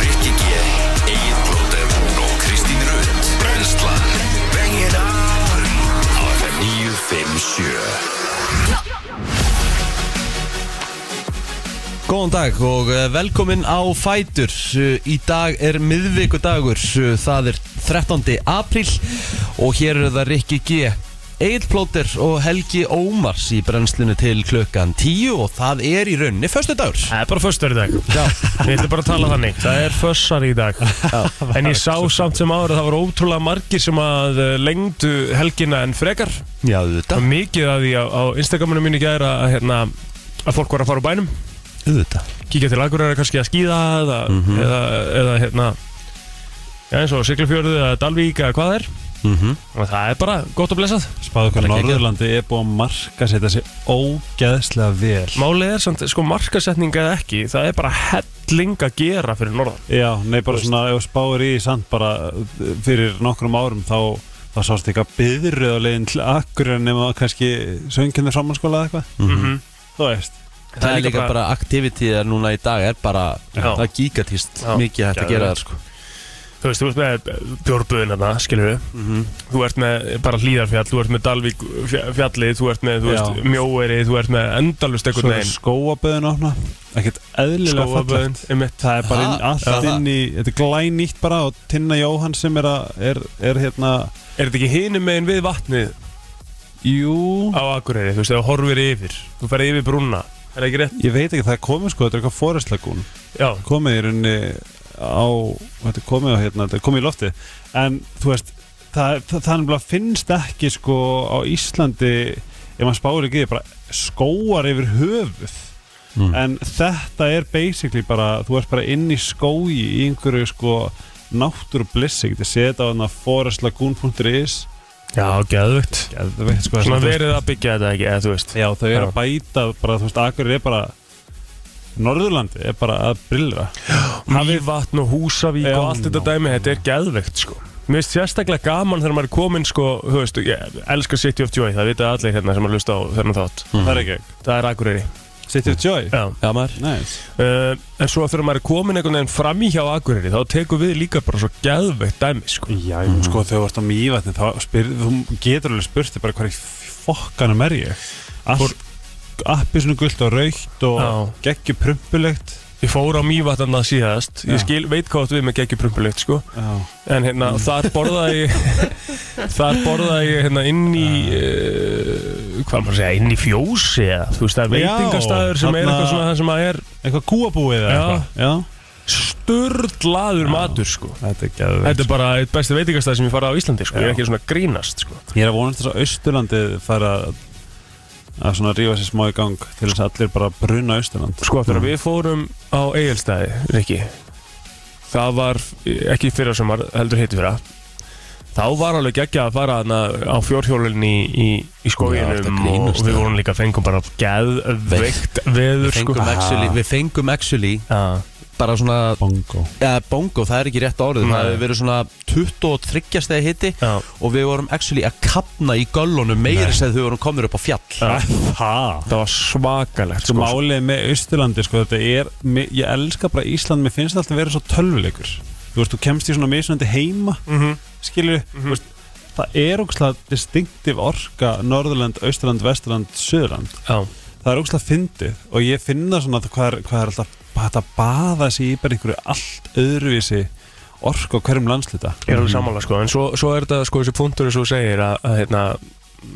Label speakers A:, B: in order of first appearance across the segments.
A: Rikki G, Egil Blóter og Kristín Rund Brenslan Bring it on Á FM 957
B: Góðan dag og eh, velkomin á Fætur Eh, Í dag er miðvikudagur eh, Það er 13. apríl Og hér eru það Rikki G Egil Plóter og Helgi Ómars í brennslinu til klukkan 10 og það er í rauninni förstu dagur
C: Það er bara föstur í dag Já Ég ætla bara að tala þannig Það er fössar í dag En ég sá samt sem ára Það var ótrúlega margir sem að eh, lengdu helgina en frekar Það
B: Já, auðvitað,
C: var mikið að því á, á Instagraminu mínu gæra að, hérna, að fólk var að fara úr bænum
B: auðvitað Mhm.
C: Kíkja til Akureyra kannski að skýða eða, eða, eða hérna Já, eins og Siglufjörðu eða Dalvík eða hvað það er
B: Mhm.
C: Og það er bara gott og blessað
D: Spáðu
B: Bara
D: hvað
B: geggjað.
D: Norðurlandi er búið að marka setja sig ógeðslega vel
C: Málið er samt, sko markasetning eða ekki Það er bara helling að gera fyrir norðan
D: Já, nei bara svona ef þú spáir í samt bara uh, fyrir nokkrum árum þá, þá sást ekki að byðrið á leiðin til akkur en nema kannski söngjöndir framhanskóla eða eitthvað
C: mm
D: Þú veist
B: Það, er líka bara aktivitið er núna í dag er bara,
C: Já.
B: það er gigatist
C: Já.
B: mikið hægt að gera
C: Geðveikt.
B: það sko
C: þú veist, þú ert með bjórböðin þarna, skilur við þú ert með bara hlýðarfjall, þú ert með Dalvík fja- fjallið, þú ert með, þú veist,
D: Já.
C: mjóeri þú ert með endalust
D: Svo
C: einhvern
D: er sko-
C: veginn
D: skóaböðin opna Ekkert eðlilega
C: skóaböðin,
D: fallegt
C: einmitt
D: Það er bara inn,
B: Ha? Já,
D: allt
B: það.
D: inn í, þetta er glænýtt bara og Tinna Jóhann sem er, að, er, er hérna,
C: er þetta ekki hinum meginn við vatnið
D: jú,
C: á Akureyri, þú veist, þegar þú horfir yfir þú ferði yfir brúna, er það ekki rétt?
D: ég veit ekki, það er komið sko, þetta er eitthvað forestlegún
C: Já,
D: komið í rauninni á þetta er komið á hérna, þetta er komið í lofti en þú veist, það, það, það nefnilega finnst ekki sko á Íslandi ef maður spáir ekki í því, bara skóar yfir höfuð
B: Mm.
D: en þetta er basically bara þú ert bara inn í skói í einhverju sko náttúru blissing þetta setja á hérna þarna forestlagoon.is
C: já, geðvögt
D: Geðveikt, sko,
C: svona
D: þess að þú veist-
C: verið að byggja þetta ekki, eða þú veist
D: Já, þau eru
C: Já.
D: að bæta bara, þú veist, Akureyri er bara Norðurlandi er bara að brillra
C: Mývatn og Húsavík
D: Já,
C: og allt þetta
D: ná.
C: dæmi, þetta er geðvegt sko Mér finnst sérstaklega gaman þegar maður er komin sko, þú veist, ég elska City of Joy, það vita allir hérna sem að hlusta á þennan þátt
D: Það er ekki
C: Það er Akureyri
D: Mhm. City of Joy
C: Já
B: Já maður
D: Nice.
C: uh, En svo þegar maður er komin einhvern veginn fram í hjá Akureyri þá tekur við líka bara svo geðvegt dæmi sko
D: Já, mm. sko þegar þú ert á mývatni þá spyr, þú getur alveg spurt þig bara hvað í fokkanum er ég
C: Fór-
D: allt appi svona gult og raukt og
C: Já.
D: geggju prumpulegt
C: Ég fór á Mývatn að síðast,
D: Já.
C: ég skil, veit hvað átt við með geggjuprumpulegt sko
D: Já. Mm.
C: En hérna, þar borðaði ég Þar borðaði ég hérna inn í uh, Hvað maður að segja, inn í fjósi eða, Þú veist, það er
D: Já,
C: veitingastæður sem er
D: þarna-
C: eitthvað svona það sem að er
D: eitthvað kúabúið eða
C: Já.
D: eitthvað Já,
C: Sturlaður matur sko
D: þetta er geggju
C: Þetta er bara eitt besti veitingastæð sem ég farið á Íslandi sko Ég er ekki svona að grínast sko
D: Ég er að vonast þess að Austurlandið fara að að svona rífa sér smá í gang til þess að allir bara bruna Austurland Mm.
C: Sko, þegar við fórum á Egilstæði, Rikki Það var ekki fyrir sumar, heldur heiti fyrir Þá var alveg geggja að fara hana, á fjórhjólinni í, í, í
B: Já, ertu að
C: skóginum og,
B: grínast,
C: og við
B: eða?
C: vorum líka fengum bara geðveikt veður
B: Við
C: sko
B: fengum, actually, við fengum actually
C: Já,
B: bara svona
D: Bongo
B: eða bongo, það er ekki rétt orðið
C: Nei.
B: það hefur verið svona 23 stegi hitti
C: já,
B: og við vorum actually að kapna í göllunum meira sem þau vorum komnir upp á fjall
C: já
D: Ha?
C: Það var svakalegt
D: Sko
C: sko
D: málið með Austurlandi sko, þetta er, mi- ég elska bara Ísland mér finnst alltaf að vera svo tölvuleikur þú veist, þú kemst í svona mismunandi heima
C: Mhm.
D: skilur, þú veist það er ógslag distinktiv orka Norðurland, Austurland, Vesturland, Suðurland
C: Já,
D: það er ógslag fyndið og ég finna svona að hvað er, hvað er alltaf hægt að baða sig í bara einhverju allt öðruvísi orku á hverjum landslita
C: ég er alveg sammála sko En svo, svo er þetta sko þessi punktur sem þú segir að, að hérna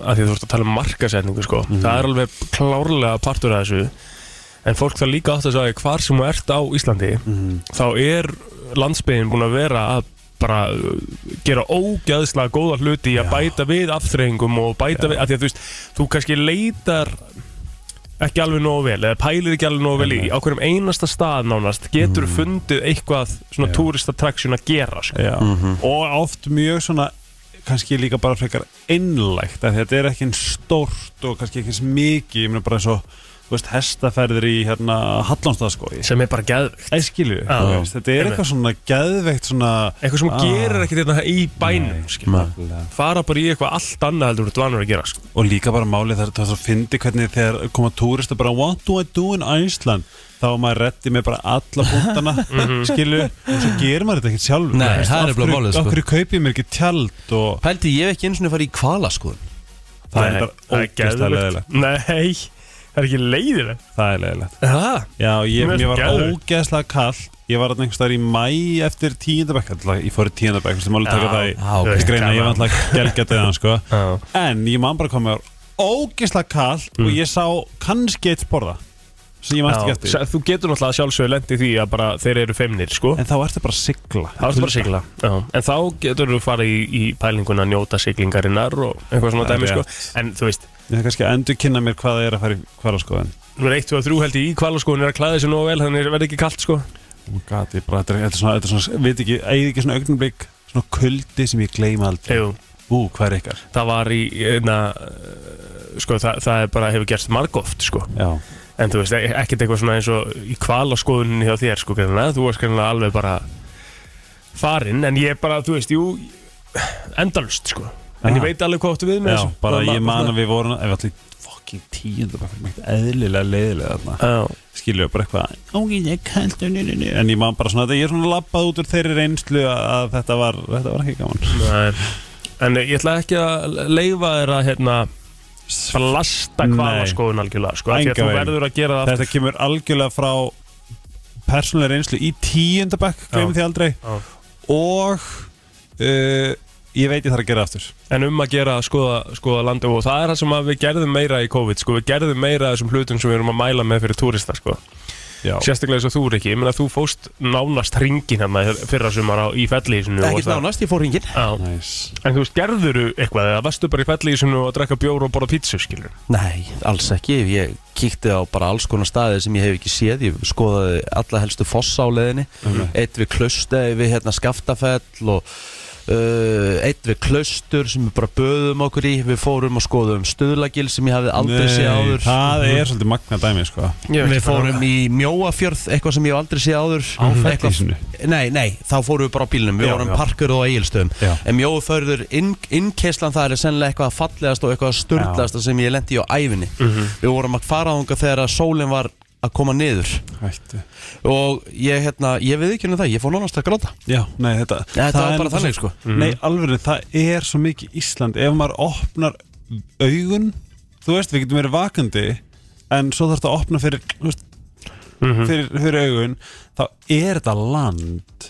C: að því þú ert að tala um markasetningu sko
D: Mhm.
C: Það er alveg klárlega partur af þessu En fólk þarf líka átt að segja hvar sem þú ert á Íslandi
D: mm.
C: Þá er landsbyðin búin að vera að bara uh, gera ógæðslega góða hluti í að
D: Já.
C: bæta við afþreyingum og bæta við, af því að þú veist, þú kannski leitar ekki alveg nógu vel eða pælir ekki alveg nógu vel í á hverjum einasta stað nánast getur
D: Mhm.
C: fundið eitthvað svona
D: Já.
C: tourist attraction að gera sko.
D: Já, og oft mjög svona kannski líka bara frekar einlægt af því að þetta er ekki eins stórt og kannski ekki eins mikið, ég meina bara eins og þú þú veist, hestaferðir í hérna Hallanstaðskói
C: sem er bara geðveikt
D: Æskilu,
C: Já.
D: þetta er eitthvað svona geðveikt svona
C: eitthvað sem
D: Ah.
C: gerir ekkert þetta í bænum skilur.
D: Nefnilega.
C: fara bara í eitthvað allt annað heldur þú ert vanur að gera sko.
D: og líka bara málið þar þar að fyndi hvernig þegar koma túrist bara what do I do in Iceland þá var maður reddi með bara alla punktana
C: Mhm.
D: skilu, og svo gerir maður þetta ekkert sjálfur
B: Nei,
D: Þú veist,
B: það er
D: af
B: nefnilega
D: hverju-
B: málið, sko.
D: af hverju kaupið mér ekki tjald og
B: Pældi, ég hef ekki eins og farið í kvala sko
D: það er
C: Nei,
D: bara ógæsta
C: geðveikt.
D: leðilegt
C: nei, það er ekki leiðilegt
D: það er leðilegt
C: það
D: Já, ég,
C: Mér
D: mér var
C: geðveikt.
D: ógeðslega kallt Ég var þarna einhvers staðar í mæ eftir tíundabæk Ég fór í tíundabæk, þessum alveg taka
C: Já,
D: það í
B: já, ok.
D: þessi greina, ég var alltaf gelgjað til hann sko.
C: Já.
D: En ég man bara kom mér ógeðslega kallt Og ég sá kannski eitt sporða Sem ég mannst
C: Já,
D: ekki eftir
C: s- þú getur náttúrulega að sjálfsögur lendi því að bara þeir eru feimnir sko.
D: En þá ertu bara að sigla
C: þá ertu bara að sigla Já. en þá getur þú farið í, í pælinguna að njóta siglingarinnar og eitthvað svona
D: Það er
C: dæmi sko.
D: rétt.
C: en þú veist,
D: Ég þarf kannski að endur kynna mér hvað það er að fara í hvaraskoðin
C: nú er 1, 2 og 3 held ég í kvalaskoðun er að klæða sér nógu vel þannig verði ekki kalt sko.
D: oh God, ég bara, þetta, er, þetta er svona, þetta er svona, veit ekki, eigið ekki svona augnumblík Svona kuldi sem ég gleyma aldrei
C: Jú.
D: Ú, hvað er ykkar?
C: það var í na, sko, það, það er bara hefur gerst margóft sko.
D: Já,
C: en þú veist, e- ekkert eitthvað svona eins og í kvalaskoðunni hjá þér sko, greinlega. þú varst greinlega alveg bara farinn, en ég bara, þú veist, jú endalust, sko en
D: Aha.
C: ég veit alveg hvað áttu við með
D: Já
C: þessu
D: bara
C: Það var
D: ég man
C: svona-
D: að við vorum Ef allir fucking tíundabæk Mægt eðlilega leiðilega þarna
C: Já.
D: skilur bara eitthvað "Ó, ég er kalt, njö, njö, njö." en ég man bara svona þetta ég er svona labbað út úr þeirri reynslu að, að þetta, var, þetta var ekki gaman
C: Nei. En ég ætla ekki að leifa þér að hérna bara lasta
D: Nei.
C: kvalaskoðun algjörlega sko, af því að
D: Engan
C: þú
D: veginn.
C: verður að gera það
D: þetta kemur algjörlega frá persónulega reynslu í tíundabæk glemum
C: Já.
D: því aldrei
C: Já.
D: og uh, ég veit ég þarf að gera aftur
C: aftur en um að gera að skoða, skoða landi og það er það sem að við gerðum meira í COVID sko, við gerðum meira af þessum hlutum sem við erum að mæla með fyrir túrista sko.
D: Já.
C: sérstaklega þess að þú er ekki, ég meina þú fóst nánast ringin hérna fyrra sumar á, í fellihísinu og
B: Ekkert
C: það-
B: nánast, ég fór hringin
C: Já,
D: nice.
C: en þú veist, gerðuru eitthvað eða varstu bara í fellihísinu og að drekka bjór og borða pítsu skilur
B: Nei, alls ekki Ég kíkti á bara alls konar staði sem ég hef ekki séð Ég skoðaði alla helstu fossa á leiðinni Eitt við klaustaði við hérna skaftafell og uh, eitt við klaustur sem við bara böðum okkur í Við fórum og skoðum stuðlagil sem ég hafði aldrei séð
D: Nei,
B: áður Mhm.
D: það er svolítið magna dæmi sko.
B: Við fórum í Mjóafjörð, eitthvað sem ég hef aldrei séð áður
D: Á
B: Eitthvað-
D: fellísinu?
B: Nei, nei, þá fórum við bara á bílnum Við
D: Já,
B: vorum
D: já.
B: parkur og á eigilstöðum
D: Já.
B: En Mjóafjörður, inn- innkeslan það er sennilega eitthvað fallegast og eitthvað sturdlegasta sem ég lendi á ævinni
D: Mhm.
B: Við vorum að fara þangað þegar að sólin var að koma niður
D: hættu
B: Og ég, hérna, ég við ekki henni það, ég fór nánast að gráta
D: Já, nei, þetta,
B: Nei, þetta var
D: er
B: bara
D: nefnilega
B: þannig, sko. Mhm.
D: svo- Nei, alveg, það er svo mikið Ísland Ef maður opnar augun Þú veist, við getum verið vakandi En svo þarf þetta að opna fyrir, þú veist,
B: Mhm.
D: fyrir Fyrir augun Þá er þetta land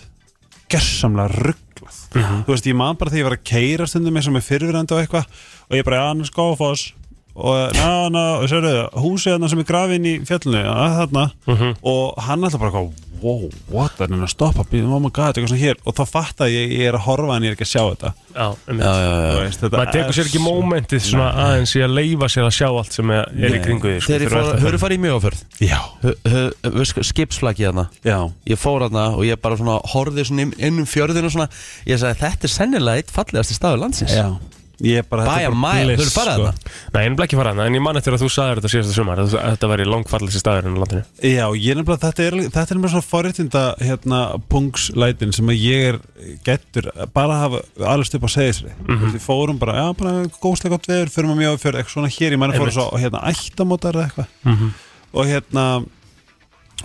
D: Gersamlega rugglað
C: Mhm.
D: Þú veist, ég man bara þegar ég var að keira stundum eins og með fyrirverandi og eitthvað Og ég bara, já, hann skófoss og na, na, og sérðu, húsið hann sem er grafin í fjallinu, að þarna
C: Mhm.
D: og hann alltaf bara eitthvað, wow, what það er hann að stoppa, býðum, oh my god, eitthvað svona hér og þá fatta ég, ég er að horfa en ég er ekki að sjá þetta
C: já, um
D: Þú veist, þetta
C: maður tekur sér ekki
D: svo-
C: mómentið svona aðeins í að leifa sér að sjá allt sem er, er í
D: Nei.
C: kringu sko, því
B: Þegar ég fór, höfðu farið í Mjóafjörð
D: um- Já,
B: hö- hö- hö- sk- Skipsflakið hana
D: já,
B: Ég fór hana og ég bara svona horfði svona inn- inn um fjörðinu svona Ég sagði, þetta er sennilega eitt fallegasti staður landsins
D: já Ég er bara, sko.
B: Bæja mæl, höfðu farið hana?
C: Nei, en ekki fara hana, en ég man eftir að þú sagðir þetta síðasta sumar að Þetta væri langfallegsi staður en landinu
D: Já, ég er nefnilega, þetta er, þetta er nefnilega svona forréttinda hérna, pungslætin sem að ég er gettur bara að hafa alveg upp á segisri mm -hmm. Við fórum bara, já, bara góðslega gott veður fyrir maður mjög fyrir eitthvað svona hér, ég manni fórum svo
C: Einmitt.
D: og hérna ættamótar eða eitthvað mm -hmm. og hérna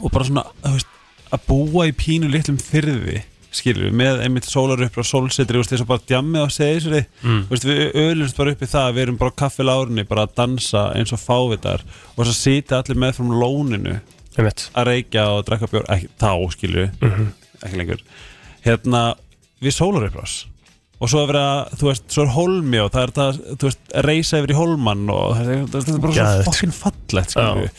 D: og bara svona, þú veist, að búa í pínu litlum fyrði skilur við, með einmitt sólarupprás, sólsetri þú veist, þess að bara djammið á segisri mm. veist, við öðlumst bara upp í það, við erum bara á kaffilárunni, bara að dansa eins og fávitar og svo sitja allir með frá lóninu
C: Einmitt.
D: að reykja og drakka bjór ekki, þá skilju, ekki lengur hérna, við sólarupprás og svo er verið að, þú veist, svo er holmi og það er það, þú veist, að reysa yfir í holmann og það er, það er bara
C: Geðveikt.
D: svo fokkin fallegt, skilju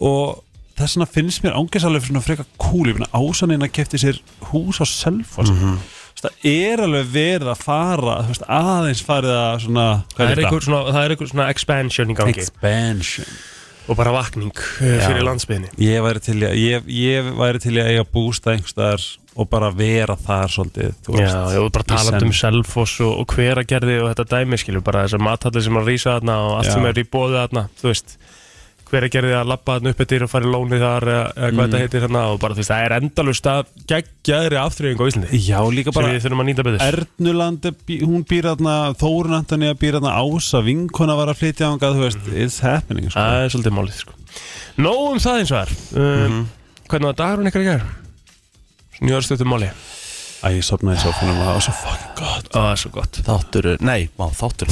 D: og þess vegna finnst mér ángjörsalega svona freka cool, ég finna ásaninn að kefti sér hús á selfoss mm það er alveg verið að fara þú veist, aðeins farið að svona, hvað
C: Það er
D: þetta?
C: einhver svona, það er einhver svona expansion í gangi
D: Expansion
C: Og bara vakning Já. fyrir landsbyðinni
D: Ég væri til í að ég, ég væri til í að eiga bústa einhverstaðar og bara vera þar svolítið þú
C: Já,
D: veist.
C: og bara
D: í
C: talað
D: senn.
C: um Selfoss og, og hveragerði og þetta dæmi skilur bara þessar matallir sem að rísa þarna og allt
D: Já.
C: sem er í bóði þarna, þú veist hver að gerði að labba þannig upp eftir og fara í lóni þar eða, eða
D: Mhm.
C: hvað þetta heitir þannig og bara þú veist, það er endalust að geggjaðri aftrýðing á Íslandi
D: Já, líka
C: sem
D: bara
C: við þurfum að nýta betur
D: Ernuland, er bí- hún býr þarna Þórun Antonija býr þarna Ása Vinkona var að flytja ánga, þú veist, it's happening sko.
C: Það er svolítið málið sko. Nóg um það eins og það um,
D: Mhm.
C: Hvernig var dagurinn ykkar í gær? Snjóðarstöttu máli
D: Æ, ég sopnaði svo fyrir maður, það var svo fucking gott
C: Það er svo gott
B: Þáttur, nei, má, þáttur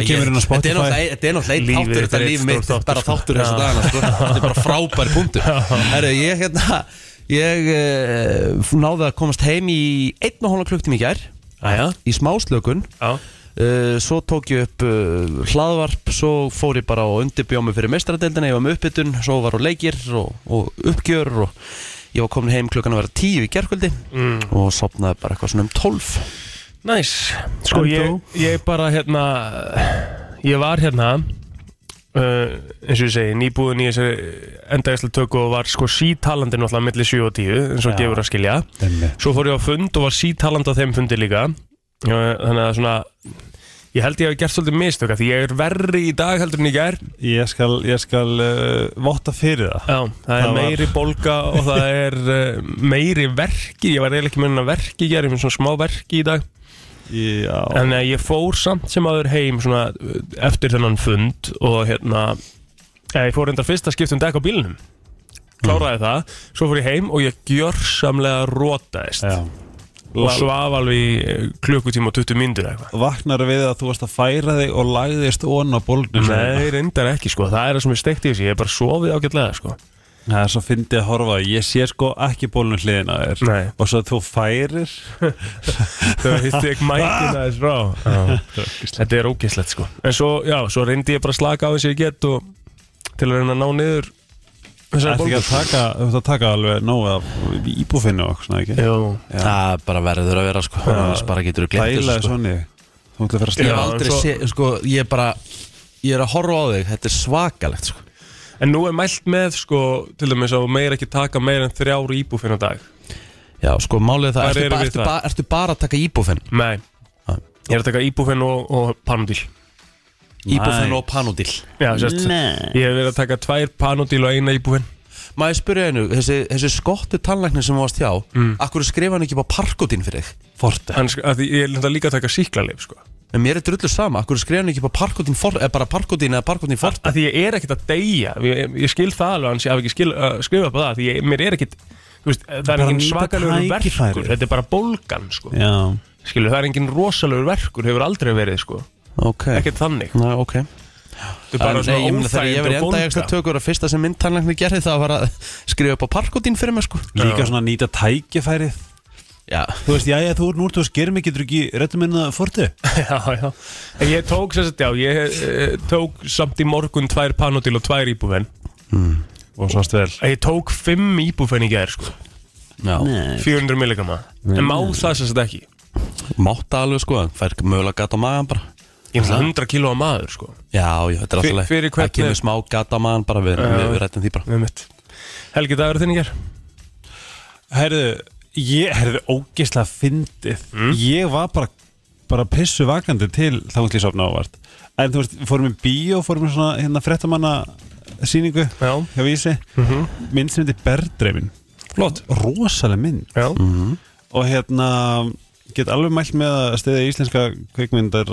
B: Æ, ég-
D: kemur inn
B: Þetta
D: á
B: er
D: Spotify.
B: náttúrulega- þetta er náttúrulega einn
C: Lífið
B: þáttur,
C: er
B: þetta
C: eitt
B: líf
C: stór
B: mitt
C: þáttur,
B: bara
C: sko.
B: þáttur þessu
C: Já.
B: dagana sko. Þetta er bara frábær punktur Herru, ég hérna Ég uh, náði að komast heim í einn og hóla klukktum í gær
C: Æja,
B: í smáslökun
C: já
B: Uh, svo tók ég upp uh, hlaðvarp svo fór ég bara og undirbjóð mig fyrir mestradeldina, ég var með uppbytun, svo var og leikir og, og uppgjör og ég var komin heim klukkan að vera tíu í gerkvöldi
C: Mm.
B: og sopnaði bara eitthvað svona um tólf
C: Næs Sko
D: En
C: ég,
D: þú?
C: ég bara hérna Ég var hérna uh, eins og ég segi, nýbúðin í þessu endægislega tökku og var sko sítalandi náttúrulega milli 7 og 10 eins og
D: Já.
C: gefur að skilja
D: Einmitt.
C: Svo fór ég á fund og var sítalandi á þeim fundi líka Uh, Þannig að svona Ég held ég hafi gert svolítið mistöka því ég er verri í dag heldur en ég er
D: Ég skal, ég skal uh, votta fyrir það
C: Já, það er
D: Það var-
C: meiri bólga og það er uh, meiri verki Ég var eiginlega ekki með hennar verki ég er með svona smá verki í dag
D: Já,
C: En eh, ég fór samt sem aður heim svona, eh, eftir þennan fund og hérna eh, ég fór reyndar fyrst að skipta um dekk á bílnum kláraði það, svo fór ég heim og ég gjörsamlega rótaðist
D: já.
C: og svaf alveg í, eh, klukkutíma og 20 myndur eitthvað
D: Vaknar við að þú varst að færa þig og lagðist ón á bólgnum
C: Nei, reyndar ekki sko, það er það sem ég stekti í þessu ég er bara sofið ágætlega sko
D: Það er svo fyndið að horfa Ég sé sko ekki bólnum hliðina á þér
C: Nei.
D: Og svo þú færir
C: Þegar hitti ekki mækina þess frá Þetta er ógislegt sko En svo, já, svo reyndi ég bara að slaka á þess að ég get og til að reyna að ná niður þessari
D: Ertu ekki
C: bólgu.
D: að taka, þú ert að taka alveg nóg af íbúfinu og svona ekki
C: Jú,
B: það bara verður að vera sko, annars bara getur þú glemt þessu
D: Þægilega
B: sko.
D: svona Þú ætla að fara
B: ég
D: að
B: hef
D: slíða
C: Já,
B: aldrei
C: svo-
B: sé, sko, ég bara ég er að horfa á þig, þetta er svakalegt sko.
C: En nú er mælt með sko til dæmis að þú meir ekki taka meir en þrjár íbúfinn á dag
B: já, sko, málið er það,
C: Hvar
B: ertu,
C: erum
B: ba
C: við
B: ertu,
C: þar?
B: ba ertu bara að taka íbúfinn
C: Nei
B: Ha.
C: Ég er að taka íbúfinn og, og panodil
B: íbúfinn og panodil
C: Já, sérst Ég hef verið að taka tvær panodil og eina íbúfinn
B: Má ég spyrja einu, þessi, þessi skottu tannlæknir sem þú varst hjá mm. Akkur skrifa hann ekki bara parkotin fyrir þig?
D: Forte
C: Þannig að því- ég er náttúrulega líka að taka síklarleif sko
B: En mér er drullu sama, akkur skrifa hann ekki bara parkotin for, eða bara parkotin eða parkotin for
C: að því ég er ekkert að deyja ég, ég skil það alveg hans ég hafi ekki skil, uh, skrifað upp á það því ég, mér er ekkert þú veist, það er
D: Bara
C: engin
D: nýta
C: svakalegur
D: tækifærið.
C: verkur þetta er bara bólgan sko.
D: Já
C: Skilur, það er engin rosalegur verkur hefur aldrei verið sko.
B: Ok,
C: ekkert þannig
B: Næ, ok
C: þetta er bara
B: En, nei, ég meina,
C: svona
B: Þegar ég
C: óþægind
B: verið
C: og
B: enda ekstra
C: bólga
B: tökur að fyrsta sem minn tannlæknir gerði það var að skrifa upp á parkotin fyrir mig sko
D: Líka svona nýta tækifærið
B: Já,
D: Þú veist, jæja, þú ert núrt og sker mig, getur ekki Rettum minna forte
C: já, já. En ég tók sem sagt, já, ég eh, tók samt í morgun tvær panodil og tvær íbúfen
B: Mm.
D: Og svo stil
C: ég tók fimm íbúfen í gerð sko.
B: já,
C: 400 milligama en má það sem sagt ekki
B: mátta alveg sko, en fær mögulega gata á magan bara
C: ég er 100 kíló að maður sko.
B: Já, já, þetta er
C: Fyr-
B: alltaf
C: fyrir
B: Það
C: hvernig-
B: kemur smá gata á magan bara, við, við, við rættum því bara
C: Með mitt. Helgi dagur þinn í gerð
D: Herðu, ég herðu ógeðslega fyndið
C: Mm.
D: Ég var bara, bara pissu vakandi til þá ætla ég sofna ávart En þú veist, fórum í bíó, fórum í svona hérna frettamanna sýningu
C: Já. Mhm.
D: hjá Vísi mm -hmm. Mynd sem heitir Berdreifin
C: flott
D: Rosaleg mynd
C: já
B: Mhm.
D: Og hérna, get alveg mælt með að stiðja íslenska kvikmyndar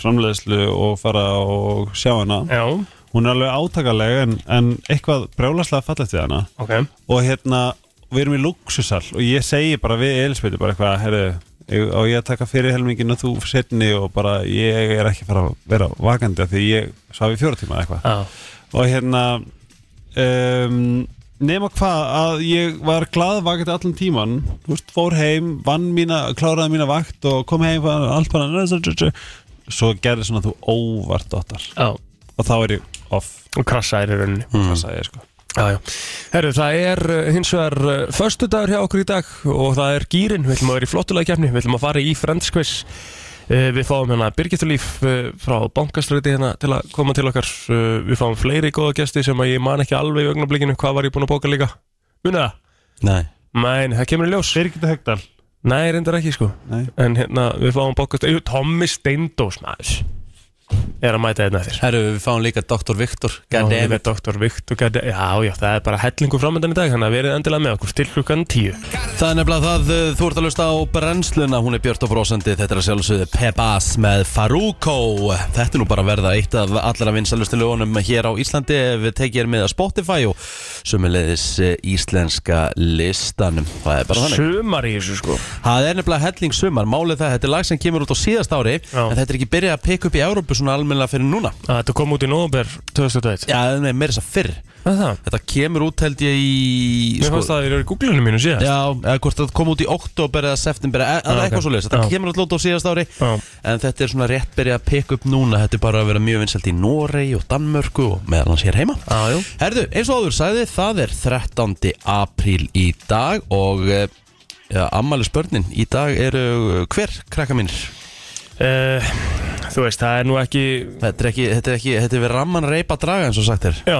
D: framleiðslu og fara og sjá hana
C: Já,
D: Hún er alveg átakaleg en, en eitthvað brjálaslega fallegt við hana
C: ok
D: og hérna við erum í luxusall og ég segi bara við Elisabethu bara eitthvað, herru og ég að taka fyrir helmingin og þú setni og bara ég er ekki fara að vera vakandi af því ég svaf í fjóra tíma eða eitthvað
C: Já,
D: og hérna um, nema hvað að ég var glaðvakandi allan tíman þú veist, fór heim, vann mína kláraði mína vakt og kom heim og allt bara svo gerði svona þú óvart dottar
C: já
D: og þá er ég off
C: Og krassaðir í rauninni
D: mm. það sagði ég sko
C: Já, já Herru, það er uh, hins vegar uh, Föstu dagur hjá okkur í dag Og það er gýrin Við ætlum að vera í flottulega kefni Við ætlum að fara í Friends quiz uh, Við fáum hérna Birgittulíf uh, Frá bankastræti hérna Til að koma til okkar uh, Við fáum fleiri góða gesti Sem að ég man ekki alveg í augnablikinu Hvað var ég búinn að bóka líka Muna það?
B: Nei,
C: Mæn, það kemur í ljós
D: Birgitta Högdal
C: Nei, reyndar ekki sko
D: Nei.
C: En hérna, við fáum bankastræti Jú, Tommi Steindós, maður er að mæta hérna eftir
B: Herru, við fáum líka Dr. Viktor
C: Goddamn
B: Goddammit.
C: it Dr. Victor Goddamn Já, já, það er bara hellingu framöndan í dag Þannig að verið endilega með okkur til klukkan 10
B: Það er nefnilega það, uh, þú ert að lusta á brennsluna, hún er Björn og Brósandi, þetta er að sjálfsögðu Pebas með Faruko. Þetta er nú bara að verða eitt af allra vinsalustu lögunum hér á Íslandi ef við tekjum með að Spotify og sömulegðis íslenska listanum. Það er bara þannig.
C: Sumar í þessu sko
B: Það er nefnilega helling sumar, málið það, þetta er lag sem kemur út á síðast ári
C: Já.
B: En þetta er ekki byrjað að peka upp í Európu svona almennilega fyrir núna
C: Að Þetta kom út í nóvember 2021
B: Já, nei, meira þess að fyrr
C: Það er það
B: Þetta kemur út held ég í sko.
C: Mér fannst það að það er í googlinu mínu síðan
B: Já, eða hvort það kom út í oktober eða september eða eða
C: Já, Ah, ok. Ah.
B: eitthvað svo Þetta
C: Já.
B: kemur alltaf út á síðast ári
C: Já.
B: En þetta er svona rétt byrjað að peka upp núna Þetta er bara að vera mjög vinsælt í Norei og Danmörku og meðal hans hér heima
C: Já, Ah, jú.
B: Herðu, eins og áður sagði, það er 13. apríl í dag og eh, ja, ammali spörnin í dag eru eh, hver krakka mínir?
C: Eh, Þú veist, það er nú ekki
B: Þetta er ekki, þetta er ekki, þetta er við ramman reypa draga eins og sagt er
C: Já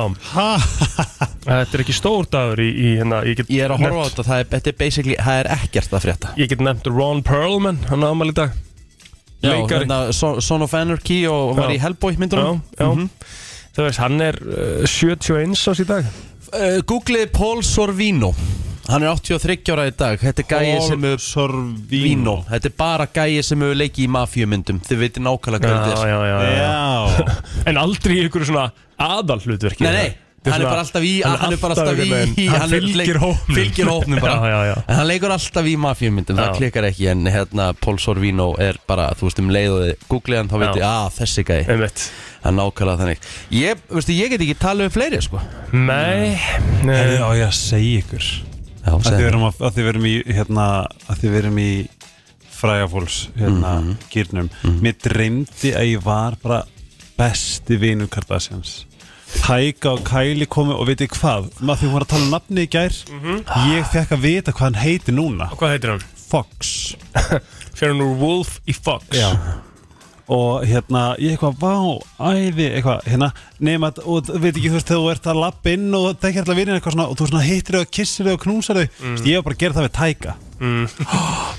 C: Þetta er ekki stór dagur í, í hérna Ég get
B: Ég er að horfa á
C: nefnt-
B: þetta, það er, þetta er basically, það er ekkert að frétta
C: Ég get nefnt Ron Perlman, hann á afmæli í dag
B: Já,
C: Leikari.
B: hérna, Son Son of Anarchy og var
C: Já.
B: í Hellboy
C: Já,
B: myndunum Mhm.
C: já Þú veist, hann er uh, 71 ás í dag
B: uh, Googlið Paul Sorvino Hann er 83 ára í dag Þetta er gæið sem
D: Paul
B: hefur Sorvino
D: Sorvino
B: Þetta er bara gæið sem hefur leikið í mafíumyndum Þið veitir nákvæmlega hvað
C: Já,
B: þetta er
C: já, já, já.
D: Já
C: En aldrei í ykkur svona aðal hlutverki
B: Nei, nei, hann er bara alltaf í Hann er bara alltaf í
C: Hann
B: er leik-
C: fylgir hópnum
B: Fylgir hópnum bara
C: Já, já, já
B: En hann leikur alltaf í mafíumyndum Það
C: Já.
B: klikkar ekki En hérna Paul Sorvino er bara Þú veist um leið og þið Googlið hann þá
C: Já.
B: veitir að þessi gæi
C: Einmitt
B: Það er nákvæmlega þannig Ég, veistu, ég get ekki talað um fleiri sko
C: Nei Nei
D: Já, ég að segja ykkur
B: Já,
D: að þið
B: segðu.
D: verum, að, að þið verum í hérna, að þið verum í frægafóls hérna,
B: Mhm.
D: gírnum mér dreymdi að ég var bara besti vinur Kardashians Hæka og Kylie komu og veitir hvað maður því hún var að tala um nafni í gær ég fekk að vita hvað hann heiti núna
C: Hvað heitir hann?
D: Fox
C: Fyrir hann úr Wolf í Fox
D: og hérna, ég eitthvað, vá, æði eitthvað, hérna, nema, að- og þú veit ekki, þú veist, þegar þú ert að lappa inn og það er ekki alltaf vinnin eitthvað svona, og þú svona hittir þau og kissir þau og knúsar þau, mm. ég var bara að gera það við tæka mm.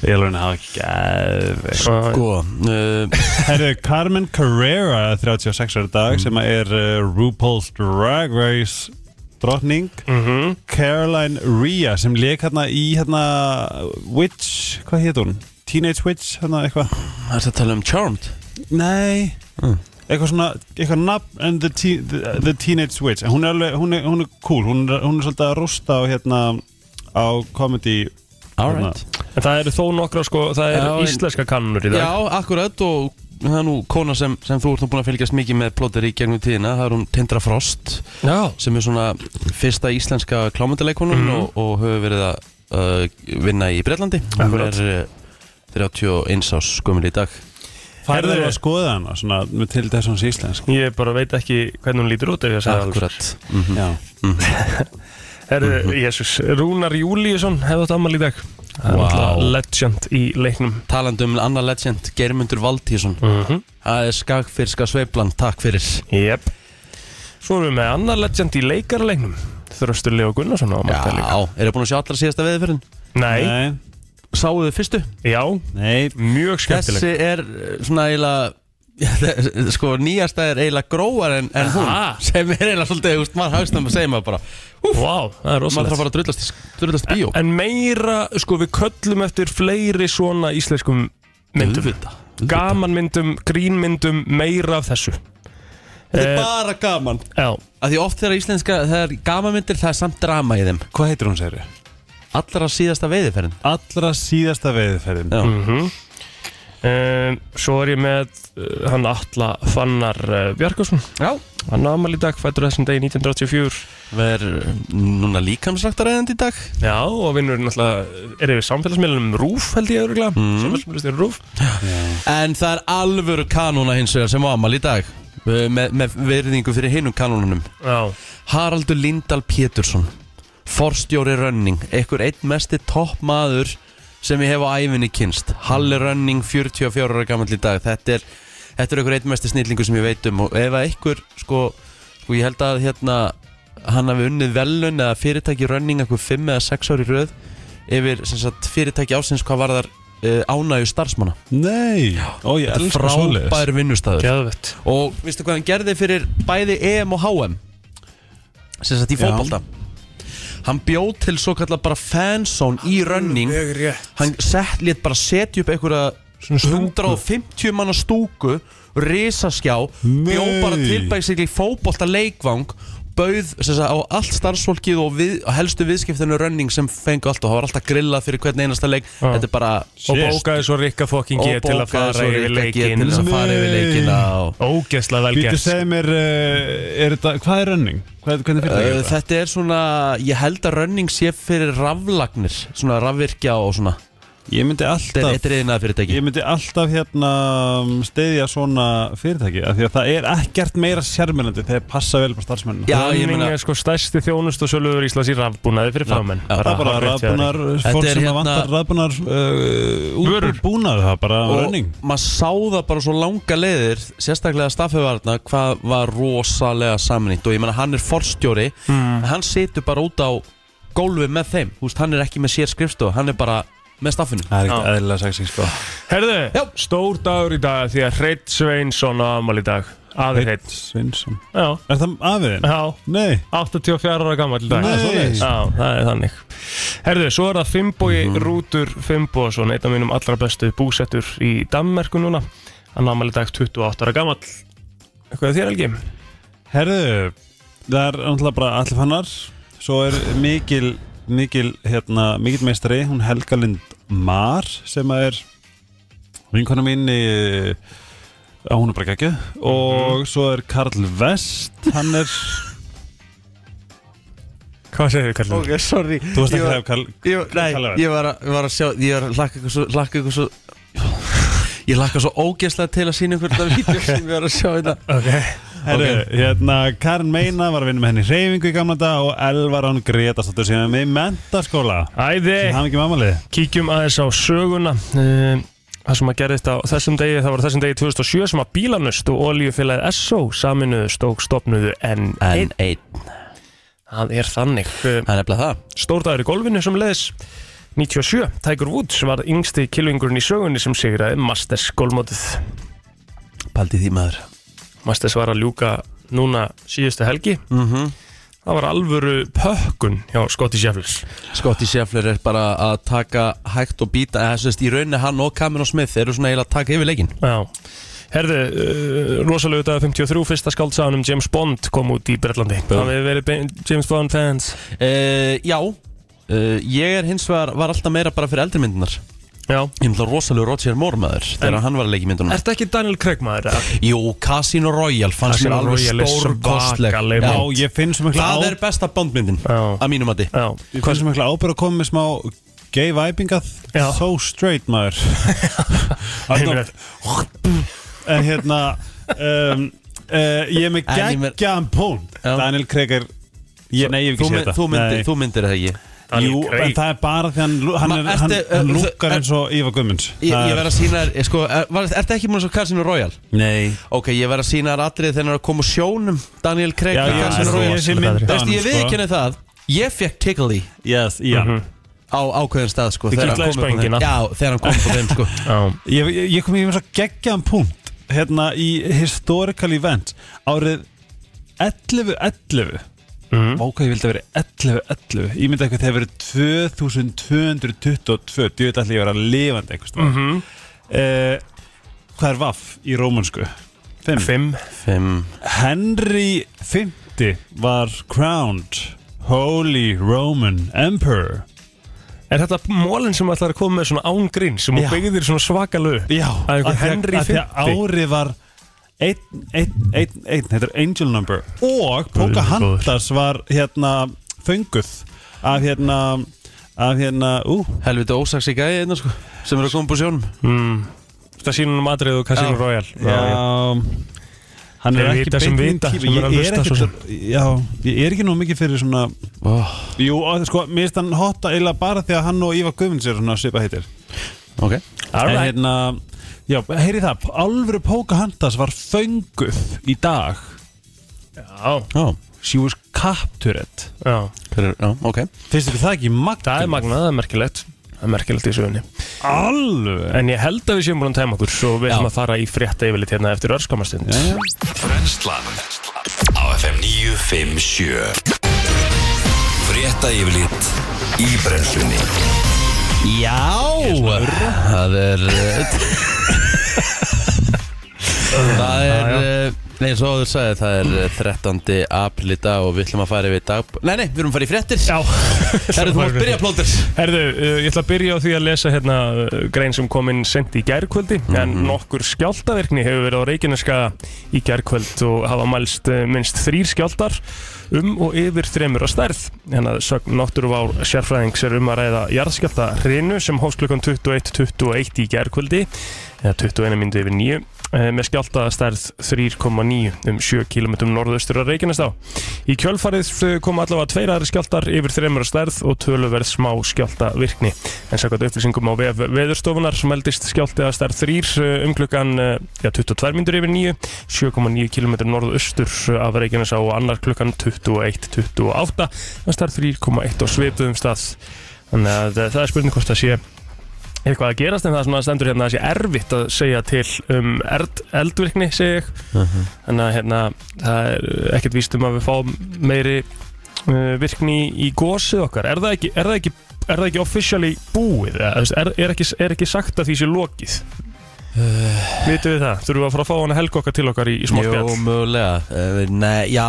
D: ég er alveg að hafa gæðvegt
C: Sko
B: Sko, uh,
D: Herru, Carmen Carrera, 36 ára í
B: Mhm.
D: dag, sem er uh, RuPaul's Drag Race drottning,
B: Mhm.
D: Caroline Rhea, sem leik hérna í hérna, Witch, hvað hétt hún? Teenage Witch, hérna eitthvað
B: það er að tala um Charmed Mm.
D: Nei Eitthvað svona, eitthvað nafn and the, te the, the Teenage Witch En hún er alveg, hún er, hún er cool hún er, hún er svolítið að rústa á hérna á comedy hérna.
B: Alright
C: En það eru þó nokkra sko Það eru
B: Já, en-
C: íslenska kannunur í dag
B: Já, akkurat og það er nú kona sem, sem þú ert nú búin að fylgjast mikið með plóter í gegnum tíðina, það er hún Tindra Frost
C: Já Mhm.
B: sem er svona fyrsta íslenska klámyndaleikonun og, og hefur verið að uh, vinna í Breitlandi Hún
C: Akkurat.
B: er uh, 31 ás skumil í dag
D: Færðu
C: Herðu.
D: að skoða hana, svona, með til þess að hans íslensk
C: Ég bara veit ekki hvernig hún lítur út ef ég sagði það.
B: Akkurat Mhm.
D: Já,
C: Herðu, Jésús, Rúnar Júlíusson hefði átt afmæli í dag Það er
B: Vá.
C: náttúrulega Legend í leiknum
B: Talandi um annar legend, Geirmundur Valtísson
C: Mhm.
B: Það er skagfyrska sveiflan, takk fyrir
C: Jep Svo erum við með annar legend í leikarleiknum Þröstur Leo Gunnarsson
B: Já,
C: á afmæli í dag líka
B: eru búin að sjá allra síðasta veðurferðin?
C: Nei,
D: nei,
B: Sáuðu þið fyrstu?
C: já,
D: nei
C: mjög skemmtileg
B: Þessi er uh, svona eiginlega Já, þe- sko nýjasta er eiginlega gróar en, en hún
C: Aha.
B: sem er eiginlega svolítið úst, maður hafst um að segja maður bara
C: Vá, það er
B: maður þarf
C: rosalegt
B: bara að drullast, í- drullast í bíó
C: En meira, sko, við köllum eftir fleiri svona íslenskum myndum
B: Auðvitað, auðvitað.
C: Gamanmyndum, grínmyndum, meira af þessu
B: þetta er
C: Eh,
B: bara gaman
C: Já,
B: að því oft þegar íslenska það er gamanmyndir það er samt drama í þeim
D: Hvað heitir hún, segir þau?
B: allra síðasta veiðiferðin
D: Allra síðasta veiðferðin
B: Já.
C: mhm Um, svo er ég með uh, hann Atla Fannar uh, Bjarkarsson
B: já
C: hann ámal í dag, fættur þessum degi 1984
B: verður núna líkamsræktaræðandi í dag
C: Já, og vinnur náttúrulega er yfir samfélagsmiðlunum um RÚF held ég öruglega mm. samfélagsmiðlunum RÚF
B: en það er alvöru kanóna hins vegar sem á amal í dag eh, með, með verðingu fyrir hinum kanónunum
C: Já,
B: Haraldur Lindahl Pétursson Forstjóri Rönning Ekkur einn mesti toppmaður sem ég hef á æfinni kynst Halli Rönning, 44 ára gammal í dag Þetta er, þetta er ekkur einn mesti snillingu sem ég veit um og ef að ekkur sko, sko ég held að hérna hann hafi unnið velun eða fyrirtæki Rönning ekkur 5 eða 6 ári röð yfir sem sagt, fyrirtæki ásins hvað varðar uh, ánægju starfsmanna
D: Nei, ó ég elskar svoleiðis
B: Frábær vinnustæður
C: Gjöðvett
B: Og veistu hvað hann gerði fyrir bæði EM og HM Sem sagt í
D: Já.
B: fótbolta Hann bjóð til svo kallar bara fanzone í running
C: rétt
B: Hann sett, létt bara setja upp einhverja
C: Svona stúku.
B: 150 manna stúku Risaskjá
D: Nei.
B: Bjóð bara tilbæðsikli fótbolta leikvang Bauð sem sagt, á allt starfsfólkið og, við, og helstu viðskiptinu running sem fengu allt og það var alltaf grillað fyrir hvern einasta leik
C: Já.
B: Þetta er bara
C: Og bókaði svo Rikka fokkin G til að
B: bókaði
C: fara
B: svo
C: yfir
B: Rikka G
C: leikinn
B: til þess að fara yfir
D: Nei.
B: leikina og
C: Ógeðslega vel
D: Býtu
C: gert sko.
D: segja mér, uh, er þetta, hvað er running? Hvað, hvernig fyrir
B: Uh,
D: það? Uh,
B: þetta er svona, ég held að running sé fyrir raflagnir, svona rafvirkja og svona
D: ég myndi
B: Þetta er
D: alltaf
B: eitt reyðinað fyrirtæki
D: Ég myndi alltaf hérna stiðja svona fyrirtæki af því að það er ekkert meira sérmjölandi þegar passa vel bara starfsmennina
B: Já, ég
C: Running
B: meina,
C: er sko stærsti þjónust og söluður Íslands í rafbúnaði fyrir fagmenn
B: já,
D: Það er bara
C: hárrétt hjá
D: rafbunar,
C: þér.
B: Þetta
D: fólk
B: er
D: sem
B: hérna-
D: vantar rafbunar uh,
C: Vörur.
D: útbúnar, það er bara
B: og
D: running
B: maður sá það bara svo langa leiðir, sérstaklega staffevarna, hvað var rosalega samnýtt og ég meina hann er forstjóri, mm. hann situr bara út á gólfi með þeim, þú veist, hann er ekki með sér skrifstofu, hann er bara með staffinu
D: Það er
C: Já.
D: ekkert eðlilega sexy sko
C: Herðu,
B: Já.
C: stór dagur í dag því að Hreitt Sveinsson á amal í dag Aðeir Hreitt
D: Svinsson
C: Já,
D: Er það afiðin?
C: já,
D: Nei
C: 84 ára gammal í dag
D: Nei. Það er svoleiðis.
C: Já, það er þannig Herðu, svo er það Fimboi
D: Mhm.
C: Rútur Fimboason Einn af mínum allra bestu búsettur í Danmerku núna Hann ámæli dag 28 ára gammal Eitthvað þér Helgi?
D: Herðu, það er náttúrulega bara allir fannar Svo er mikil, mikil, hérna, mikil meistari Hún Helga Lind Mar sem að er vinkona mín í Já, hún er bara geggju Og
C: Mhm.
D: svo er Karl Vest Hann er,
C: Hvað segir þið Karlin?
B: sorry
D: þú veist ekki það Karl
B: ég, nei,
D: Kalla verð.
B: ég, var að, ég var að sjá Ég var að lakka ykkur svo, lakka ykkur svo Ég lakka svo ógeðslega til að sína ykkur þetta vídeo sem ég var að sjá hérna. þetta
C: Okay.
D: Herru, hérna, Karin Meina var að vinna með henni í hreyfingu í gamla dag og Elvar hann Gretastóttur sem er með í mentaskóla
C: Æði,
D: sem hafði ekki mamalið
C: kíkjum aðeins á söguna Um, Það sem að gerðist á þessum degi, það var á þessum degi 2007 sem að bílanust og olíufélagið SO saminuðust og stopnuðu N1.
B: En einn,
C: Það er þannig. Um,
B: það er nefnilega það
C: Stórdagur í golfinu sem leðis 97, Tiger Woods var yngsti kilvingurinn í sögunni sem sigraði Masters golfmótið.
B: Paldi því maður
C: Masters var að ljúka núna síðustu helgi
B: Mhm.
C: Það var alvöru pökkun hjá Scotty Sheffles
B: Scotty Scheffler er bara að taka hægt og býta eða, sérst, Í rauninni hann og Cameron Smith eru svona eiginlega að taka yfir leikin
C: Já Herðu, uh, rosalegu dag 53, fyrsta skáldsagan um James Bond kom út í Bretlandi Það hefur verið bein- James Bond fans
B: uh, Já uh, Ég er hins vegar, var alltaf meira bara fyrir eldri myndunar
C: Já
B: Ég er náttúrulega rosalega Roger Moore maður Þegar hann var að leiki myndunum
C: Ertu ekki Daniel Craig maður? eða?
B: Jú, Casino Royale fannst mér
C: Casino
B: alveg
C: Royale er
B: stórkostleg
C: svakaleg
B: Já,
D: Já, ég finn svo mikla,
B: Það
D: á,
B: er besta bondmyndin
C: Já.
B: Að mínum mati
C: Já
D: ég finn svo mikla ábyrð að koma með smá gay vibingað
C: Já.
D: So straight maður Þarna-
C: Einmitt.
D: En hérna um, uh, Ég er með
B: En ég með-
D: geggjaðan punkt
B: Já.
D: Daniel Craig er ég, Nei, ég hef
B: Þú,
D: ekki séð
B: mynd,
D: þetta
B: þú, myndir,
D: Nei.
B: þú myndir það ekki
C: Daniel
D: Jú,
C: Craig.
D: en það er bara því hann, hann,
B: Ma-
D: er, hann,
B: ertu-
D: hann
B: uh, þú-
D: lukkar
B: er-
D: eins og Ívar Guðmunds
B: Ég,
D: Það
B: ég
D: er-
B: verð að sína þér, sko, er, var, ertu ekki múin svo Casino Royale?
D: Nei
B: Ok, ég verð að sína þér atrið þegar hann er að koma úr sjónum Daniel Craig
D: Já,
B: í
D: ég,
C: það er
B: Casino
D: ég,
C: rosalegt
D: ég
B: Royale
D: sé sko.
C: atriði.
D: myndan
B: Veist, ég við ekki henni það Ég fekk tickle í
D: yes, já.
B: á ákveðin stað, sko þegar hann
C: kitlaði
B: kom upp á
C: spöngina.
B: þeim. Já, þegar hann kom upp á þeim, sko
C: Já
D: ég, ég, ég kom í mjög svo geggjaðan punkt Hérna í historical event Árið 11.11
C: Mhm.
D: Vá hvað ég vildi að vera 11.11 Ég myndi eitthvað þegar verið 2222 Ég veit allir ég vera lifandi eitthvað mm
C: Mhm.
D: -hmm. Hvað er vaff í rómansku? 5
C: Fimm
B: Fimm
D: Henry 50 var crowned Holy Roman Emperor
C: Er þetta mólinn sem ætlar að koma með svona ángrín sem hún
D: Já.
C: byggðir svona svakalög?
D: Já,
C: Að einhver
D: af því að-
C: Henry
D: af því að
C: 50.
D: Ári var einn, einn, einn, einn, þetta er angel number og
C: Guð minn
D: Pocahontas var hérna fönguð af hérna af hérna, ú,
B: Helviti ósaks í gæði einna, sko Sem er að koma upp á sjónum
C: Mm. Það sínum Madrid og Casino
B: Já.
C: Royale
D: já hann er
C: Þeir
D: ekki
C: vita sem
D: beint
C: vita,
D: minn
C: sem
D: tíma
C: er að
D: ég er
C: hlusta svo
D: ekkert, já, ég er ekki nú mikið fyrir svona,
B: oh,
D: jú, og sko mér finnst hann hotta eila bara því að hann og Ívar Guðmunds er svona svipa heitir
B: Ok
C: All
D: En
C: right.
D: hérna, já, heyri það alvöru Pocahontas var fönguð í dag
C: Já,
B: Já,
D: she was captured
C: já
B: hver er, já, ok
D: Finnst ykkur það ekki magna?
C: Það er magnað, það er merkilegt það er merkilegt í sögunni
D: Alveg
C: En ég held að við séum búin að tæma okkur Svo við ætlum að fara í frétta yfirlit hérna eftir örskamastund
D: Já, já.
A: Brennslan á FM 957 Frétta yfirlit í brennslunni
B: Já, það er Það er eh, Nei, svo þú sagði, það er eh, 13. apríl í dag og við ætlum að fara yfir dag Nei, nei, við erum að fara í fréttir
C: Já
B: Herru, þú mátt byrja plóters
C: Herðu, uh, ég ætla að byrja á því að lesa hérna uh, grein sem kom inn sent í gærkvöldi
B: Mhm.
C: en nokkur skjáltaverkni hefur verið á Reykjaneska í gærkvöld og hafa mælst uh, minnst þrýr skjáltar um og yfir þremur á stærð en að sögn náttúruvár sérfræðings er um að ræða jarðskjálta hrinu sem hófst klukkan 21.21 í gærkvöldi eða 21 myndi yfir 9 eh, með skjáltaða stærð 3,9 um 7 km norðaustur að Reykjanestá. Í kjölfarið kom allavega tveir aðri skjáltar yfir þreymur að stærð og töluverð smá skjálta virkni. En sakvært upplýsingum á vef veðurstofunar meldist skjálti að stærð 3 um klukkan eh, já, 22 myndur yfir 9, 7,9 km norðaustur að Reykjanestá og annar klukkan 21.28 að stærð 3,1 og svipuðum stað. Þannig að eh, það er spurning hvort það sé eitthvað að gerast en það er svona stendur hérna að sé erfitt að segja til um erd, eldvirkni segi ég þannig að hérna það er ekkert víst um að við fáum meiri uh, virkni í gósið okkar er það ekki, er það ekki, er það ekki officially búið eða, þú veist, er, er, ekki, er ekki sagt að því sé lokið
D: Eh,
C: vitum við það, þurfum við að fara að fá hana helga okkar til okkar í, í
B: Jó,
C: smáspjall
B: mögulega Eh, Nei, já,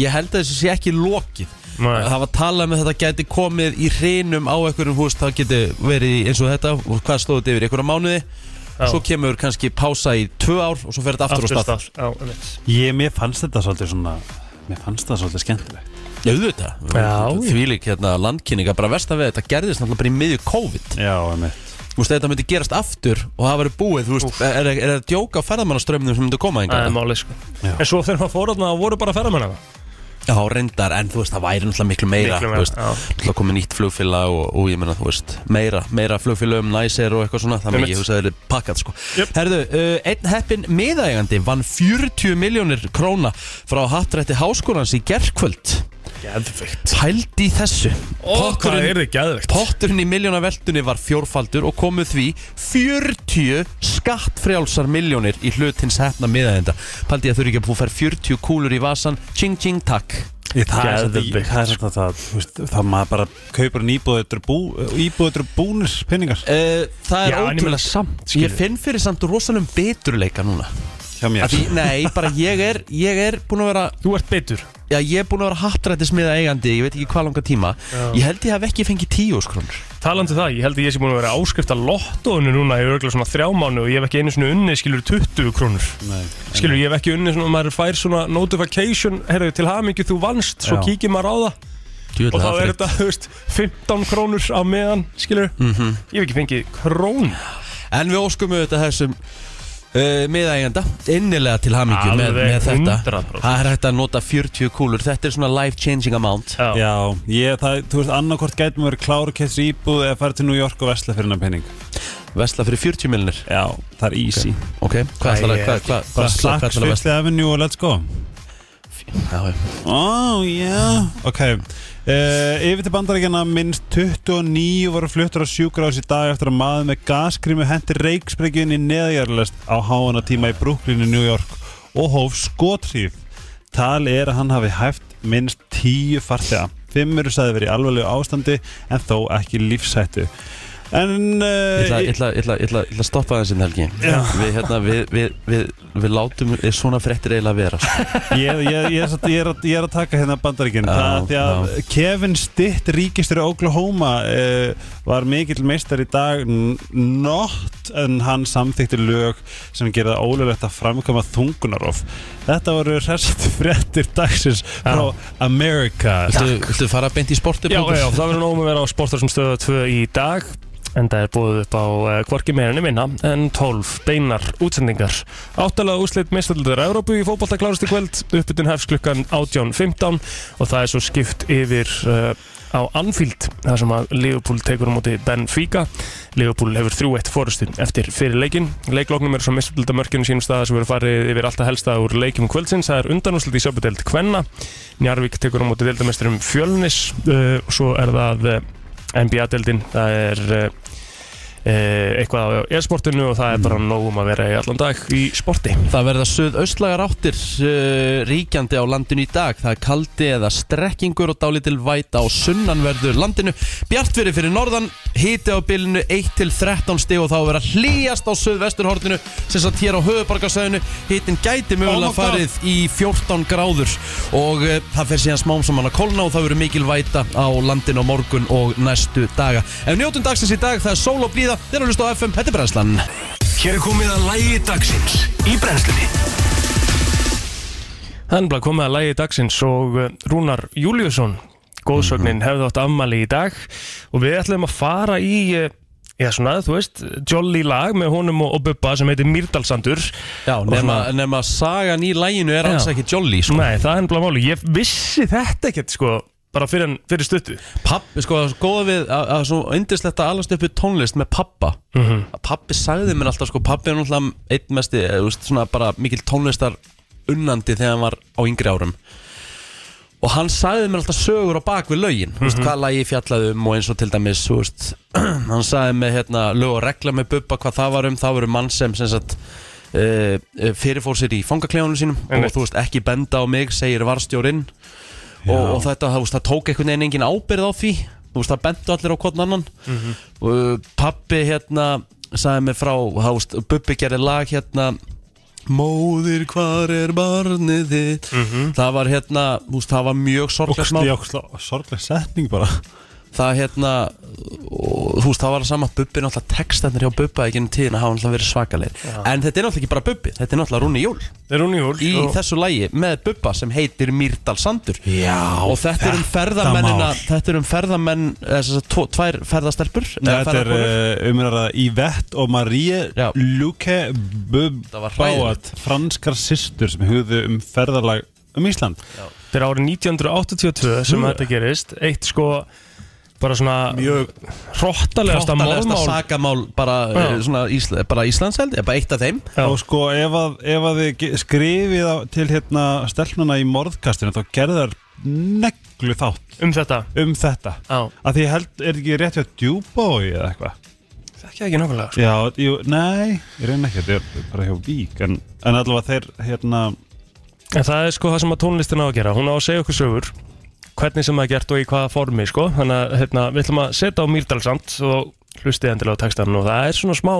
B: ég held að þessu sé ekki lokið
C: Nei.
B: Það var talað með þetta gæti komið í hreinum á einhverjum hús Það geti verið eins og þetta og hvað stóðu þetta yfir einhverja mánuði
C: Já.
B: Svo kemur kannski pása í tvö ár og svo fer þetta aftur, á stað
C: Já, einmitt.
D: Ég, mér fannst þetta svolítið svona Mér fannst það svolítið skemmtilegt
B: Já, auðvitað
C: Já.
B: Því lík hérna landkynninga bara versta við þetta gerðist náttúrulega bara í miðju COVID
D: Já, emitt
B: Þú veist, þetta myndi gerast aftur og það verið búið Þú veist, er, er, er það djóka á ferðamannaströmmnum sem myndi koma
C: Það er
B: engar
C: málið sko
D: Já.
C: En svo þegar maður fór þarna, þá voru bara ferðamenn hana
B: Já, reyndar, en þú veist, það væri náttúrulega miklu meira
C: Miklu
B: Þú
C: meira,
B: veist,
C: já.
B: náttúrulega komið nýtt flugfélag og, og ég meina, þú veist, meira meira flugfélagum, næsir og eitthvað svona þannig
C: Einmitt.
B: ég hugsa að það er pakkað, sko
C: Jöp.
B: Herðu, uh, einn heppin miðægandi vann 40 miljónir króna frá hattrætti háskólans í gerkvöld
C: Geðveikt
B: Pældi í þessu
C: Og hvað
B: Potturinn-
C: er þið geðveikt?
B: Potturinn í miljónaveldunni var fjórfaldur og komuð því 40 skattfrjálsar miljónir í hlutins hefna miðaðenda. Paldi að þurfi ekki að búið fær 40 kúlur í vasan. Ching, ching, takk.
D: Það er samt í-
C: Geðveikt.
D: það er samt að það þú veist, Það maður bara kaupur en íbúðutur bú, íbúðutur búnir pinningar
B: Uh, það er
C: Já, en ég meina
B: ótrúlega
C: samt,
B: Ég
C: skilur.
B: finn fyrir samt rosalum biturleika núna.
D: hjá mér
B: Af Því, nei, bara ég er, ég er búin að vera,
C: Þú ert bitur
B: já, ég er búin að vera hattrættismiða eigandi, ég veit ekki hvað langa tíma. Ég held ég hef ekki fengið 10 skrónur.
C: Talandi um það, ég held að ég sé búin að vera áskrifta lottóinu núna í örgulega svona þrjá mánu og ég hef ekki einu svona unni skilur 20 krónur
D: Nei.
C: skilur, ég hef ekki unni svona, maður fær svona notification, heyrðu, til hamingju þú vannst svo
D: Já.
C: kíkir maður á það og þá er þetta, þú veist, 15 krónur á meðan, skilur, -hmm. ég hef ekki fengið krón
B: En við óskum auðvitað þessum uh, miðægjanda innilega til hamingju með,
C: Alveg
B: með þetta
C: 100%.
B: Það er hægt að nota 40 kúlur Þetta er svona life changing amount
C: Já,
D: Já, ég, það, þú veist, annarkvort gætum verið kláru kess íbúð eða farið til New York og vesla fyrir hennar penning
B: Vesla fyrir 40 milnir
D: Já, það er easy
B: Ok, hvað ætlar að,
C: ég-
B: hvað, hvað, hvað,
D: Bara
B: hvað ætlar
D: slakk
B: að vesla?
D: fyrstlega avenue og let's go
B: Já, já.
D: Ó, já Ok, uh, yfir til bandaríkjana minnst 29 voru fluttur á sjúkrás í dag eftir að maður með gaskrimu hendi reiksprengjun í neðjarlest á háana tíma í Brooklyn í New York og hóf skotrýf Tal er að hann hafi hæft minnst 10 farþega Fimm eru sagði verið í alvarlegu ástandi en þó ekki lífshættu En
B: Ég ætla-
D: uh,
B: ég ætla ég ætla- ég ætla- ég ætla að stoppa þessi helgi
D: Já.
B: Við, hérna, við, við, við, við látum er svona fréttir eiginlega að vera sko.
D: ég, ég, ég, er satt, ég, er að, ég er að taka hérna bandaríkinn
B: Já,
D: það er því að
B: já.
D: Kevin Stitt ríkistur Oklahoma uh, var mikill meistar í dag n- not en hann samþykti lög sem gerða ólulegt að framkama þungunarof þetta voru hrest fréttir dagsins frá America
B: Viltu, viltu fara beint í sportu?
C: já,
B: Pétur?
C: já það verður nóg með að vera á sportar sem stöða 2 í dag en það er búið upp á uh, hvorki meirinni minna en 12 beinar útsendingar áttalega úslit mistaldar Evrópu í fótbolta klárast í kvöld uppbytun hefst klukkan 18.15 og það er svo skipt yfir uh, á Anfield þar sem að Liverpool tekur á móti Benfica Liverpool hefur 3-1 fórustu eftir fyrir leikin leiklóknum eru svo mistaldar mörkjunum sínum staða sem verður farið yfir alltaf helsta úr leikum kvöldsins það er undanúslit í söpudeld Kvenna Njarvík tekur á móti deildamesturum Fjölnis uh, og svo eh, er það uh, NBA-deldin það er uh, uh, eitthvað á e-sportinu og það er bara nógum að vera í allan dag í sporti
B: Það verða söðaustlagar áttir uh, ríkjandi á landinu í dag. Það er kaldi eða strekkingur og dálítil væta á sunnanverðu landinu. Bjartveri fyrir norðan, hiti á bilinu 1 til 13 stig og þá verða hlýjast á söðvesturhorninu sem satt hér á höfubarkasæðinu. Hitin gæti mögulega
D: Oh my God.
B: farið í 14 gráður og uh, það fer síðan smám saman að kólna og það verður mikil væta á landinu á morgun og næstu daga. Ef njótum dagsins í dag, það er sól og blíða, þeir eru að hlusta á FM Pettibrænslan.
A: Hér er komið að lægi dagsins í brennslunni
C: Þannig bara komið að lægi dagsins og uh, Rúnar Júliusson góðsögnin
A: Mhm.
C: hefði átt afmæli í dag og við ætlum að fara í uh, já svona, þú veist, jolly lag með honum og, og Bubba sem heitir Myrdalsandur
B: Já,
C: Og
B: nema,
C: svona-
B: nema sagan í læginu er alls
C: Já.
B: ekki jolly sko.
C: Nei, það er ennbla máli, ég vissi þetta ekkert sko, bara fyrir, en- fyrir stuttu
B: Pappi, sko, það er svo góða við að, að svo yndislegt að alast upp við tónlist með pappa
C: Mhm.
B: að Pappi sagði mér alltaf, sko, pappi er náttúrulega einn mesti, eh, þú veist, svona bara mikil tónlistar unnandi þegar hann var á yngri árum og hann sagði mér alltaf sögur á bak við lögin mm veist, hvað lagi fjallaði um og eins og til dæmis þú veist, hann sagði með hérna, lög og regla með Bubba hvað það var um það var um mann sem, sem sagt, uh, fyrirfór sér í fangaklefanum sínum og
C: Einmitt.
B: þú veist ekki benda á mig segir varstjórinn og, og þetta, það, þú veist, það tók einhvern veginn engin ábyrð á því þú veist, það bentu allir á hvern annan mm og pappi hérna sagði mig frá, þá veist, Bubbi gerði lag hérna Móðir, hvar er barnið þitt
D: Mhm.
B: Það var hérna, þú veist, það var mjög sorglegt mál
D: sorglega setning bara
B: það hérna og, þú veist, það var sama Bubbi náttúrulega textarnir hjá Bubba í gennum tíðina hafa náttúrulega verið svakalegir en þetta er náttúrulega ekki bara Bubbi, þetta er náttúrulega Rúni Jól
C: Það er Rúni Júl
B: í
C: og,
B: þessu lægi með Bubba sem heitir Mýrdal Sandur
D: Já,
B: og þetta er um ferðamennina
D: mál.
B: þetta er um ferðamenn, eða sem sagt, tvo- tvær ferðastelpur
D: Nei,
B: eða
D: þetta er
B: ferðakonur.
D: uh, umræða Yvette og Marie
B: Já.
D: Luque
B: Það var
D: Bubbáat
B: hræðilegt.
D: franskar systur sem hugðu um ferðarlag um Ísland
C: þetta er árið 1982 sem þetta gerist eitt sko, bara svona
D: Mjög
C: hróttalegasta
B: Hrottalegasta
C: málmál
B: sakamál bara,
C: Já.
B: eh, svona, Ísla, bara Íslands held ég, bara eitt af þeim
C: Já.
D: og sko ef að, ef að þið ge- skrifið á, til hérna stelnuna í morðkastinu þá gerðar neglu þátt
C: um þetta
D: um þetta
C: Já,
D: að því ég held er ekki rétt hjá djúbói eða eitthvað
C: þekki það ekki nákvæmlega sko.
D: já, jú, nei, ég reyna ekki þetta er bara hjá vík en, en allavega þeir hérna
C: En það er sko það sem að tónlistin á að gera Hún á að segja okkur sögur Hvernig sem það er gert og í hvaða formi sko Þannig að hérna, við ætlum að setja á Mýrdalsand Og hlustið endilega á textanum Og það er svona smá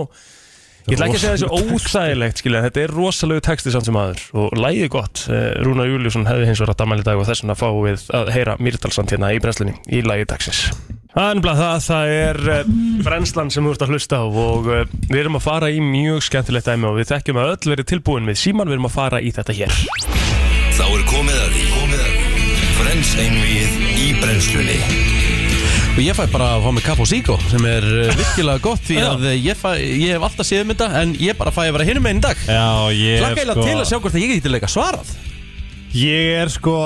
C: Ég ætla ekki að segja þessu óþægilegt skilja, en þetta er rosalegu texti samt sem aður og lægið gott, eh, Rúna Júliusson hefði hins vegar að damal í dag og þess vegna fáum við að heyra Mýrdalsand hérna í brennslunni í lægið dagsins. Það er nefnilega það, það er eh, brennslan sem þú ert að hlusta á og eh, við erum að fara í mjög skemmtilegt dæmi og við þekkjum að öll verið tilbúin við síman, við erum að fara í þetta hér.
A: Þá er komið að því komið að því Brennsteinvíð í brennslunni
B: og ég fæ bara að fá mig kapp og síko sem er eh, virkilega gott því að eh, ég, fæ, ég hef alltaf séð um þetta en ég bara fæ að vera hinum einn dag
D: já, ég sko- er
B: Hlakka eiginlega
C: sko-
B: til að sjá hvort að ég geti leika svarað
D: Ég er sko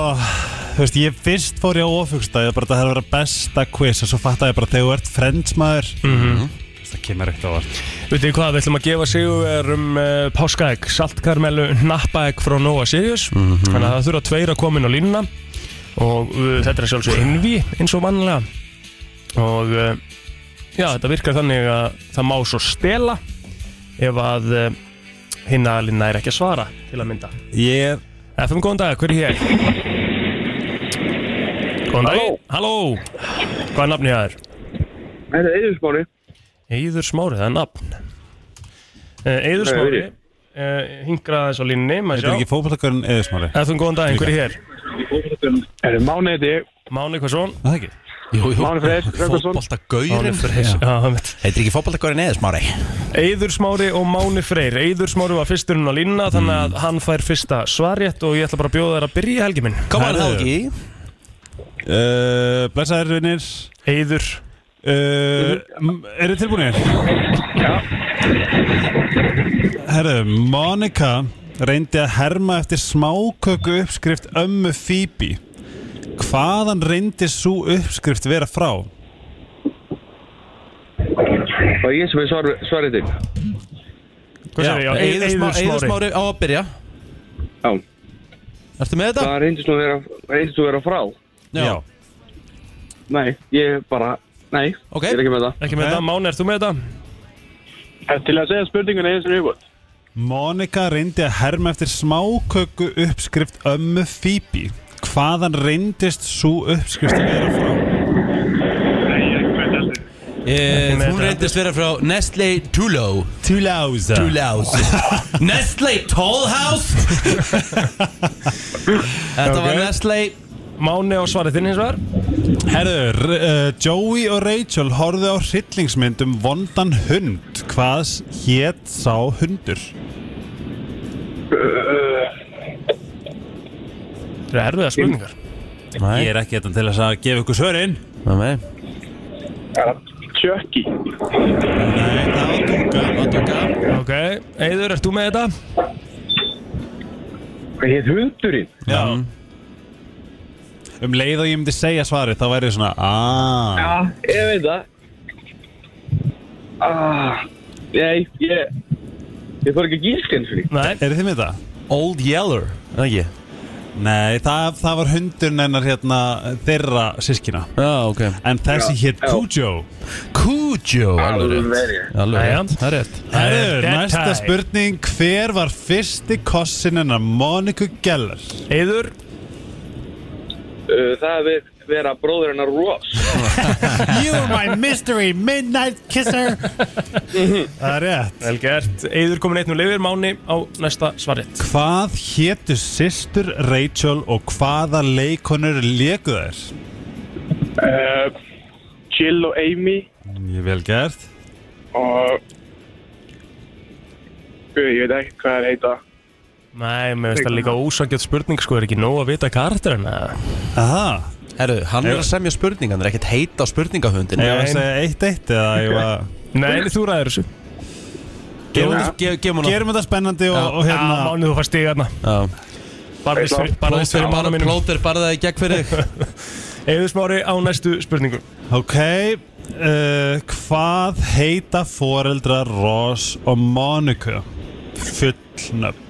D: Þú veist, ég fyrst fór ég á ofugstæði bara það er að vera besta quiz og svo fattaði ég bara þegar þú ert friendsmaður mm
C: Mhm.
D: -hmm. það kemur ekkert á vart
C: Vitið þið hvað, við ætlum að gefa sigur um uh, páskaegg, saltkarmelu, nappaegg frá Nova Sirius Þannig að það þurfa tveir að koma inn á línuna Og uh, þetta er sjálfsög innví eins og mannlega Og uh, já, þetta virkar þannig að það má svo stela Ef að uh, hinn aðalina er ekki að svara til að mynda
D: Ég er
C: FM, góðan dag, hver er hér? Góðan dag Halló Hvað er nafnið það er?
E: Þetta er yfirsmáli.
C: Eyður Smári, það er nafn Eh, Eyður Smári
E: Eiður.
C: eh, hingraði þess á línni
D: Þetta er
C: maður
D: ekki
C: sjá.
D: fótballakörn eða smári
C: Ef þú um góðan daginn, hver er hér?
E: Þetta er Máni heiti ég.
C: Máni Hversson
D: Það ekki
B: Jú, jú,
E: Máni Freyr Ragnarsson.
B: fótboltagaurin Heitir ekki fótboltagaurin eða smári
C: Eyður Smári og Máni Freyr Eyður Smári var fyrsturinn á línna þannig
B: Mm.
C: að hann fær fyrsta svarjett og ég ætla bara að bjóða þær að byrja helgi minn
B: Kom hann þá
D: Herðu.
B: ekki
D: uh, Blessaður vinnir
C: Eyður
D: uh, Er þið tilbúinir? Já Herðu, Monika reyndi að herma eftir smáköku uppskrift ömmu Phoebe Hvaðan reyndi svo uppskrift vera frá?
E: Það er ég sem er svar, svarið þig.
C: Hvað
D: Já,
C: segir ég?
B: Eiður
C: Eyður
B: Smá- Eiður
C: Smári
B: Smári á að byrja
E: Já.
B: Ertu með þetta?
E: Það reyndist nú að vera, reyndist nú að vera frá.
D: Já.
E: Nei, ég bara, nei,
B: Ok.
E: ég er ekki með það
C: Ekki með þetta, Máni, ert þú með þetta?
E: Til að segja spurningun eins og nýbútt
D: Monika reyndi að herma eftir smáköku uppskrift ömmu Phoebe Hvaðan reyndist svo uppskrift að vera frá?
B: Eh,
C: með
B: Hún
C: þetta.
B: reyndist vera frá Nestle Tullow
D: Tuláza
B: Tullows Nestle Tollhouse Þetta var
C: Ok.
B: Nestle
C: Máni og svarið þinn hins vegar
D: Herður, uh, Joey og Rachel horfðu á hryllingsmynd um vondan hund Hvað hétt sá hundur?
E: Eh,
C: Þetta er erfiða spurningar
D: Ég er ekki þetta til þess að gefa ykkur svörin
B: Nei,
E: Tjökki
D: Nei, það var dunga
C: Ok, Eður, ert þú með þetta?
E: Hvað hétt hundurinn?
D: Já Um leið og ég myndi segja svarið, þá væri ég svona "Ah." aaaah
E: Já, ég veit það ah, Nei, ég Ég þarf ekki að gíska eins og því
C: Nei
D: Eru þið með það?
B: Old Yeller Það ekki
D: Nei, það, það var hundurinn hennar hérna þeirra sískina
B: Já, ok
D: En þessi hétt
E: já.
D: Cujo
B: Cujo Alveg
E: Alveg rétt.
B: rétt Alveg rétt
C: Jæja.
B: Það er rétt
D: Herður,
C: Dead
D: næsta
C: tie.
D: spurning Hver var fyrsti kossin hennar Moniku Geller?
C: Eður
E: Uh, Það er vera bróður hennar Ross
D: You're my mystery midnight kisser Það er rétt
C: Vel gert Eður komin eitt nú lifir, Máni á næsta svarið
D: Hvað hétu systur Rachel og hvaða leikonur léku þær?
E: Jill og Amy
D: Eh. Ég vel gert
E: og Guð, ég veit ekki hvað það heita
C: Nei, mér finnst það líka ósangjöld spurning sko, er ekki nóg að vita karakterina
D: Aha,
B: Herru, hann er að semja spurningan Það er ekkert heita á spurningahundin
D: ég var
C: Nei.
D: að segja eitt eitt eða ég var
C: Nei, þú ræður þessu
B: Gefum ge- gefum hann
D: Gerum þetta spennandi og, og
C: Já,
D: hérna
C: Máni, þú fær stíga þarna
B: Já.
C: Bara þess fyrir- bara þess
B: Plóter
C: fyrir mánu
B: bara-
C: mínum
B: Plóter bara það í gegn fyrir þig
C: Eður smári á næstu spurningu
D: Ok, uh, hvað heita foreldrar Ross og Monika? Fullnöfn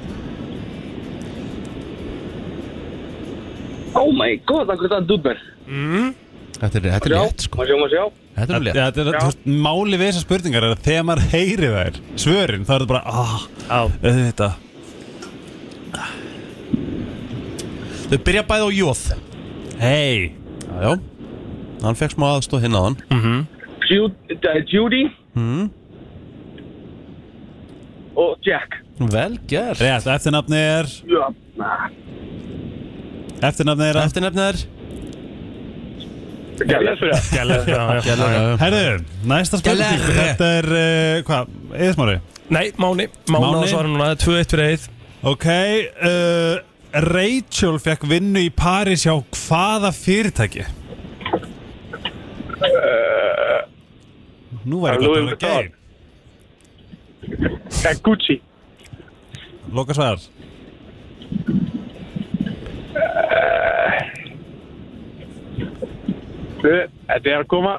E: Oh my god, akkur það er dúber
C: Mhm.
B: Þetta er þetta er létt sko
E: maður sjá, maður sjá
B: Þetta er létt
D: ja, þetta er, þú veist, Máli við þessar spurningar er að þegar maður heyri þær svörin þá er þetta bara ah,
C: Já
D: þetta
B: Þau byrja bæði á jóð
D: Hei
B: Já, hann fekk smá aðstóð hinn á hann
D: Mhm.
E: Judy, uh, Judy
B: Mm.
E: og Jack
B: Vel gert
D: Rétt, eftirnafni er
E: Já,
D: Eftirnafni er
B: Eftir nefnir
E: Gæla fyrir það
C: Gælar, já, já, já, já.
D: Herðu, næsta spurning
B: Geller.
D: Þetta er, uh, hvað, eðismári?
C: Nei, Máni, Máni á
D: Máni.
C: að svara núna, það er 2-1 fyrir Eið
D: Ok, uh, Rachel fekk vinnu í París hjá hvaða fyrirtæki?
E: Eh,
D: Nú var ég gott að um
E: Louis Vuitton.
D: vera geim
E: Eh, Gucci
D: Loka svar
E: Eh, Guð, Þetta er að koma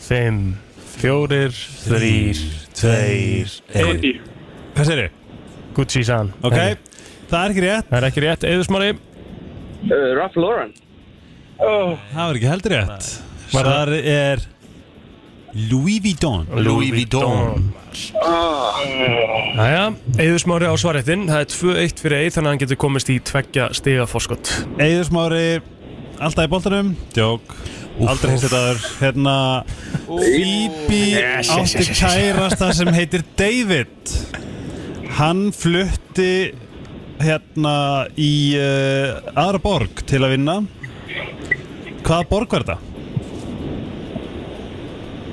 C: 5, 4, 3
D: Tveir
E: Gucci
D: Hvað segir þið?
C: Gucci san
D: Ok, það er ekki rétt
C: Það er ekki rétt, Eður smári
E: uh, Ralph Lauren oh.
D: Það var ekki heldur
C: Var
D: rétt
C: það-
D: Svar er Louis Vuitton
B: Louis Vuitton
E: Ah.
C: Jæja, Eður smári á svarettinn Það er 2-1 fyrir Eið þannig að hann getur komist í tveggja stiga fórskott
D: Eður smári Alltaf í boltanum Djók Aldrei hins þetta er Hérna Phoebe
C: Yes, yes, yes,
D: átti
C: yes, yes.
D: kærasta sem heitir David Hann flutti hérna í uh, aðra borg til að vinna Hvaða borg var þetta?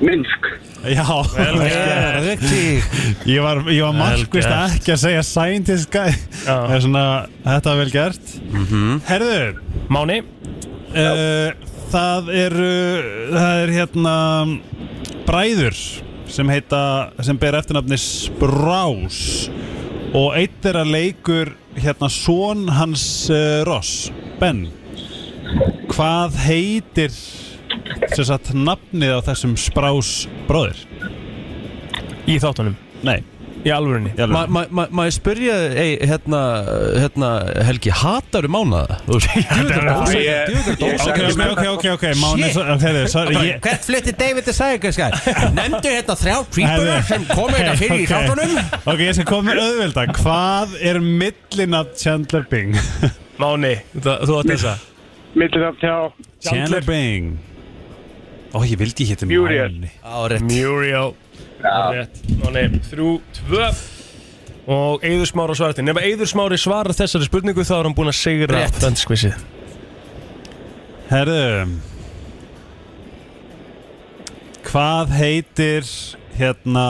E: Minsk
D: Já,
C: gert.
D: Rikki. ég var, ég var markvist
C: gert.
D: ekki að segja scientist guy
C: Já.
D: Það er svona, þetta var vel gert Herðu,
C: Máni,
D: uh, það eru það er hérna bræður sem heita sem ber eftirnafni Sprás og eitt er að leikur hérna són hans uh, Ross, Ben hvað heitir sem sagt nafnið á þessum Sprás bróðir?
C: í þáttunum
D: Nei,
C: Í í alvörunni
D: Í alvöru.
B: Ma- ma- ma- Maður spyrja, ei, hérna, hérna, Helgi, hataru mánuða? Djúður er ósækja, djúður er
D: Ok,
B: ósækja
D: ok, ok, ok, ok Máni,
B: Shit.
D: þeirri, sorry ég-
B: Hvert flutti David the Sækerskar? Nefndu hérna þrjá
D: creepera sem
B: komu hérna
D: Ok, ok. Ok, ég skal koma með auðvelda Hvað er millin af Chandler Bing?
C: Máni, það, þú átt þessa
E: Millir af tjá
D: Chandler Bing Ó, ég vildi hétti
E: Muriel.
D: Máni
B: Árétt
C: Muriel Það er rétt. Máni, þrjú, tvö Og Eyður Smári svarar til Nefna Eyður Smári svarar þessari spurningu þá er hann búinn að segra
B: Rétt.
C: Danskvissið
D: Herðu Hvað heitir hérna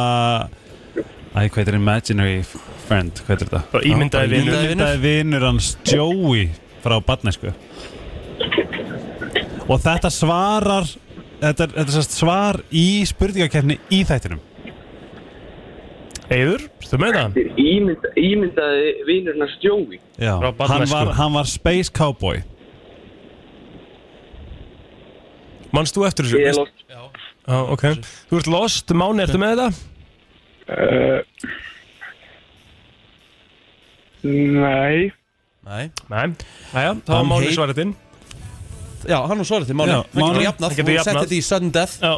D: Æ, hvað heitir imaginary f- friend Hvað heitir þetta?
C: Bara ímyndaði vinur.
D: Ímyndaði vinur hans Joey frá barnesku Og þetta svarar Þetta er, þetta er sérst svar í spurningakefni í þættinum
C: Eyður, þú með það?
E: Ímynda, Ímyndaði vinurna stjói
D: Já,
C: Frá
D: hann
C: barnæsku.
D: var, hann var Space Cowboy
C: Manst þú eftir þessu?
E: Ég er lost
C: Já, ok Þú ert lost, Máni, ertu með þetta?
E: Eh, Nei
B: Nei
C: Nei Æja,
B: Hann
C: þá var Máni
B: heit-
C: svarað inn
B: Já, hann var svarið til Máni
D: Já,
B: Hann getur
D: Máni.
B: jafnað
C: Hann getur
B: Hún setti
C: jafnað.
B: þetta í sudden death
C: Já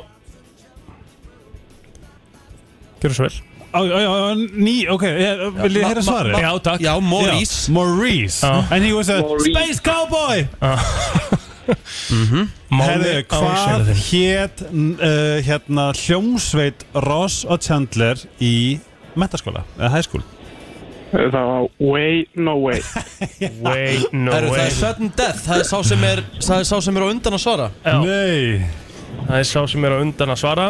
C: Gjörðu svo vel
D: Ó, ó, ó, ó, ný, ok, ég, vil ég
B: ma-
D: heyra
B: ma-
D: svarið?
B: ma-
C: Já, takk
B: Já, Maurice
D: Maurice
C: Já.
D: And he was a
E: Maurice.
D: Space Cowboy
F: Mhm.
D: Herðu,
C: Máni
D: hvað
C: ásverðin
D: hét uh, hérna hljómsveit Ross og Chandler í mentaskóla, eða high school
E: Það var Uh, way, no way
C: Way, no
B: Herru, það
C: way
B: er sudden death Það er sá sem er, það er, sá sem er á undan að svara
C: Já,
D: Nei
C: Það er sá sem er á undan að svara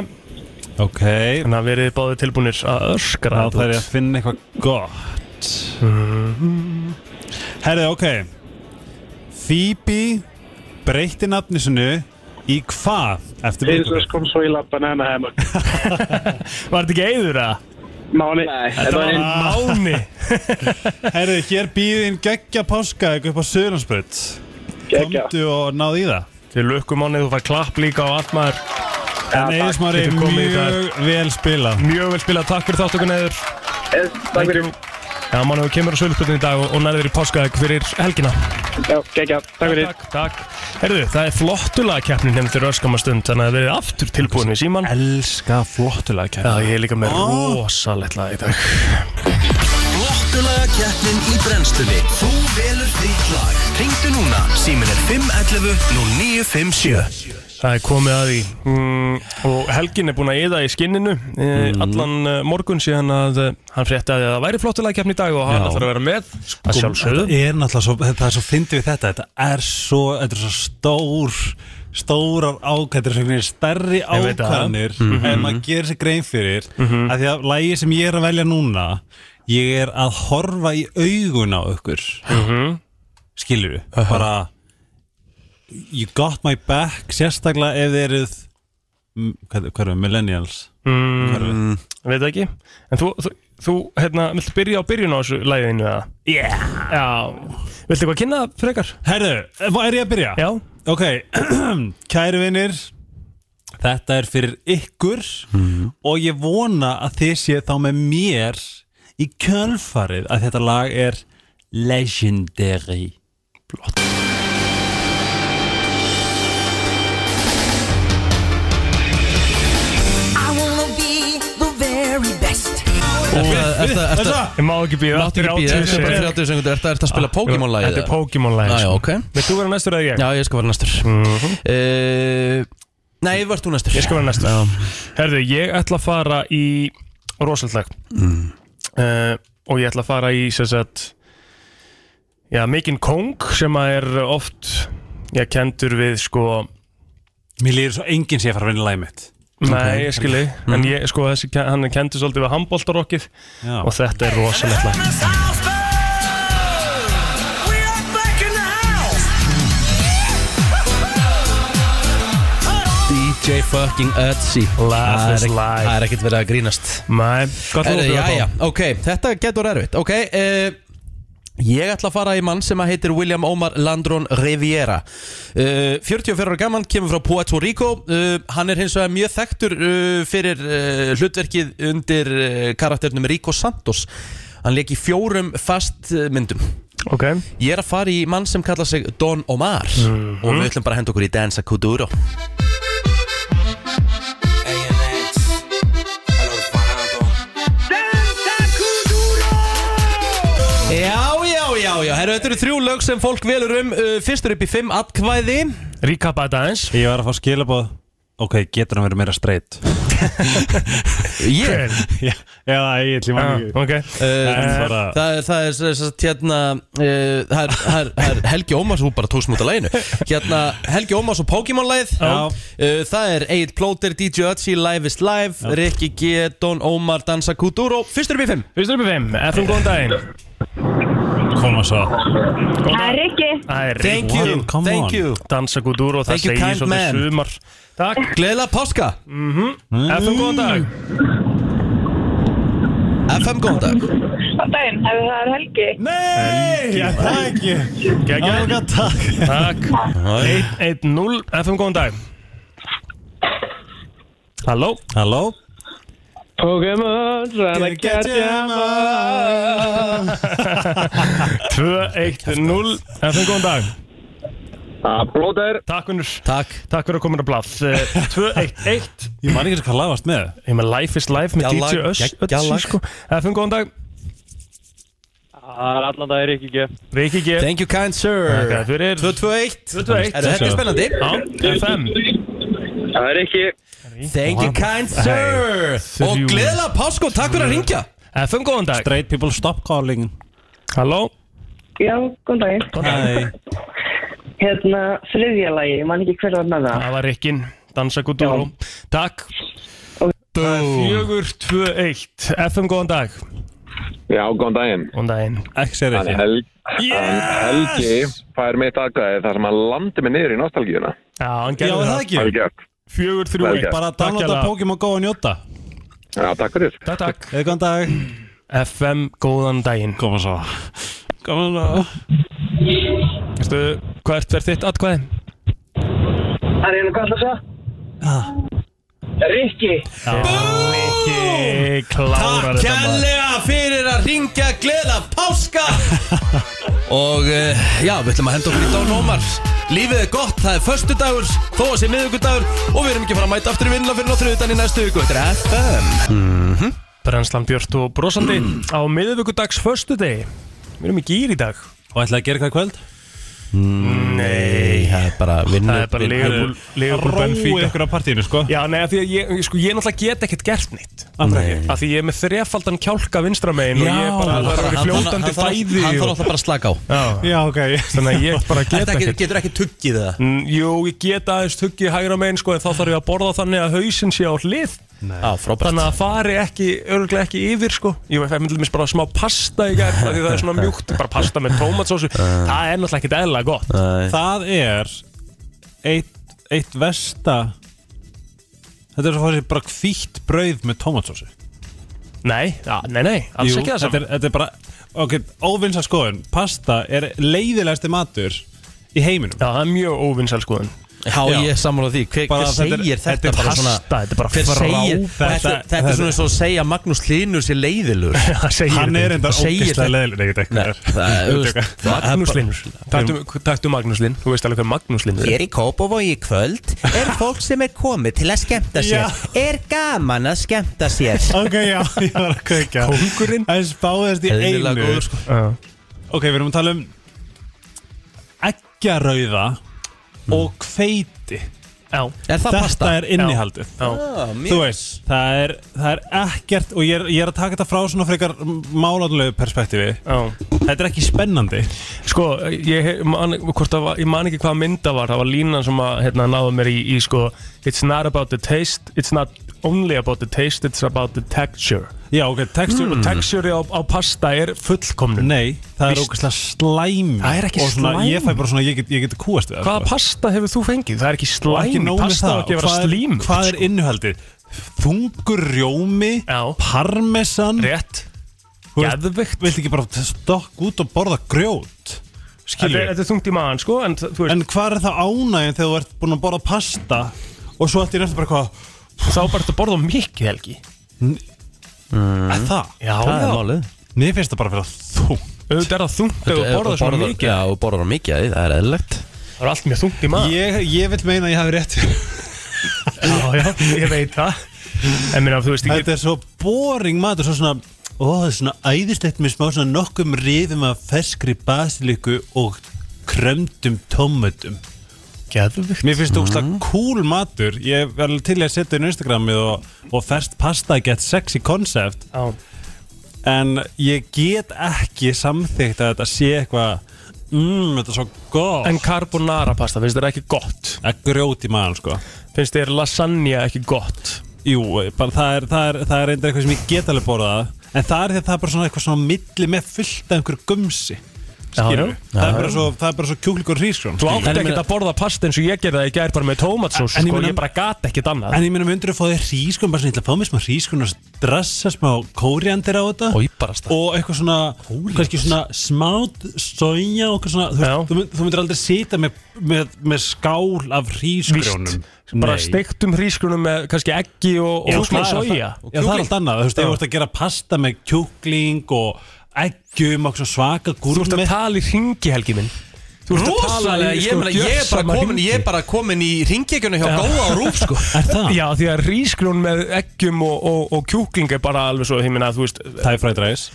D: Ok,
C: Þannig að verið báði tilbúinir að öskra
D: þá þarf ég að finna eitthvað gott Herðu, ok Phoebe breytti nafnisinu í hvað eftir
G: Jesus
D: brúðkaupið?
G: comes Willa Banana Hammock.
C: Var þetta ekki Eyður að?
G: Máni,
E: Nei, þetta var einn
C: Máni
D: Herðu, hér býðin geggja páska eitthvað upp á Söðlandsbröð
G: geggja.
D: Komdu og náðu í það
C: Til lukkum Máni, þú fær klapp líka á allt maður
D: En Eða Smári,
C: Getur komið í dag.
D: mjög vel spilað
C: Mjög vel spilað, takk fyrir þáttökun Eyður
E: Yes, Takk fyrir
C: Já, Máni, þú kemur á söluspöldinu í dag og, og nærður í páskaðeg fyrir helgina
G: Já, geggja. Takk fyrir.
C: Takk, takk Herðu, það er flottulega keppnin nefnir fyrir öskama stund Þannig að það verið aftur tilbúin við síman
D: Elska flottulega Ah.
C: Já,
D: kæra
C: ég er líka með rosalegt lag í dag
A: Flottulega keppnin í brennstunni Þú velur þitt lag Ringdu núna, símin er 511 0957
C: Það er komið að því mm, Og Helgin er búin að eða í skinninu mm. Allan eh, morgun síðan að eh, hann frétti að það væri flottulega keppni í dag og hann
D: Já.
C: ætlar að vera með Sko, að sjálfsögðu
D: Sko, Þetta er náttúrulega svo, það er svo fyndið við þetta Þetta er svo, þetta er svo stór stórar ákvæðir svona einhvern veginn stærri
C: veit það. Mhm.
D: ákvæðanir en maður gerir sér grein fyrir af því að lægi sem ég er að velja núna ég er að horfa í augun á ykkur mm
C: Mhm.
D: skilur við, bara you got my back sérstaklega ef þið eruð mm, hvað, hvað er það, millennials mm. hvað er það
C: Veit það ekki En þú, þú, þú hérna, viltu byrja á byrjun á þessu læginu eða? Yeah Já Viltu eitthvað kynna það frekar?
D: Herðu, er ég að byrja?
C: Já
D: Ok, kæru vinnir Þetta er fyrir ykkur
C: Mm.
D: og ég vona að þið séu þá með mér í kjölfarið að þetta lag er legendary
H: I wanna be the very best.
B: Þetta
C: Ég má ekki býða
B: Máttu ekki býða, þetta er bara 30 sekundur Ertu ertu að spila Pokémon-lagið?
C: Ah, Þetta er
B: eða? Ah,
C: Pokémon-lagið
B: Já, já,
C: sko.
B: ok
C: Vilt þú vera næstur eða ég? Mhm.
B: Já, ég skal vera næstur Eh, Nei, varst þú næstur
C: Ég skal vera næstur
B: Já.
C: Herðu, ég ætla að fara í Rósaldlag mm. Og ég ætla að fara í sem sagt, Já, Mikinn Kong Sem að er oft Já, kendur við sko
D: Mér líður svo enginn sé að fara að vinna lagið mitt
C: Nei, ég skilji
B: Mm.
C: En ég, sko, þessi, hann er kendur svolítið við handbóltarokkið
D: Já.
C: Og þetta er rosalegt lag
B: DJ fucking Ötzi
C: Laugh
B: Það er
C: is
B: ekki-
C: life.
B: Það er ekkert verið að grínast
C: Nei, gott
B: Erðu,
C: lófið
B: já, já, ok, þetta getur erfitt Ok, uh, Ég ætla að fara í mann sem að heitir William Omar Landron Riviera uh, 44 ára gaman, kemur frá Puerto Rico uh, Hann er hins vegar mjög þekktur uh, fyrir uh, hlutverkið undir uh, karakternum Rico Santos Hann leik í fjórum fast uh, myndum
C: Ok
B: Ég er að fara í mann sem kallar sig Don Omar
C: Mhm.
B: Og við ætlum bara að henda okkur í Danza Kuduro Já, já, já, já, herru, þetta eru þrjú lög sem fólk velur um uh, Fyrstur upp í fimm atkvæði
C: Recap að aðeins
D: Ég var að fá skilabóð Ok, getur hann verið meira straight
B: Ég
D: Já, eða ég ætlum
C: Ah,
D: að
C: Ok
D: En
B: Uh,
D: bara-
B: það, er- það er sem sagt, hérna uh, það, er, það, er, það er Helgi Ómars þú bara tókst múta læginu hérna, Helgi Ómars og Pokémon-læð
D: Já.
B: uh, það er Egil Plóter, DJ Ötzi, Live is Live Rikki G, Don Ómar, Dansa Kuduro fyrstur upp í fimm
C: Fyrstur upp í 5 FM góðan daginn
D: koma svo
I: Það er Rikki.
C: Það er
B: thank
C: Rikki.
B: you,
D: Wow, come
B: thank
D: on.
B: you
C: Dansa Guduro Það
B: Thank you,
C: segir
B: kind man.
C: svolítið sumar Takk
B: gleðilega páska
C: Mhm. FM góðan dag
B: FM góðan dag
I: Góðan daginn, ef það er Helgi.
D: Nei, já, það ekki
C: Gægjum
D: Ága, takk
C: Takk 1-0 FM góðan dag Halló
D: Halló
G: Pokémon, trying to catch him up
C: 2-1-0 FM góðan dag
E: Blóter
C: Takk unnur
B: takk
C: Takk fyrir að koma inn á blað Eh, 2-1-1
D: Ég man ekki eins og hvað lagast með
C: Ég með Life is Life með
B: Gjallag,
C: DJ Öss
B: gjallag.
C: Ötzi, sko. FM góðan dag
G: Það er allan dagir ekki ekki
C: Rikki G
B: thank you kind sir
C: Takk fyrir
B: 221
C: 2-1
B: Herru, þetta er spennandi
C: Já, FM
E: Það er ekki
B: thank you kind sir og
C: Þrjú.
B: gleðilega páska og takk fyrir að ringja
C: FM góðan dag
D: Straight people stop calling
C: Halló
I: Já, góðan daginn.
D: Nei
I: Hérna, þriðja lagi, ég man ekki hver var með það.
C: Það var Rikkin Dansa Guduro Takk Fjögur, tvö, eitt FM, góðan dag
E: Já, góðan daginn
C: Góðan daginn
D: Ekki sér
E: Hann
D: ekki
E: Hel hann Helgi fær mitt aðgæði þar sem hann landi mig niður í nostalgíuna
C: Já, hann
D: Já,
C: gerði
D: er
C: það
D: það ekki
E: Helgjörg
C: Fjögur, þrjú,
E: Vel
C: eitt
E: gert.
D: Bara
C: Takk
D: downloada
C: hérlega.
D: Pokémon Go og njóta
E: Já, takk fyrir
C: Takk, takk
D: Eða góðan dag
C: FM, góðan daginn
D: Koma svo Koma svo
C: Veistu, hvert verð þitt atkvæði?
G: Það er hérna einu hvað það svo Rikki
C: Já, Rikki klárar
B: Takk
C: þetta maður
B: kærlega fyrir að ringja gleða páska Og uh, já, við ætlum að henda okkur í Dán Ómar Lífið er gott, það er föstudagur, þó að sé miðugudagur Og við erum ekki að fara að mæta aftur í vinnla fyrir náttúruðan í næstu viku Þetta er FM Mhm.
C: Brennslan Björst og brosandi
B: Mm.
C: Á miðvikudags föstu degi Við erum í gýr í dag
D: Og ætlaði að gera eitthvað í kvöld?
C: Nei
B: Það er bara vinnu
C: Það er bara Liverpool- Liverpool
D: Rói
C: Benfica
D: ykkur á partíinu sko
C: Já, nei, af því að ég, sko, ég náttúrulega get ekkert gert neitt
D: Nei
C: Af því ég er með þrefaldan kjálka vinstra megin og ég er bara, það er bara fljótandi fæði
B: Hann þarf
C: og,
B: alltaf bara að slaka á
C: já,
D: Já, ok
C: þannig að ég bara get
B: Þetta
C: ekkert
B: ekki, getur ekki tuggið það
C: Mm, Jú, ég get aðeins tuggið hægra megin sko, en þá þarf ég að borða þannig að hausin sé á hlið
B: Á, frábært
C: þannig að fari ekki, örgulega ekki yfir sko. ég fæði myndið mér bara smá pasta í gær af því það er svona mjúkt, bara pasta með tómatsósu
F: Uh.
C: það er náttúrulega ekkert eðla gott
D: Það er eitt, eitt versta Þetta er svo fór sér bara hvítt brauð með tomatsósu
C: Nei, já, nei, nei, alls ekki það
D: þetta
C: saman
D: er, þetta er bara Ok, óvinsa skoðun Pasta er leiðilegasti matur í heiminum
C: Já, það er mjög óvinnsæl skoðun
B: Já, ég er sammála því Hver,
D: Bara
B: hver
D: þetta er-
B: segir þetta,
D: þetta er
B: bara
C: Pasta,
B: svona
C: þetta er bara
B: Hver segir
C: frábært
B: Þetta, þetta er svona eins og að segja Magnús Hlynur sér leiðilur
C: Það segir
D: Hann
C: þetta.
D: er enda
B: Það segir
D: ógeðslega
B: þetta.
D: leiðileg
B: Nei, það er-
D: Þetta er-
B: það er
C: Magnús
B: bara-
C: Linur Taktu, taktu Magnús Lin, þú veist alveg hver Magnús Lin er
J: Hér í Kópavogi í kvöld er fólk sem er komið til að skemmta sér Er gaman að skemmta sér
D: Ok, já, ég var að kveika
C: Kóngurinn.
D: Það spáðist í
B: Eðlilega
D: einu
B: góður, sko.
C: Já.
D: Ok, við erum að tala um Eggjarauða Og hveiti
C: Já,
B: Mm. Er það
D: Þetta
B: pasta? Ah,
D: er innihaldið
C: já,
D: Þú veist, það er, það er ekkert Og ég er, ég er að taka þetta frá svona frekar Málanlegu perspektífi
C: já
D: Þetta er ekki spennandi
C: Sko, ég, he- man, hvort það var, ég man ekki hvað mynda var Það var línan sem að hérna, náðu mér í, í sko, It's not about the taste It's not only about the taste It's about the texture
D: Já, ok, textur
C: mm. Texture á, á pasta er fullkomnun
D: Nei, það er
C: Víst.
D: ógeðslega slæm
C: Það er ekki
D: Og svona,
C: slæm.
D: Ég fæ bara svona, ég get, ég get kúast við það,
C: Hvaða
D: sko.
C: pasta hefur þú fengið? Það er ekki
D: Og ekki
C: slæm
D: nóg með
C: Pasta á ekki að vera
D: hvað er-
C: slím
D: Hvað er innihaldið? Þungur rjómi
C: Já.
D: Parmesan
C: Rétt
D: Þú veist,
C: Geðvikt
D: Vilt ekki bara stokk út og borða grjót
C: Þetta
D: Skilur
C: þetta er þungt í maðan sko En þú veist,
D: En hvað er það ánægin þegar þú ert búin að borða pasta Og svo ætti ég næstu bara hvað
C: þá bara þetta borða of mikið helgi
D: Er það?
C: Já,
B: Mm. Það er málið
D: Mér finnst það bara fyrir að þú
C: Auðvitað er það þungt ef þú borðar svona mikið
B: Já, þú borðar svona mikið, það er eðlilegt
C: Það er allt mjög þungt í maður
D: ég, ég vil meina að ég hafi rétt fyrir þér.
C: Já, já, ég veit það En minna, þú veist ekki
D: Þetta er svo boring matur Svo svona Ó, það er svona æðislegt með smá svona nokkum rifum af ferskri basiliku og krömdum tómötum
C: Geðvikt
D: Mér finnst þú mm. cool matur Ég er alveg til í að setja inn á Instagramið og, og ferst pasta get sexy concept
C: Já,
D: En ég get ekki samþygt að þetta sé eitthvað Mmm, þetta er svo gott
C: En carbonara pasta, finnst þér ekki gott?
D: Að grjót í maður sko
C: Finnst þér lasagna ekki gott?
D: Jú, bara, það, er, það, er, það er reyndar eitthvað sem ég get alveg borðað En það er því að það er bara svona eitthvað svona milli með fullt af einhverju gumsi Skilur það, er bara svo, það er bara svo kjúklingur sko. rískrón
C: Þú átt
B: En ég
C: ekki
B: meina-
C: að borða pasta eins og ég gerði það í gær bara með tómatsós
D: En ég
C: sko,
D: meina-
C: ég bara gat ekkert annað
D: En ég meina, myndur þú að fá þér rískrón Bara svona, ég ætla að fá mér smá rískrón og drassa smá kóriandir á þetta
B: Og ég bara stað
D: og eitthvað svona kannski svona smátt sója og eitthvað svona þú,
C: Já.
D: veist, þú, mynd, þú myndir aldrei sita með, með, með skál af hrísgrjónum
C: bara steiktum hrísgrunum með kannski eggi og, og smá soja
D: Já, það er allt annað, þú veist, ef þú ert að gera pasta með kjúkling og eggjum og svona svaka
C: Þú ert
D: gúrmi
C: að tala í ringi helgi minn Þú ert að tala
B: Rosalega,
C: í
B: ég, meina, ég, er bara
C: gjörsama
B: komin, ég
C: hringi.
B: er bara komin í ringekjunu hjá Góa og Rúf sko
D: Er það?
C: Já, því að rísgrún með eggjum og, og, og kjúkling er bara alveg svo, ég meina, þú veist
D: Það er fræð ræs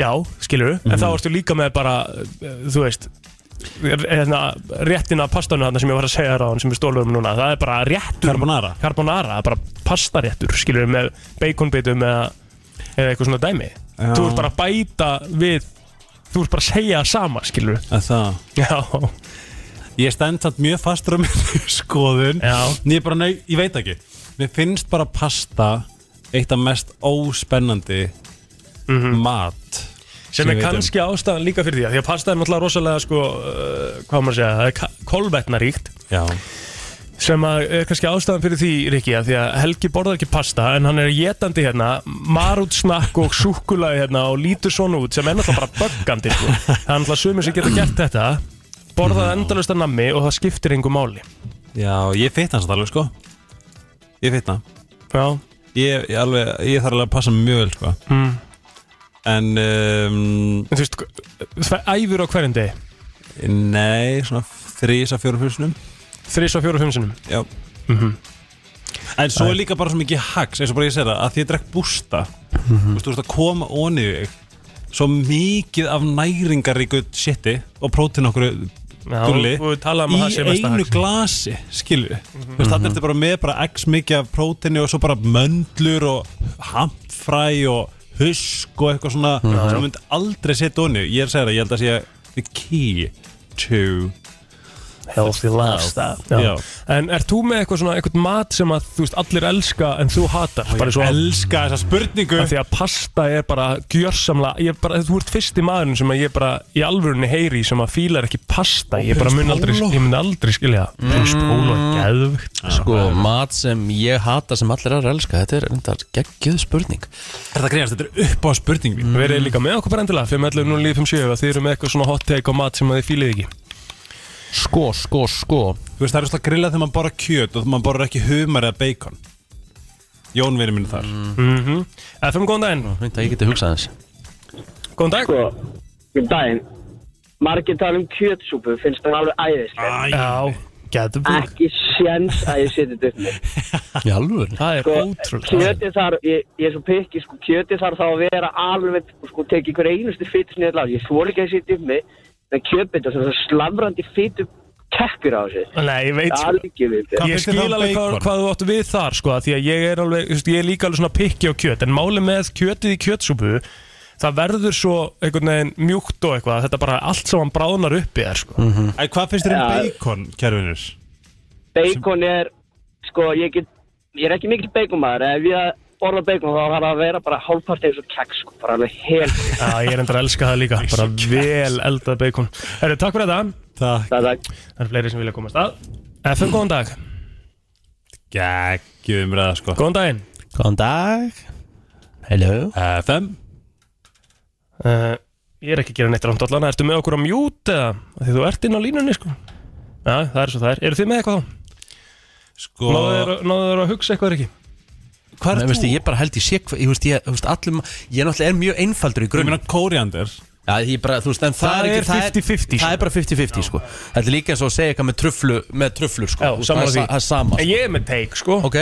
C: Já, skilur En þá ertu líka með bara, eh, þú veist hérna, réttina af pastanum þarna sem ég var að segja ráðan sem er stólverum núna það er bara réttur
D: Carbonara.
C: Carbonara, það er bara pastaréttur skilur með baconbitum eða, eða eitthvað svona dæmi
D: Já.
C: Þú ert bara að bæta við þú ert bara að segja það sama skilur
D: Er það?
C: Já,
D: Ég stend samt mjög fastur á minni skoðun
C: Já.
D: En Ég bara, nei, ég veit ekki Mér finnst bara pasta eitt af mest óspennandi
C: Mhm.
D: mat
C: sem
D: ég
C: er
D: veit um.
C: kannski ástæðan líka fyrir því að því að pasta er náttúrulega rosalega sko, uh, hvað á maður að segja, það er ka- kolvetnaríkt
D: Já
C: sem að er kannski ástæðan fyrir því Rikki að því að Helgi borðar ekki pasta en hann er jetandi hérna marútsnakk og súkulaði hérna og lítur svona út sem er náttúrulega bara böggandi sko. það er náttúrulega sumir sem geta gert þetta borðað endalust að nammi og það skiptir engu máli
D: Já, ég fitna samt alveg sko Ég fitna
C: Já,
D: Ég, ég, alveg, ég þarf alveg að passa mig mjög vel sko
C: Mm.
D: En um,
C: en þú veist þvæ- æfur á hverjum degi,
D: Nei, svona þrís að fjórum húsnum
C: þrís og fjóru og fimm sinum
D: Já Mhm. En svo er líka bara svo mikið hags eins og bara ég segir það, að því ég drekk bústa
C: Mhm.
D: Þú veist, þú veist að koma onni í þig Svo mikið af næringaríku shiti og prótin okkur
C: Já,
D: dulli
C: og við talaðum að það sé
D: Í
C: mesta Mhm.
D: einu
C: hags.
D: glasi, skilu Þú veist, þannig ertu bara með bara x mikið af prótini og svo bara möndlur og hampfræ og husk og eitthvað svona sem myndi aldrei setja onni Ég er að segja það, ég held að sé the key to
C: Healthy lifestyle Já.
D: Já.
C: En ert þú með eitthvað svona eitthvað mat sem að þú veist allir elska en þú hatar bara svo að
D: elska þessa spurningu
C: af því að pasta er bara gjörsamlega ég bara, þú ert fyrsti maðurinn sem að ég bara í alvörunni heyri sem að fílar ekki pasta ég bara mun aldrei, ég mun aldrei skilja það. prins
D: Mm.
C: Pólo er geðvögt
B: Sko, mat sem ég hata sem allir aðra elska Þetta er enda geggjöð spurning
D: Er það greiðast, þetta er upp á spurning
B: Mm.
D: mín
C: Við erum líka með okkur bara endilega 511 0 5 7 þið eru með eitthvað svona hot take á mat sem að þið fílið ekki
B: Sko, sko, sko
D: Þú veist, það er svona grillað þegar maður borrar kjöt og þegar maður borrar ekki humar eða bacon Jón vinur minn er þar
C: Mhm. FM, Mm. góðan daginn
B: Þetta ég geti hugsað þess
C: Góðan dag
E: Sko, um daginn Margir tala um kjötsúpu, finnst það alveg æðislega
C: Já, geðvögt
E: Ekki séns að ég seti þetta upp með
B: Í alvöru
C: Það er
E: Sko,
C: ótrúlega
E: kjötið þarf, ég, ég er svo pikki, sko, kjötið þarf þá að vera alveg, sko, tekið hver einustu fytt sniðið lag Ég svol ekki að setja upp með, en kjötbita sem það slamrandi fyttu kekkur á þessu
C: Nei, ég veit sko
E: Algjörviti
C: Ég
D: finnst þér
C: skil
D: þá
C: alveg hvað,
D: bacon?
C: hvað þú áttu við þar sko, af því að ég er alveg, þú veist, ég er líka alveg svona pikki á kjöt en máli með kjötið í kjötsúpu það verður svo einhvern veginn mjúkt og eitthvað, þetta bara allt sem hann bráðnar upp í þær sko.
D: Æ, hvað finnst þér um
E: Ja.
D: bacon, kjærvinur?
E: Bacon er, sko, ég get, ég er ekki mikil baconmaður Ef ég borða bacon þá þarf það að vera bara hálfpart eins og kekk, sko, bara alveg hel
C: Já, ég er endur að elska það líka, bara vel eldað bacon. Herru, takk fyrir þetta
D: Það
E: Það er
C: Það er fleiri sem vilja komast að FM, góðan dag,
D: geggjum umræða, sko
C: góðan daginn
B: Góðan dag Hello
D: FM
C: uh, Ég er ekki að gera neitt rámt allan Ertu með okkur á mjút eða? Af Því þú ert inn á línunni sko Já, það er svo það er Eru þið með eitthvað þá?
D: Sko,
C: Náðu þeir, náðu þeir að hugsa eitthvað eða ekki?
B: Nei, veistu, ég bara held ég sé hvað, ég veist, ég, þú veist, allum, ég er náttúrulega er mjög einfaldur í
D: ég
B: grunn.
D: meina kóriander
B: Já, ég bara, þú veist, en það,
C: Það
B: er
C: er
B: ekki, það er-
C: 50-50,
B: Það er bara 50-50, sko. Þetta er líka eins og að segja eitthvað með truflu, með truflu, sko.
C: Já,
B: Þú veist,
C: saman
B: það er
C: því
B: sa- Það er sama,
C: En
B: sko.
C: Ég er með teik sko
B: Ok.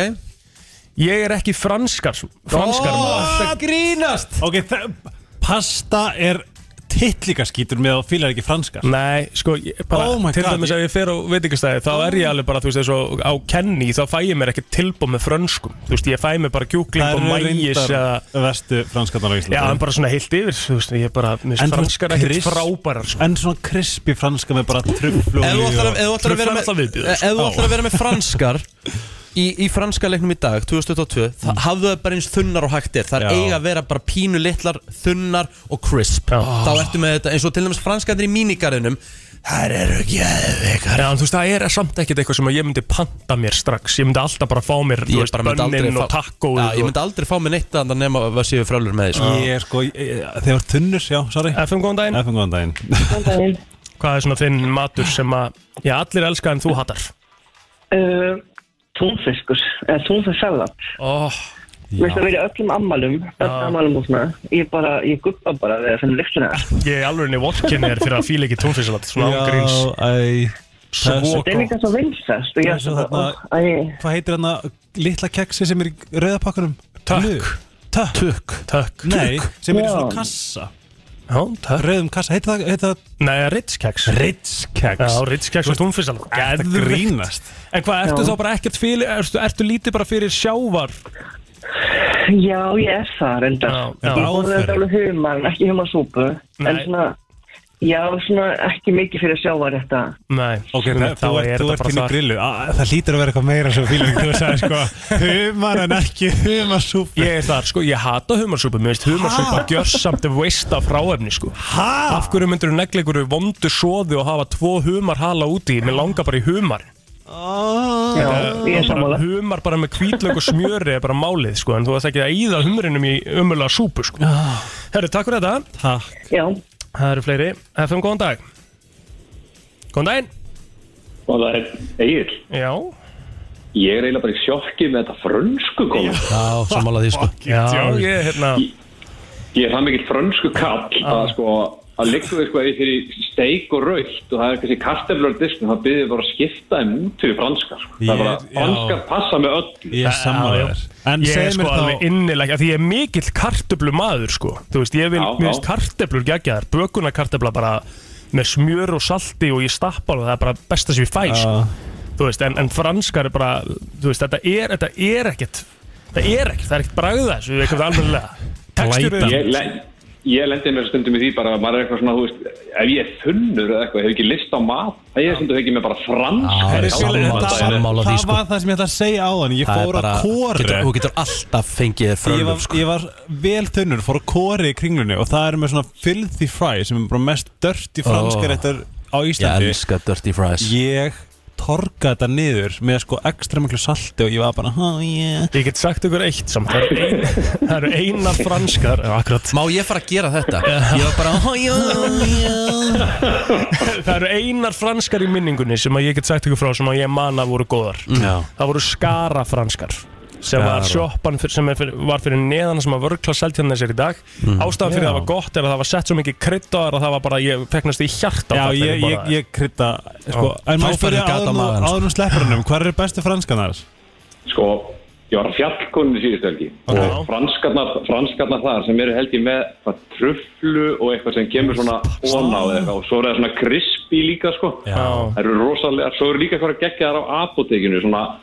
C: Ég er ekki franskar sko. Franskar maður
B: það grínast!
D: Ok, það- pasta er tittlíkaskítur með að fílar ekki franskar
C: Nei, sko, ég bara,
D: Oh my
C: til
D: God,
C: dæmis
D: ég-
C: að ég fer á veitingastæði þá er ég alveg bara, þú veist, eins og á kenni þá fæ ég mér ekki tilbúð með frönskum þú veist, ég fæ mér bara kjúkling og mægis eða,
D: vestu franskarnar á
C: já, en
D: Íslandi
C: bara svona heilt yfir þú veist, ég er bara, mér
D: En
C: finnst
D: þú ert
C: franskar ekki
D: krist-
C: frábærar sko.
D: En svona krispi franska með bara truflu
B: Ef þú ætlar að- ef þú ætlar að vera
C: Truflar
B: með-
C: alltaf viðbjóður, sko.
B: ef þú ætlar að vera með franskar í, í franska leiknum í dag, 2022,
C: Mm.
B: það hafðu það bara eins þunnar og hægt er. Það er
D: Já.
B: eiga að vera bara pínu litlar, þunnar og crisp.
C: Já.
B: Þá ertu með þetta, eins og til dæmis franskarnir í mínigarðinum, það eru geðveikar.
C: Já, en þú veist, það er samt ekkert eitthvað sem að ég myndi panta mér strax ég myndi alltaf bara fá mér, þú
B: Ég
C: veist,
B: bara myndi aldrei
C: bönnin og
B: fá-
C: takkóð
B: Já, ég myndi aldrei fá mig neitt að nema að séu frálur með því, sko.
D: Ég er sko, ég- þeir var tunnur, já, sorry
C: FM, góðan daginn,
D: Efum góðan daginn
I: Góðan daginn.
C: hvað er svona þinn matur sem að, já, allir elska en þú hattar
K: Eh,
I: Uh, túnfiskur, eða túnfisksalat.
C: Ó,
I: Mér finnst það verið í öllum ammalum, öllum ammalum og svona. Ég bara, ég guppa bara við að finna lyktina.
C: ég er alveg niður vorkinni þér fyrir að fíla ekki tónfisalat, svona ángríns
D: æ það er
C: Svo
D: svo-
I: Það er
C: gott
I: líka svo vinsast og ég
D: Það
I: er
D: er svo
I: svona,
D: þarna-
I: ó, æ,
D: Hvað heitir hann að litla keksi sem er í rauðapakkanum?
C: Tökk.
D: Tökk
C: Tökk Tökk
D: Nei, sem er í svona
I: Já.
D: kassa
C: Já, tökk
D: Rauðum kassa, heitir það, heitir það
C: Nei, ritskeks
D: Ritzkeks
C: Já, ritskeks og tónfisalat
D: Þetta
C: Geðveikt.
D: grínast
C: En hvað, ertu
I: Já.
C: þá bara ekkert fyrir Ertu, ertu lítið bara fyrir sjávar
I: já, ég er það reyndar.
C: Já, já.
I: Ég borði þetta alveg humar, en ekki humarsúpu. En
C: Nei.
I: svona, já, svona ekki mikið fyrir að sjá var þetta.
C: Nei,
D: Ok, það,
C: þá
D: þú
C: er
D: ert, þú
C: þetta
D: ert
C: bara
D: inn í
C: það
D: grillu Á, Það hlýtur að vera eitthvað meira sem fílum Þú sagði sko Humar en ekki humarsúpa
C: Ég er þar, sko, ég hata humarsúpu Mér finnst humarsúpa gjörsamt veist af fráefni, sko
D: Hæ?
C: Af hverju myndur þú negla ykkur vondu soði og hafa tvo humar hala úti Mér langar bara í humar
D: Ah.
I: Já, ég er
C: bara
I: sammála.
C: Humar bara með kvítlög og smjöri er bara málið, sko En þú ætti ekki að íða humrinum í umöðlega súpu, sko
D: Ah.
C: Herru, takk fyrir þetta
D: Takk
I: Já,
C: Það eru fleiri. FM, góðan dag. Góðan daginn.
G: Og það er Egil
C: Já.
G: Ég er eiginlega bara í sjokki með þetta frönsku koma
B: Já, sammála því sko
C: Já, ég er hérna.
G: Ég er það mikill frönsku kall að sko að liggum við sko eða fyrir steik og raukt og það er kannski karteflur á disknum það byrðið bara að skipta þeim út fyrir franskar sko. það er bara,
D: Ég- já.
G: franskar passa með öllu
D: Ég er sammála
C: Já, já.
D: þér En
C: Ég er
D: segð
C: sko
D: mér
C: alveg
D: þá
C: innilega, því ég er mikill kartöflu maður, sko. Þú veist, ég vil,
G: Já,
C: mér
G: já.
C: veist kartöflur geggjaðar, bökunarkartöfla bara með smjör og salti og ég stappa alveg, það er bara besta sem ég fæ, sko. Þú veist, en, en franskar er bara, þú veist, þetta er, þetta er ekkert, það er ekkert, það er ekkert bragða, þessu, við eitthvað alveglega. Tekstur
D: Glætan.
C: er,
G: Ég, le ég lendi mér stundum í því bara að maður er eitthvað svona, þú veist, ef ég er þunnur eða eitthvað, hefur ekki list á mat, það ég er stundum ekki með bara franskar.
D: Herri,
G: í
D: Svíli,
B: sammála-
D: þetta-
B: sammála því,
D: Það
B: sko.
D: var það sem ég ætla að segja á hann Ég fór að kóru
B: getur, Þú getur alltaf fengið þér
D: ég
B: frölum
D: var,
B: sko
D: ég var vel þunnur, fór að kori í kringlunni og það er með svona filthy fry sem er bara mest dirty franskar
B: Oh.
D: eftir á
B: Ég
D: Íslandi
B: elska Dirty Fries
D: Ég torka þetta niður með sko ekstra miklu salti og ég var bara oh, yeah.
C: Ég get sagt ykkur eitt samt, það eru ein, það eru einar franskar Já, akkurat
B: Má ég fara að gera þetta? Ég var bara oh, já, já.
C: Það eru einar franskar í minningunni sem að ég get sagt ykkur frá sem að ég man að voru góðar
D: Mm. Já.
C: Það voru skara franskar sem var
D: Skara.
C: sjoppan fyr, sem er fyrir, var fyrir neðan sem að vörkla seltjarnir sér í dag
D: Mm.
C: Ástæðan fyrir
D: Já.
C: það var gott er að það var sett svo mikið krydd á þær að það var bara, ég fegnast í hjarta
D: Já, ég, ég, ég krydda sko,
C: Já.
D: En
B: Þá
D: maður spyrja
B: færðu gat á
D: áður nú-
B: magann, sko.
D: áður nú sleppurinnum Hvað eru bestu franskanar?
G: Sko, ég var fjallkunni síðustu helgi og franskarnar, franskarnar þar sem eru held ég með það truflu og eitthvað sem kemur svona óná eða eitthvað og svo er það svona krispi líka sko.
C: Já.
G: Það eru rosalega, svo eru líka eitthvað geggjaðar á apotekinu svona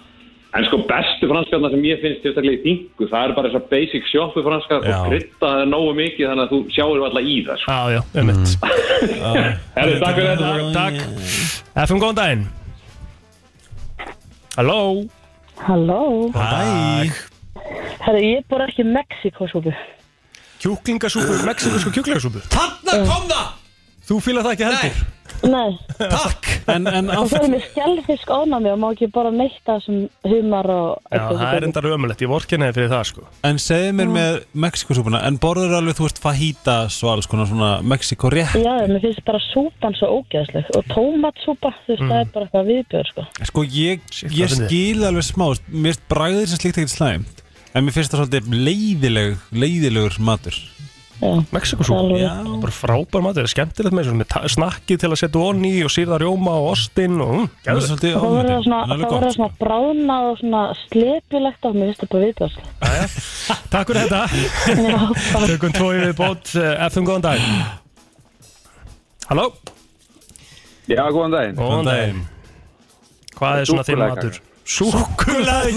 G: En sko bestu franskarna sem ég finnst tilstaklega í þingu, það eru bara þessar basic shoppu franskar
D: Já.
G: og krydda það nógu mikið þannig að þú sjáur alltaf í það. Sko.
C: Já, já, um mitt
G: Herri, takk fyrir þetta.
C: Takk FM, góðan daginn Halló
L: Halló,
D: Æ,
L: herru, ég bor ekki Mexikosúpu.
C: Kjúklingasúpu, mexikusku kjúklingasúpu
B: Þarna kom það!
C: Þú fýlar það ekki heldur
L: Nei,
B: Takk
D: en, en
L: Og svo erum við skjálfisk ónami og má ekki bara neitt af þessum humar og
C: Já, það er enda ömulegt, ég vorkinni fyrir það sko
D: En segðu mér með Mexikosúpuna En borður alveg, þú veist, fajitas og alls konar svona Mexiko rétt
L: Já, mér finnst bara súpan svo ógeðsleg og tómatsúpa, þú veist,
D: Mm.
L: það er bara eitthvað viðbjör, sko.
D: Sko, ég, ég
L: hvað fyndið.
D: skil alveg smá þú veist, Mér finnst bragðið sem slíkt ekkert slæmt En mér finnst það svolítið leiðileg, leiðilegur matur
C: Mexikosúpa, já, bara frábær matur, það er skemmtilegt með, þessu, með ta- snakkið til að setja onni og sýrða rjóma og ostinn og mm, geðveikt.
L: Og Það verður það svona, það verður það svona
C: sko.
L: bráðnað og svona slepjulegt og mér finnst það bara viðbjör, sko.
C: Takk fyrir þetta Tökum tvo yfir bót eh, FM, góðan dag Halló
M: Já, góðan daginn
C: Góðan daginn Hvað er svona þinn matur? Súkulaði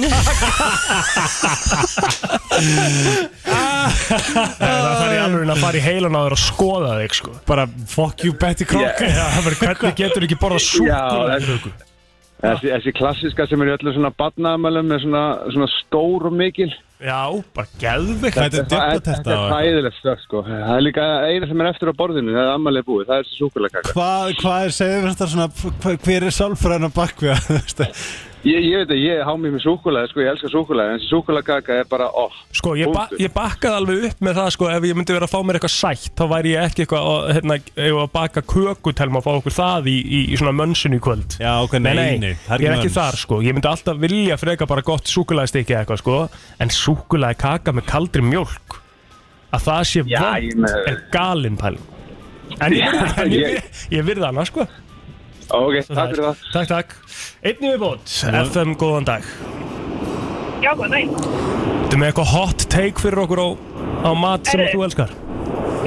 C: Það þarf í alveg að fara í heilan á þér og skoða þig sko.
D: Bara fuck you Betty
M: Crocker.
C: yeah. Hvernig getur ekki borða
M: Já,
C: súkulaði?
M: þessi, þessi, þessi klassiska sem er í öllum svona badnaðamælum með svona, svona stór og mikil
C: Já, bara geðvikt
M: Þetta er þetta er hæðilegt stökk sko Það er líka eina sem er eftir á borðinu Það er ammalið búið, það er þessi súkulegkaka
D: Hvað hva er, segðu mér þetta svona hva, Hver er sálfræðan á bakvið þú veist það?
M: Ég, ég veit að ég há mér með súkulega sko, ég elska súkulega En þessi súkulegkaka er bara off
C: Sko, ég, ba ég bakkaði alveg upp með það sko, ef ég myndi vera að fá mér eitthvað sætt þá væri ég ekki eitthvað að, hérna, ef að baka kökutelma og fá okkur það í, í, í svona mönsinu í kvöld
D: Já, ok, nei, nei,
C: nei,
D: það er
C: ég er
D: ekki
C: ekki
D: möns.
C: þar sko, ég myndi alltaf vilja freka bara gott súkulæðstikki eitthvað sko en súkulæði kaka með kaldri mjólk að það sé
M: Já, ég
C: vond
M: með-
C: er galin pæling en ég,
M: Já,
C: virði- en ég,
M: ég-
C: ég, ég virði hana sko
M: Ok, takk fyrir það
C: Takk, takk Einnig við bótt, FM, góðan dag
N: Já, góðan daginn.
C: Þú með eitthvað hot take fyrir okkur á, á mat sem
N: Herru.
C: þú elskar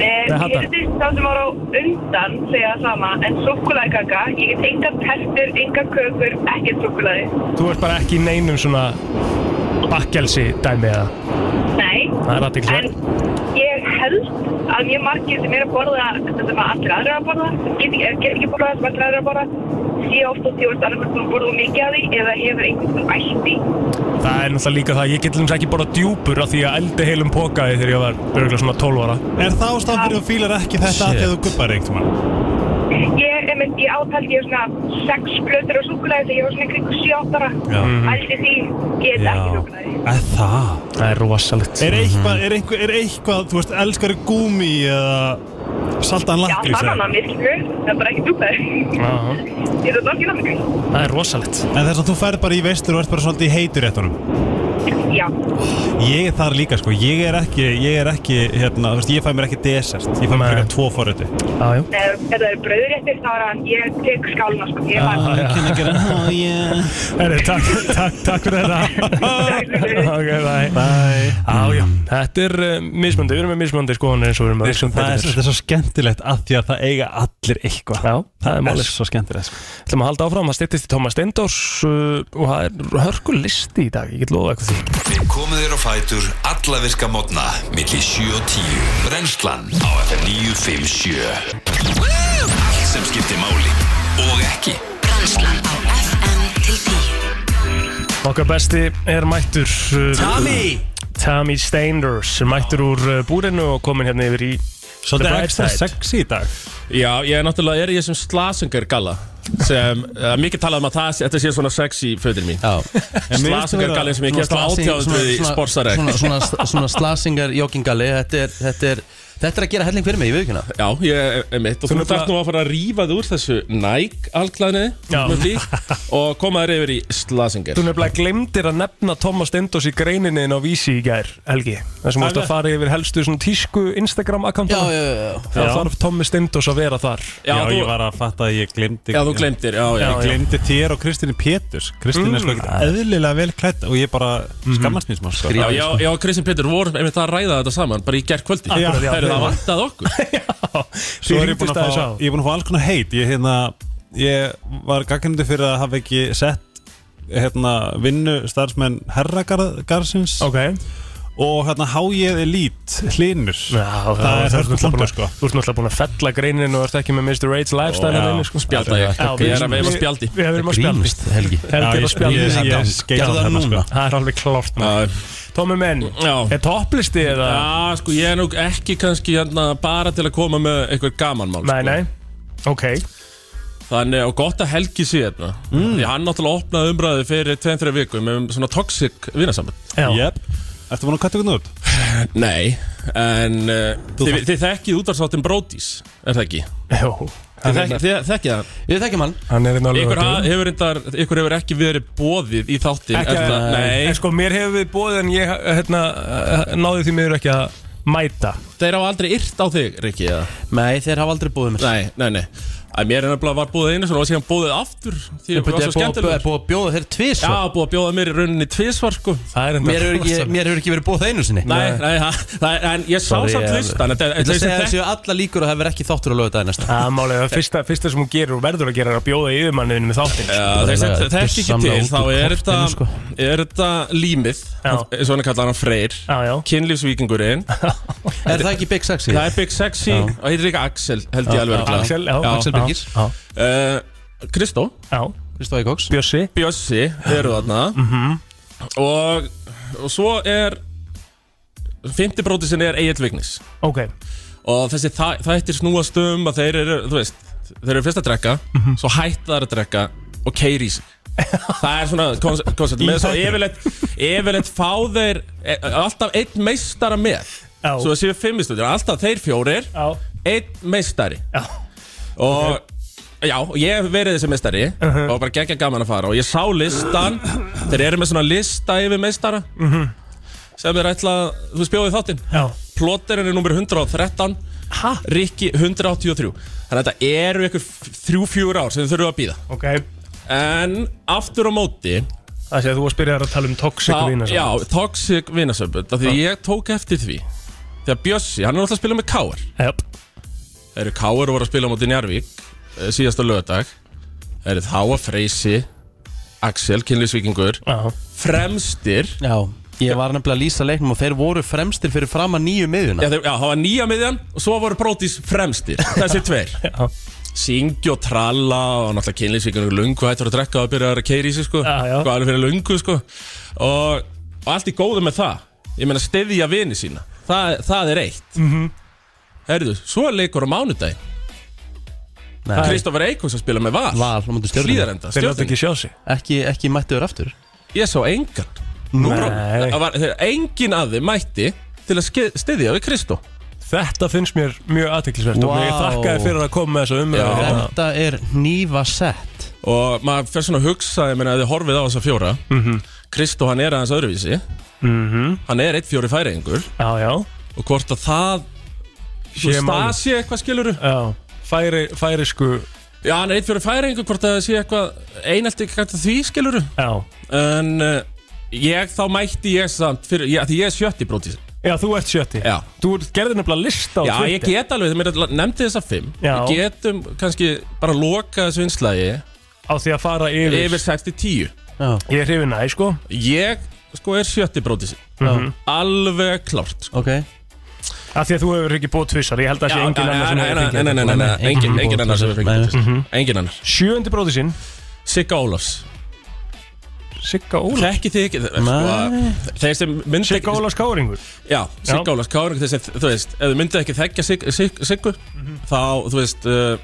N: Um,
C: Nei,
N: ég
C: Hadda.
N: er þess þá sem var á undan segja það sama, en súkulækaka, ég get enga tertur, enga kökur, ekkert súkulæði.
C: Þú ert bara ekki í neinum svona bakkelsi dæmi eða
N: Nei,
C: Það er aðtiklisvert
N: ég held að mjög margir sem er að borða þetta sem að allir aðra að borða, get, ekki- get ekki borða það sem allir aðra að borða, sé ofta því að annars maður borða of mikið af því eða hefur einhvern sem ætti.
C: Það er náttúrulega líka það, ég get lins ekki bara djúpur af því að eldi heilum pokaði þegar ég var örgulega svona 12 ára
D: Er það ástæðan fyrir að þú fílar ekki þetta af því að þú gubbar eitt
N: Ég, emitt, ég ápældi ég svona sex blöður og súkulæði þegar ég var svona kringu 7-8 ára.
D: Já.
N: Allt því get ekki
D: Er það?
C: Það er rosalegt Mhm.
D: Er eitthvað, er eitthvað, er eitthvað þú veist, elskari gúmi eða saltan
N: Já,
D: lakrís eða
N: banana
D: eitthvað?
N: myrkur, það er bara ekki dúpað. Ég er það ekki náttúrulega.
C: Það er rosalegt
D: En þess að þú ferð bara í vestur og ert bara svolítið í heitur réttunum
N: Já,
D: Ég er þar líka sko, ég er ekki, ég er ekki, hérna, þú veist, ég fæ mér ekki desert Ég fæ mér ekki tvo forröti
C: Já, já
N: ef ef það eru brauðréttir þá er hann, ég tek skáluna sko, ég var
C: Ah, já.
D: Oh, yeah.
C: Herri, takk, takk, takk fyrir þetta Ok, bye Mm. Bye Já, já, þetta er uh, mismöndi, við erum með mismöndi skoðanir eins og við erum með öllum
D: Það er,
C: þættir.
D: þetta er svo skemmtilegt af því að það eiga allir eitthvað
C: Já, það er málið.
D: svo skemmtilegt sko.
C: Við ætlum að halda áfram, það styrtist í Tómas Steindors uh, og það er hörku listi í dag, ég get lofa eitthvað því
A: Við komum þér á fætur alla virka mótna millir 7 og 10 Brennslan á FM 957 Allt sem skiptir máli og ekki
C: Okkar besti er mættur uh,
A: Tommy!
C: Tommy Steinders er mættur úr uh, búrinu og komin hérna yfir í The Bright Side.
D: sexy í dag
F: Já, ég er náttúrulega er í þessum slasungar galla sem, uh, mikið talað um að það, þetta sé svona sexy fötir mín Slasungar gallin sem ég kemst á átjáðundrið í sportsareg
B: Svona, svona, svona, svona slasingar joggingalli þetta er, þetta, er, þetta er að gera helling fyrir mig, ég veit ekki hérna.
F: Já, ég er mitt og þú
B: Þú náttúrulega-
F: þarft nú að fara að rífa þig úr þessu Nike
C: Já.
F: alklaðni og koma þér yfir í slasingar
C: Þú nefnilega glemdir að nefna Thomas Steindors í greininni inn á Vísi í gær, Helgi þar sem
F: Það
C: þú ert
F: er-
C: að fara yfir helstu svona tísku Instagram akkantana
B: Já, já, já, já.
C: Það
D: Já.
C: þarf Tommy Steindors að vera þar
D: Já, ég var að fatta að ég glemdi
C: Já, þú gleymdir, já, Ah. já.
D: Ég glemdi þér og Kristínu Péturs Kristín er sko
F: Mm.
D: ekkert eðlilega vel klætt og ég bara
C: Mhm.
D: skammast mér smá sko.
F: Já, já, já, Kristján Pétur vorum einmitt að ræða þetta saman bara í gerð kvöldi
D: Akkurat, já.
F: Það vantaði okkur
D: Svo er ég búin að
F: hringdist aðeins
D: fá,
F: á.
D: ég er búin að fá alls konar heit Ég, hérna, ég var gaggrindi fyrir að hafa ekki sett hérna, vinnu starfsmenn herragarðsins
C: okay.
D: og hérna háið elít hlinur
C: Já,
D: það er hörku punktur sko
C: Þú ert náttúrulega búin að fella greinin og ert ekki með Mr. Rage lifestyle
D: Já.
C: hérna inni, sko.
F: Spjalda ég.
C: Já,
F: Ég er að veifa spjaldi.
C: Við við erum að spjaldi
F: Grínist, Helgi. Já,
C: Helgi er
F: ég-
C: að spjaldi
F: ég- ég- ég-
C: Gerðu
F: gerðu það
C: það
F: núna.
C: sko. Það er alveg klart Tómi menn, er topplisti eða?
F: Já, sko, ég er nú ekki kannski hérna bara til að koma með eitthvað gaman mál sko.
C: Nei, nei, ok
F: Þannig og gott að Helgi sé þetta mm. Því hann náttúrulega opnaði umræðu fyrir 2-3 vikum um svona toxic vinasamband
D: Jep Ertu búin að kvæta ykkur út?
F: Nei, en uh, þið, þið þekkið útvarsáttinn Brodís, er það ekki?
C: Jó
F: Þið
D: hérna.
F: þekki- þið þekkið hann?
B: Við þekkjum hann
C: Hann er einn
F: Ykkur, ha- hefur, reyndar, ykkur hefur ekki verið bóðið í þáttin
C: Ekki
F: eftir það?
C: að-
F: Nei
C: En sko, mér hefur við bóðið en ég hérna, eh, náði því miður ekki að mæta
F: Þeir hafa aldrei yrt á þig, Rikki, eða?
B: Nei, þeir hafa aldrei búið mér
F: Nei, nei, nei Að mér er nefnilega var búið einu svona og síðan búið aftur Því
B: Ég
F: ég var
B: byrja,
F: svo
B: er búið að-
F: skemmtilegur
B: er búið að bjóða þér tvís
F: Já, búið að bjóða mér í rauninni tvisvar sko
B: Mér hefur ekki, mér hefur ekki verið búið það einu sinni
F: Nei, nei, ha, það er, en ég sá
B: Sorry,
F: samt
B: ég-
F: listan
B: Ég ætla að segja að séu alla líkur að það verður ekki þáttur að lögða það næsta
C: Það er málega, fyrsta, fyrsta sem hún gerir og verður að gera er að bjóða yfirmanniðinu með þáttin
F: Já, þeir sem þekki ekki til, þá er þetta, er þetta límið, eins og hann kallar hann Freyr, kynlífsvíkingurinn.
B: Er það ekki Big Sexy?
F: Það er Big Sexy
B: Já.
F: og heitir líka Axel, held ég
B: Já,
F: alveg.
B: já,
F: örugglega.
B: Axel, já, Axel Birgir.
F: Eh, Kristó.
B: Kristó Eikóks.
C: Bjössi.
F: Bjössi, eru þarna.
C: Mhm.
F: og, og svo er, fymti brótisinn er Egil Vignis.
C: Ok,
F: og þessi þa þættir snúast um að þeir eru, þú veist, þeir eru fyrst að drekka
C: Mhm.
F: svo hætta þær að drekka og keiri í sig það er svona koncept koncept með svo
C: þættinum.
F: yfirleitt, yfirleitt fá þeir e alltaf einn meistara með
C: Já.
F: svo það séu fimmistundir, alltaf þeir fjórir
C: Já.
F: einn meistari Já. og Já, og ég hef verið þessi meistari
C: Uh-huh.
F: og bara geggja gaman að fara og ég sá listan, þeir eru með svona lista yfir meistara
C: Mhm.
F: sem er ætla, þú spjóði þáttinn
C: Já.
F: Plotterinn er nummer 113 ha? Rikki 183 Þannig að þetta eru ykkur þrjú, fjúr ár sem þau þurfum að býða
C: ok
F: En aftur á móti
C: Það sé að þú varst byrjar að tala um toxic
F: þá-
C: vinasamband.
F: Já, toxic vinasömbund Því
C: Já.
F: ég tók eftir því Þegar Bjössi, hann er alltaf að spila með Káar
C: Yep.
F: Það eru Káar og voru að spila á móti Njarvík eh, Síðasta lögadag Það eru þá að Freysi Axel, kynlýsvíkingur Fremstir
B: Já, ég var nefnilega að lýsa leiknum og þeir voru fremstir fyrir fram að nýju miðjuna
F: Já, þeir, já, það var nýja miðjan og svo voru brótis fremstir, þessi tveir Syngi og tralla og náttúrulega kynlýsvíkunum lungu hættur að drekka og byrja að keiri í sig sko
C: Já, já.
F: Hvað er fyrir lungu sko og, og allt í góðu með það Ég meina stefja vini sína Það, það er eitt
C: Mhm.
F: Herðu, svo er leikur á mánudaginn Kristoffer Eikons að spila með Val
B: Val, hún mútið stjórnum
F: Hlíðarenda, stjórnum
C: sjá sig
B: Ekki, ekki mættu þér aftur
F: Ég sá engan Nú, það var, þeir, Engin að þið mætti til að stefja við Kristó
C: Þetta finnst mér mjög aðteklisvert og ég
F: Vá.
C: þakkaði fyrir að koma með þessu
F: Já.
C: umræðu hérna.
B: Þetta er nýva sett
F: og maður fer svona að hugsa ég meina að þið horfið á þessa fjóra
C: Mhm.
F: Kristó hann er aðeins öðruvísi
C: Mhm.
F: hann er eitt fjóri færiðingur
C: Já, já
F: og hvort að það
C: Sé
F: Þú veist, það
C: málið.
F: sé eitthvað skiluru
C: Já, færi, færi sko
F: já hann er eitt fjóri færiðingur hvort að það sé eitthvað einelt ekki gæta því skiluru
C: já
F: en uh, ég þá mætti ég samt fyrir, ég, því ég er sjötti brótið
C: Já, þú ert sjötti
F: Já.
C: Þú gerði nefnilega lista á
F: já ég
C: Twitter.
F: get alveg, mér nefndi þessa fimm
C: Já.
F: við getum kannski bara loka þessu einslægi
C: Á því að fara yfir
F: yfir 6-10
B: Já.
C: Ég er hrifin aðeins sko
F: ég sko er sjötti brótið
C: Mhm.
F: alveg klárt sko.
B: Ok
C: Af því að þú hefur ekki búið tvissar Ég held að það sé engin annar sem hefur
F: Nei, nei, nei, nei, nei, engin, engin annar sem hefur fengið
C: Mhm.
F: tvisvar. Engin annar
C: Sjöndi bróði sinn
F: Sigga Ólafs
C: Sigga Ólafs
F: Þekki þið ekki sko,
C: Nei.
F: Þeir sem myndi
C: Sigga Ólafs Káringur
F: Já, Sigga
C: Já.
F: Ólafs Káring Þeir sem, þú veist, ef þið myndið ekki þekka Sig- Sig- Siggu
C: Mhm.
F: Þá, þú veist, uh,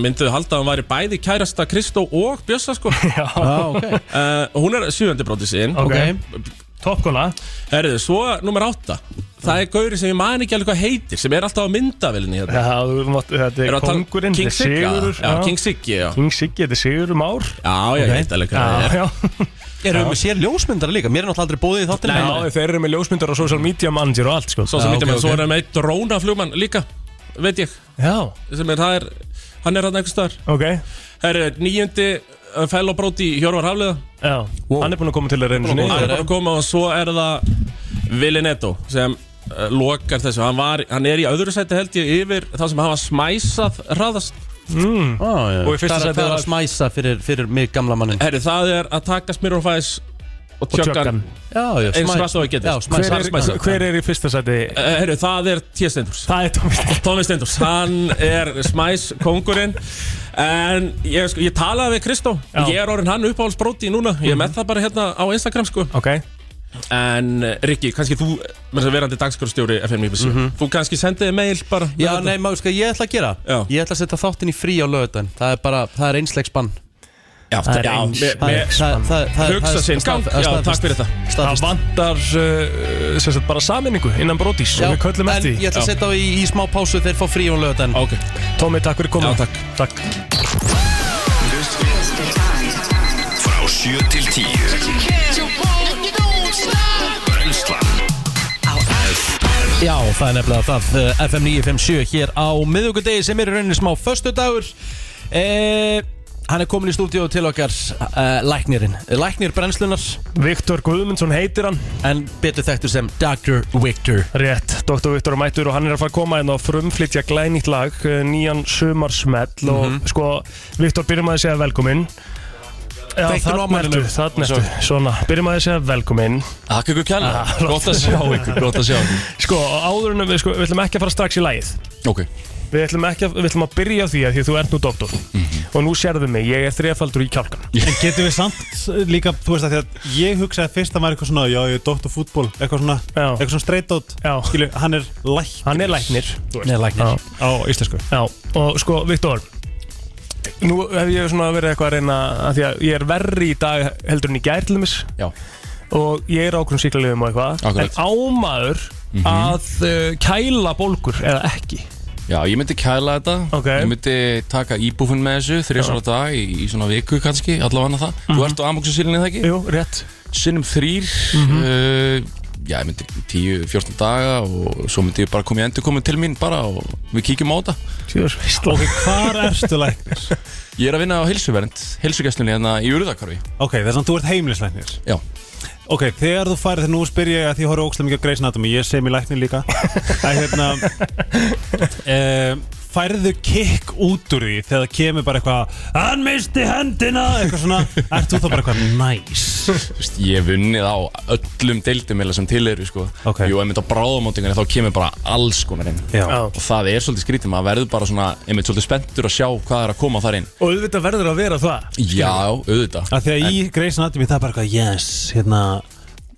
F: myndið þið halda að hún væri bæði kærasta Kristó og Bjössa, sko Já,
B: ok.
F: Hún er sjöndi bróti sín
C: Ok. Toppkona
F: Herðu, svo nummer átta Það er gauri sem ég man ekki alveg hvað heitir sem er alltaf á myndavillinni hérna.
C: Já, þú mátt, þetta
F: Erum við
C: er
F: að tala um
C: kongurinn
F: King
C: þetta er
F: Sigga?
C: Sigurður,
F: Já, King Siggi, já.
C: King Siggi, þetta er Sigur Már
F: Já, já, ég veit alveg hvað það er.
C: Já,
B: Erum við með sér ljósmyndara líka? Mér er náttúrulega aldrei bóðið í þáttina
C: já, já þeir eru með ljósmyndar og social media manager og allt sko
F: Svo sem okay, okay. er hann með eitt drónaflugmann líka Veit ég
C: Já
F: Sem er, það er, Hann er hann einhvers staðar
C: Ok
F: Það er nýjöndi uh, fellobróti Hjörvar Hafliða
C: Já, hann er búinn að koma til að reyna
F: Hann
C: sinni
F: er bara að koma og svo er það Vili Netto sem uh, lokar þessu hann, var, hann er í öðru sæti held ég yfir þá sem hafa smæsað hraðast
C: mm.
B: ah,
F: Og í fyrsta
B: Það er-
F: sæti
B: það er
F: var-
B: að smæsa fyrir, fyrir mig gamla mannin
F: Herri það er að taka Smirrofæs og tjöggan
B: Já, já,
F: Eins
B: smæ-
F: hratt og það getur
B: Já, smæsa
C: Hver er, hver er í fyrsta sæti?
F: Herru, Eh, það er T. Steindors
C: Það er Tómi Steindors
F: Tómi Steindors, hann er smæs kongurinn En ég, sko, ég talaði við Kristó
C: Já. Mhm.
F: Ég er orðin hann uppáhaldsbróti núna Ég er með það bara hérna á Instagram sko
C: Ok
F: En eh, Rikki, kannski þú
O: með þess að verandi dagskorstjóri FM IBC
C: Mhm.
O: Þú kannski sendiði mail bara
B: Já, nei, maður, sko, ég ætla að gera Ég ætla að setja þáttinn í frí á lögutan Það er bara, það er einslegs bann
O: Já,
B: það er
O: já,
B: eins-
O: me-
B: það er-
O: me-
B: það- það- það-
O: Hugsa
B: það er
O: sinn gang.
B: staðfest- það er
O: Já,
B: staðfest.
O: takk fyrir þetta.
B: Staðfest.
C: Það vantar uh, sem sagt bara saminningu innan brotis
B: Já,
C: og við köllum
B: en
C: eftir
B: ég ætla að setja á í, í smá pásu þegar fá frí á lögutan
O: Ok
C: Tómi, takk fyrir komuna Takk, takk.
P: Frá 7 til 10 Brennslan Á
B: Já, það er nefnilega það eh, FM 957 hér á miðugudegi sem er í rauninni smá föstudagur eh, Hann er komin í stúdíu til okkar eh, læknirinn Eh, Læknir brennslunar
C: Viktor Guðmundsson heitir hann
B: En betur þekktur sem Dr. Victor
C: Rétt, Dr. Viktor er mættur og hann er að fara að koma inn og frumflytja glænýtt lag, eh, nýjan sumarsmell
O: Mhm.
C: og sko, Viktor byrjum að segja velkomin Já,
O: Kveiktu nú á
C: þarna ertu,
O: manninum.
C: þarna ertu, svona, byrjum að segja velkomin
O: Takk ykkur kjærlega.
C: Ah,
O: Gott að sjá ykkur, gott að sjá ykkur.
C: Sko, áður en við, sko, við ætlum ekki að fara strax í lagið
O: Ok
C: Við ætlum, ekki að, við ætlum að byrja á því að því að þú ert nú doktor
O: Mhm.
C: Og nú sérðu mig, ég er þrefaldur í kjálkan
D: En getum við samt eh, líka, þú veist að því að ég hugsaði fyrst að maður eitthvað svona, já ég er doktor fútból, eitthvað svona, já. eitthvað svona straight out, já. skilu, hann er læknir.
C: Hann er læknir þú veist.
D: Hann er
C: Já.
D: læknir. Á, á íslensku.
C: Já, og sko, Viktor Nú hef ég svona verið eitthvað að reyna að Því að ég er verri í dag heldur en í gær til þeimis
O: Já
C: Og ég er ákveðum síklarliðum og eitthvað
O: Akkurat.
C: En ámaður að uh, kæla bólgur eða ekki
O: Já, ég myndi kæla þetta Ég myndi taka íbúfinn með þessu þrjusar á dag í, í svona viku kannski allavega annað það Þú ert á amoksinsilinni það ekki?
C: Mhm. Jú, rétt Mhm.
O: Sinnum þrýr uh, Já, ég myndi 10-14 daga og svo myndi ég bara koma í endurkomin til mín bara og við kíkjum á þetta
C: Sjóður,
D: Ok, hvar ertu læknir?
O: Ég er að vinna á heilsuvernd, heilsugestunni hérna í Uruðakarfi
D: Ok, þess að þú ert heimilislæknir.
O: Já.
D: Ok, þegar þú færið, þegar nú spyr ég að því ég horfði ógstlega mikið á Grey's Anatomy, ég segi mér læknir líka, að hérna, um, færðu kikk út úr því þegar það kemur bara eitthvað, hann misti hendina, eitthvað svona, ert þú þá bara eitthvað, næs.
O: Þú veist, ég hef unnið á öllum deildum eða sem til eru sko. okay. Jú, einmitt á bráðamótingunni þá kemur bara alls konar inn
D: Já.
O: og það er svolítið skrítið maður verður bara svona, einmitt svolítið spenntur að sjá hvað er að koma þar inn
C: Og auðvitað verður að vera það
O: Já, auðvitað
D: að því að í Grey's Anatomy það er bara eitthvað yes, hérna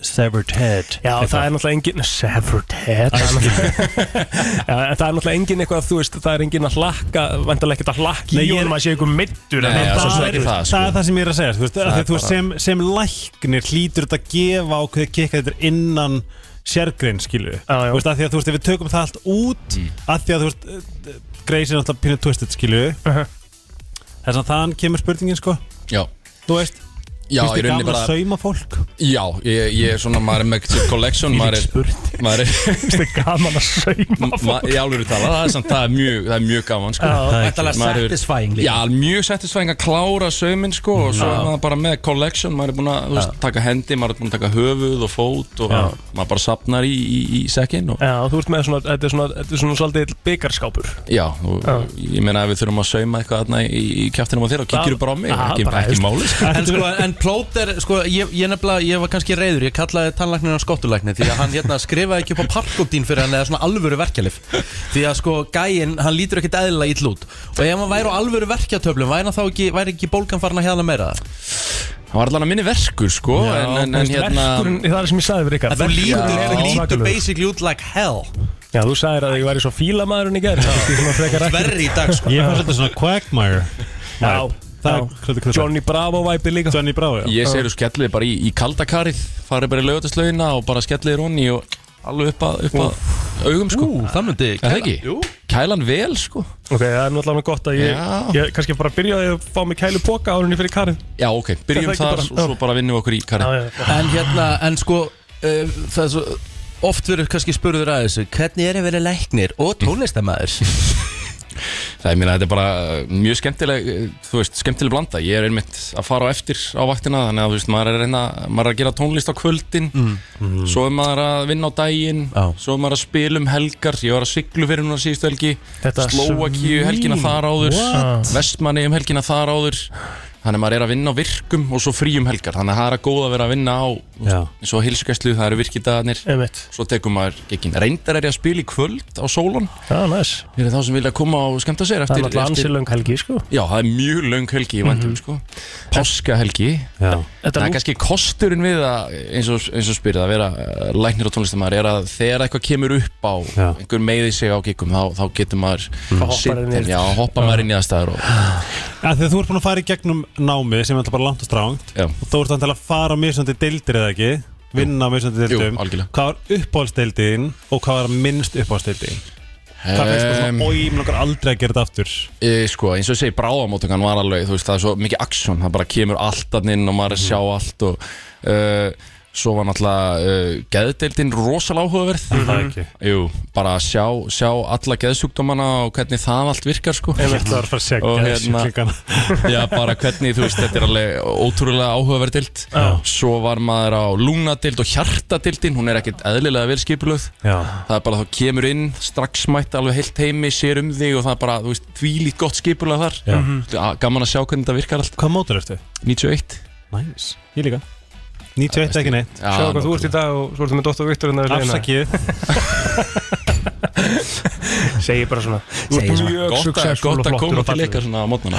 D: severed head
C: Já,
D: Eitthvað.
C: það er náttúrulega engin Severed head Það er náttúrulega- Já, en það er náttúrulega engin eitthvað Þú veist, það er engin að hlakka Vandalega ekkert að hlakka
D: Nei,
C: í
D: ég-
C: honum að sé einhver middur
D: En það, sko. er, það, er það sem ég er að segja þú veist,
C: sko. Það
D: að
C: er
D: því að þú
C: bara-
D: sem, sem læknir hlýtur þetta að gefa ákveðið kikka þetta innan sérgrein skilu þú veist, að því að þú veist, ef við tökum það allt út að því að þú veist, eh, Grey's er náttúrulega pínu twisted skilu
C: Uh-huh.
D: þess að þann kemur spurningin sko
O: Já
D: þú veist,
O: Já,
D: finnst
O: í
D: þið
O: rauninni
D: gaman
O: bara-
D: að sauma fólk
O: Já, ég, ég er svona, maður er með til collection Maður er, maður er
C: Það er gaman að sauma
O: ma- Í alvöru tala, það er samt, það er mjög, það er mjög gaman sko.
B: Já, það er ekki-
O: Maður hefur-
B: satisfying líka.
O: Já, mjög satisfying að klára saumin sko, og svo
B: Já.
O: er maður bara með collection maður er búin að þú veist, taka hendi, maður er búin að taka höfuð og fót og
C: Já.
O: maður bara sapnar í, í, í sekkin og,
C: Já, þú ert með svona, þetta er svona, þetta er svona svolítið byggarskápur
O: Já, og
C: Já.
O: ég meina ef við þurfum að sauma eitthvað þarna í, í kjæftinum á þér og kikkiru bara á mig,
B: Aha,
O: ekki,
B: bara,
O: ekki
B: veist.
O: máli sko.
B: En, sko, en plót er, sko, ég, ég nefnilega, ég var kannski reyður Ég kallaði tannlæknirna skottulækni Því að hann hérna, skrifaði ekki upp á parkotín fyrir hann Eða svona alvöru verkjalif Því að sko, gæinn, hann lítur ekkit eðlilega ill út Og ef hann væri á alvöru verkjatöflum Væri hann þá ekki, væri ekki bólgan farin að hérna meira
O: Það var allan að minni verkur sko
C: Já,
O: en, en,
C: þú
O: en
C: veist,
O: hérna
C: Verkurinn, það er sem ég sagði fyrir ykkar
B: En þú lítur,
C: verkurinn er
B: þú lítur
C: svakalegur.
B: basically út like hell
C: Já, þú sagðir að ég væri svo fílamaðurinn í gerð
B: Verri í dag, sko.
D: ég fannst þetta svona quagmire
C: Já,
D: það er
C: já.
D: krötu krötu
C: Johnny Bravo væpi líka
D: Johnny Bravo,
O: Ég segir þú skellir bara í, í kaldakarið farið bara í laugataslaugina og bara skellir honni og alveg upp að, upp að augum sko Ú,
B: það myndi
O: kæla ekki? Kælan vel sko
C: Ok, það er náttúrulega gott að ég,
O: Já.
C: ég kannski bara byrjaði að fá mig kælu póka árunni fyrir karið
O: Já, ok, byrjum
C: Er það ekki
O: þar
C: bara-
O: og svo bara vinnum við okkur í karið
B: En hérna, en sko uh, Það er svo Oft verður kannski spurður að þessu Hvernig er að vera læknir og tónlistamæður?
O: Það er mér að þetta er bara uh, mjög skemmtileg uh, þú veist, skemmtileg blanda, ég er einmitt að fara á eftir á vaktina, þannig að þú veist, maður er að reyna maður er að gera tónlist á kvöldin
C: Mm,
O: svo er maður að vinna á daginn svo er maður að spila um helgar, ég var að siglu fyrir núna síðustu helgi,
C: Þetta
O: Slóakíu helgina
C: svín,
O: þar áður
C: what?
O: Vestmanni um helgina þar áður Þannig að maður er að vinna á virkum og svo fríum helgar Þannig að það er að góða að vera að vinna á eins og hilsugæslu, það eru virkidagarnir
C: Einmitt.
O: Svo tekum maður gegin Reyndar er ég að spila í kvöld á sólan
C: Já, næs
O: Fyrir þá sem vilja koma og skemmta sér
C: Ah, Það er
O: eftir,
C: náttúrulega ansi
O: eftir
C: löng helgi, sko
O: Já, það er mjög löng helgi í vandum sko. Páskahelgi
C: Þetta
O: Það er
C: lú-
O: kannski kosturinn við að eins og, eins og spyrir að vera eh, læknir og tónlistamæður er að þegar eitthvað kemur upp á einhver meiði sig á giggum þá, þá getur maður
D: Hoppar
O: sinnt
D: inn í
O: þeim,
D: eftir.
O: Já, hoppa maður inn í aðstæður og
D: En þegar þú ert búin að fara í gegnum námið sem er alltaf bara langt og strángt
O: Já.
D: og þá ert þannig að fara á misjöndi deildir eða ekki vinna á misjöndi deildum
O: algjörlega.
D: Hvað var uppáhaldsdeildin og hvað var minnst uppáhaldsdeildin? Hvað fyrst bara
O: Em.
D: svona ójum langar aldrei að gera þetta aftur?
O: E, sko, eins og ég segi, bráðamótungan var alveg, þú veist, það er svo mikið aksjón, það bara kemur allt að inn og maður er að sjá
D: Mhm.
O: allt og uh, svo var náttúrulega uh, geðdeildin rosalega áhugaverð. Mhm.
D: það ekki.
O: Jú, bara að sjá, sjá alla geðsjúkdómana og hvernig það allt virkar, sko.
D: Ef þetta var að fara að segja
O: Og hérna-
D: geðsjúklingana.
O: Já, bara hvernig, þú veist, þetta er alveg ótrúlega áhugaverð dild. Svo var maður á lúnadild og hjartadildin, hún er ekkert eðlilega vel skipulöð.
D: Já.
O: Það er bara þá kemur inn, strax mætt alveg heilt heimi, sér um þig og það er bara, þú veist, tvílít gott skipulega þar.
D: Já.
O: Mhm. Að- Gaman að sjá hvernig þetta virkar allt.
D: Hvað mótur ertu?
O: 91.
D: Næs. Nice. Ég líka. 91 ekki neitt.
O: Já,
C: Sjá hvað þú ert í dag og svo ertu með Dóttar Viktor hérna við hliðina. Segir bara svona Þú ert mjög
O: Gott að-
C: successful
O: Gott
C: og
O: að
C: flottur
O: koma
C: og
O: til
C: fallegur.
O: leikar svona á mótnana.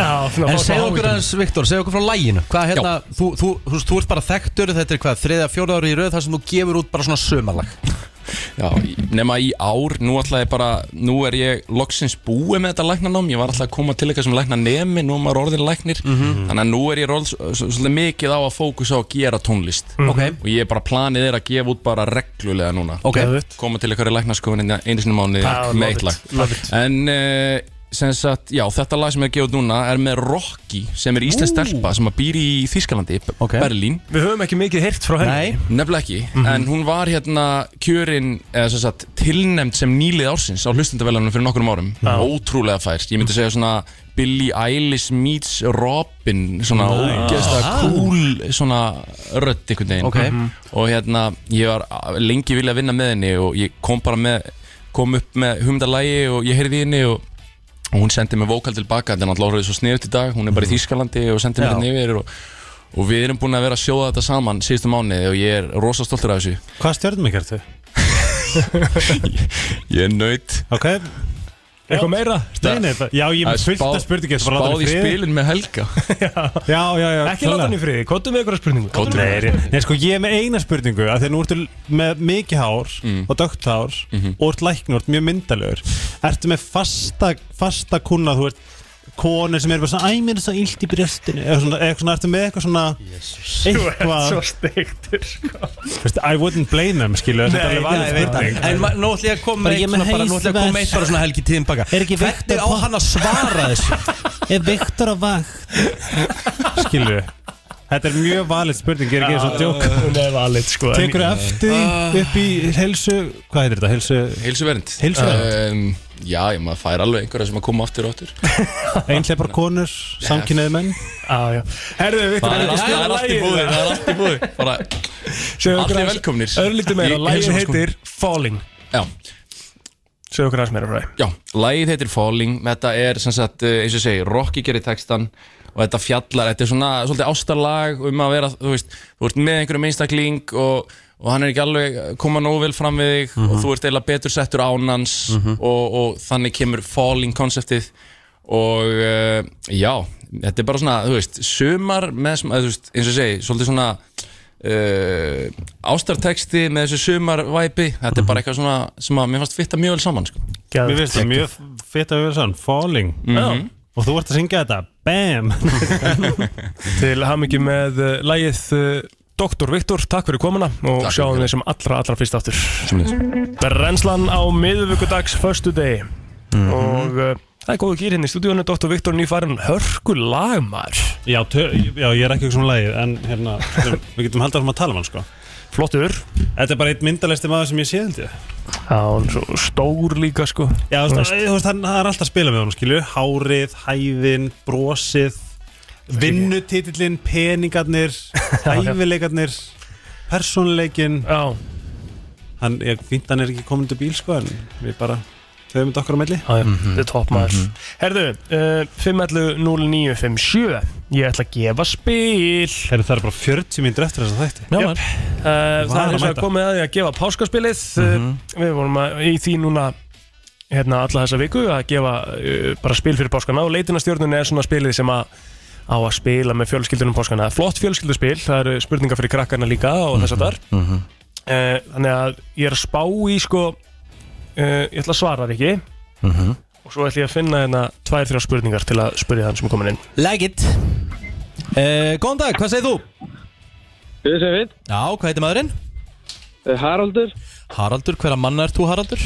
B: En segð okkur aðeins, Viktor, segð okkur frá læginu Hvað hérna, þú, þú, þú, veist, þú ert bara þekktur Þetta er hvað, þriða, fjóra ári í röð þar sem þú gefur út bara svona sömalag
O: Já, nema í ár, nú ætla ég bara, nú er ég loksins búið með þetta læknanám, ég var alltaf að koma til eitthvað sem lækna nemi, nú er maður orðin læknir,
D: Mhm.
O: þannig að nú er ég orð, svolítið mikið á að fókusa á að gera tónlist
B: Ok.
O: og ég er bara, planið er að gefa út bara reglulega núna,
B: Ok. Geðveikt.
O: koma til eitthvað í læknaskofunni einu sinni mánuði
B: Ah, love
O: með eitt
B: it,
O: lag,
B: love it.
O: en uh, sem sagt, já, þetta lag sem ég er að gefa út núna er með Rocky sem er íslensk
C: Ú.
O: stelpa sem að býr í Þýskalandi, okay. Berlín
C: Við höfum ekki mikið heyrt frá henni Mhm.
O: Nefnilega ekki, en hún var hérna kjörin, eða sem sagt, tilnæmt sem nýlið ársins á hlustendaveljanum fyrir nokkrum árum Ótrúlega fært, ég myndi segja svona Billie Eilish meets Robin Svona
C: Nice.
O: ógeðslega
C: Ah.
O: cool, svona rödd einhvern veginn
B: Ok. Mhm.
O: Og hérna, ég var lengi vilja vinna með henni og ég kom bara með, kom upp með humdalægi og ég heyrði í henni og og hún sendi mig vókal tilbaka, þetta er náttúrulega orðið svo sniðut í dag, hún er
D: Mhm.
O: bara í Þýskalandi og sendi mig
B: Já.
O: hérna yfir og, og við erum búin að vera að sjóða þetta saman síðustu mánu og ég er rosa stoltur af þessu.
D: Hvað stjörnum ekki ertu?
O: Ég er nöyt.
D: Ok.
C: Eitthvað meira?
D: Nei, nei, það- já, ég er með
O: Að
D: fullt
O: spá-
D: af spurningum, þetta var
O: Spáð í
D: aldrei friði.
O: spilin með Helga.
D: Já, já, já.
C: Ekki láta hann í friði, kóttu með ykkur spurningu
D: Kóttu með þér Nei, sko, ég er með eina spurningu að Þegar nú ertu með mikið hár og dögt hár og ert læknur, ert mjög myndalögur Ertu með fasta, fasta kuna þú ert konur sem eru bara svona Æ, mér er svo illt í brjóstinu eða svona, eða svona, ertu með eitthvað svona
C: Svo
D: eitthvað,
C: steiktur sko
D: veist, I wouldn't blame them, skilu
B: Nei, nei, ég veit það. En ma- nú ætla ég að koma með eitt svona bara- nú ætla ég að koma með eitt bara svona helgi tíðin baka Hvernig á hann að svara þessu?
D: Er Viktor á vakt? Skilu Þetta er mjög valið spurning, ég er ekki eins og djók
C: Hún er valið sko en-
D: Tekur eftir því upp í helsu Hvað heitir þetta? Helsu
O: Hilsuvernd.
D: Heilsuvernd.
O: Um, já, ég maður fær alveg einhverja sem að koma aftur og aftur.
D: Einhleipar konur, samkynneið menn
C: Ah. Já, já Herðu, Viktor,
O: Það er allt- það er allt í búði, það er allt í búði. Bara, allir velkomnir.
C: Örlítið meira,
O: Í- í
C: lægin
O: heilsuvernd, sko.
C: heitir Falling
O: Já.
C: Segðu okkur aðeins meira frá því
O: Já, lagið heitir Falling Þetta er sem sagt, eh, eins og ég segi, Rocky gerir textan og þetta fjallar, þetta er svona svolítið ástarlag um að vera, þú veist þú ert með einhverjum einstakling og, og hann er ekki alveg eh, koma nógu vel fram við þig og þú ert eiginlega betur settur ánans
B: Mhm.
O: og, og þannig kemur Falling konceptið og uh, já, þetta er bara svona, þú veist sumar með, sm- eða, þú veist, eins og ég segi svolítið svona uh, ástarteksti með þessu sumarvæpi þetta er bara eitthvað svona sem að mér fannst fitta mjög vel saman, sko
D: Mér finnst það mjög fett að vera sann Falling
O: Mhm.
D: Og þú ert að syngja þetta Bam
C: Til hamingi með uh, lægið uh, Doktor Viktor, takk fyrir komuna og sjáum þið sem allra, allra fyrst aftur Brennslan á miðvíkudags förstu degi
D: Mhm.
C: og uh, það er góðu gýr hérna í stúdíónu Doktor Viktor nýfarinn hörku lagmar
D: Já, tö, já, ég er ekki ekki svona lagið En hérna, við getum haldið áfram að tala um hann sko
C: Flottur
D: Þetta er bara eitt myndalæsti maður sem ég sé held ég
C: Já, hann er svo stór líka sko
D: Já, þú veist, þú veist, hann hann er alltaf að spila með honum, skilju Hárið, hæðin, brosið Vinnutitillin, peningarnir Hæfileikarnir Persónleikin
C: Já
D: Hann, ég fínt hann er ekki komin til bíl, sko En við bara, þau erum
B: Mhm.
D: þetta okkar á melli
C: Eh, Þetta er topp maður Herðu, uh, 511 0957 Ég ætla að gefa spil
D: Heru, Það er bara 40 mínútur eftir þess að þætti
C: Já, yep. uh, það
D: að
C: er þess að
D: mæta.
C: komið að því að gefa páskaspilið uh, Við vorum að, í því núna hérna, alla þessa viku að gefa uh, bara spil fyrir páskana og leitinastjórnun er svona spilið sem að á að spila með fjölskyldunum páskana Flott fjölskylduspil, það eru spurningar fyrir krakkana líka og þess að þar
B: Mhm.
C: uh, Þannig að ég er að spá í sko uh, Ég ætla að svara þér ekki
J: Mhm.
C: og svo ætla ég að finna hérna tvær, þrjá spurningar til að spurja þann sem er komin inn
J: Like it uh, Góðan dag, hvað segir þú?
M: Við segir við
J: Já, hvað heitir maðurinn?
M: Haraldur Eh,
J: Haraldur, hverja manna ert þú Haraldur?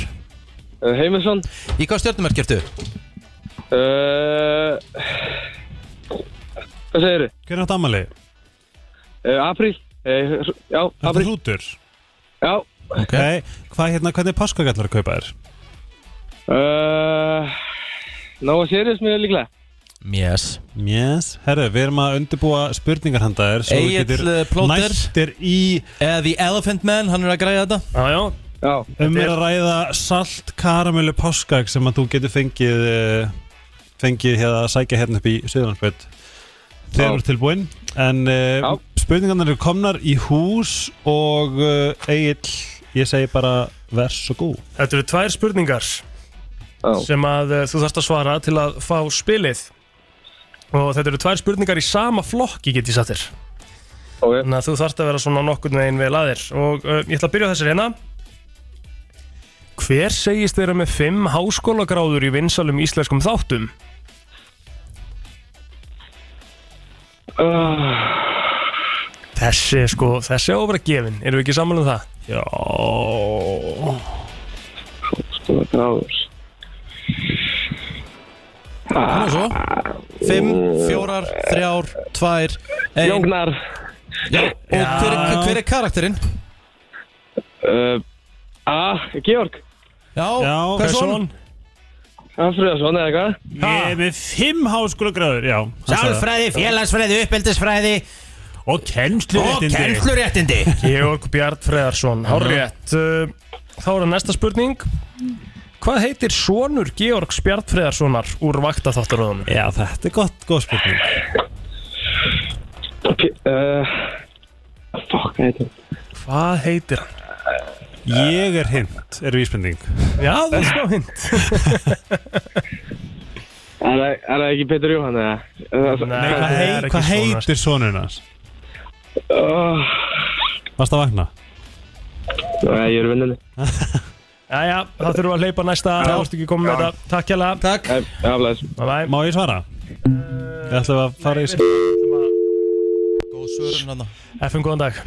M: Heimisson
J: Í hvað stjórnumerk ertu?
G: Eh,
M: Uh, Hvað segir þið?
D: Hvernig átt ammali?
G: eh,
M: Uh, apríl uh, Já,
D: Það er
M: apríl
D: hrútur
M: Já
D: okay. Hvað hérna, hvernig páskagall var að kaupa þér?
M: uh, Nóa Sirius mér líklega
J: Yes
D: Yes, herru, við erum að undirbúa spurningar handa þér Svo
B: Egill, eh, plóter.
D: næstir í
J: Eða The Elephant Man, hann er að græja þetta
C: Já, já
D: Um er að ræða salt karamellu páskag sem að þú getur fengið eh, fengið hérna að sækja hérna upp í Suðurlandsbjörn
M: Já.
D: Þeir eru tilbúin En uh, spurningarnar eru komnar í hús og uh, Egill, ég segi bara vers og góð
C: Þetta eru tvær spurningar sem að uh, þú þarfst að svara til að fá spilið og þetta eru tvær spurningar í sama flokki get ég satt þér
M: okay.
C: þannig að þú þarfst að vera svona nokkurn veginn vel að þér og uh, ég ætla að byrja á þessari hérna Hver segist þeirra með fimm háskólagráður í vinsalum íslenskum þáttum? Þessi sko, þessi á að vera gefin, erum við ekki saman um það? Já
M: Háskólagráður
B: Nú svo 5, 4, 3, 2, 1
M: Jógnar
B: Já, og hver er, hver er karakterinn?
M: uh, A, Georg
B: Já,
D: Já,
B: hver son?
M: Afriðarsson eða eitthvað
D: Ég er með fimm háskóla gráður, já
J: Sálfræði, félagsfræði, uppeldisfræði
D: Og kennsluréttindi.
J: Og kennsluréttindi
C: Georg Bjart Freðarsson, hárétt uh, Þá er það næsta spurning Hvað heitir sonur Georgs Bjart Freðarssonar úr vaktaþáttaröðunum?
D: Já, þetta er gott, góð spurning
M: uh, Fuck, hvað heitir
C: Hvað heitir hann?
D: Ég er hint, er vísbending
C: Já, það er smá hint
M: Er það- er það ekki Petur Jóhann eða?
D: Nei, hvað hei- hvað heitir sonun hans?
M: Oh,
D: Varst að vakna?
M: Nei, ég er vinnunni
C: Jæja, þá þurfum við að hleypa næsta
M: Já.
C: Það vorstu ekki komið með
M: Já.
C: þetta Takk hérlega
J: Takk
M: Já, bless
D: Má ég svara? Ég ætla að fara í
J: Góð svörun hann
C: FM, góðan dag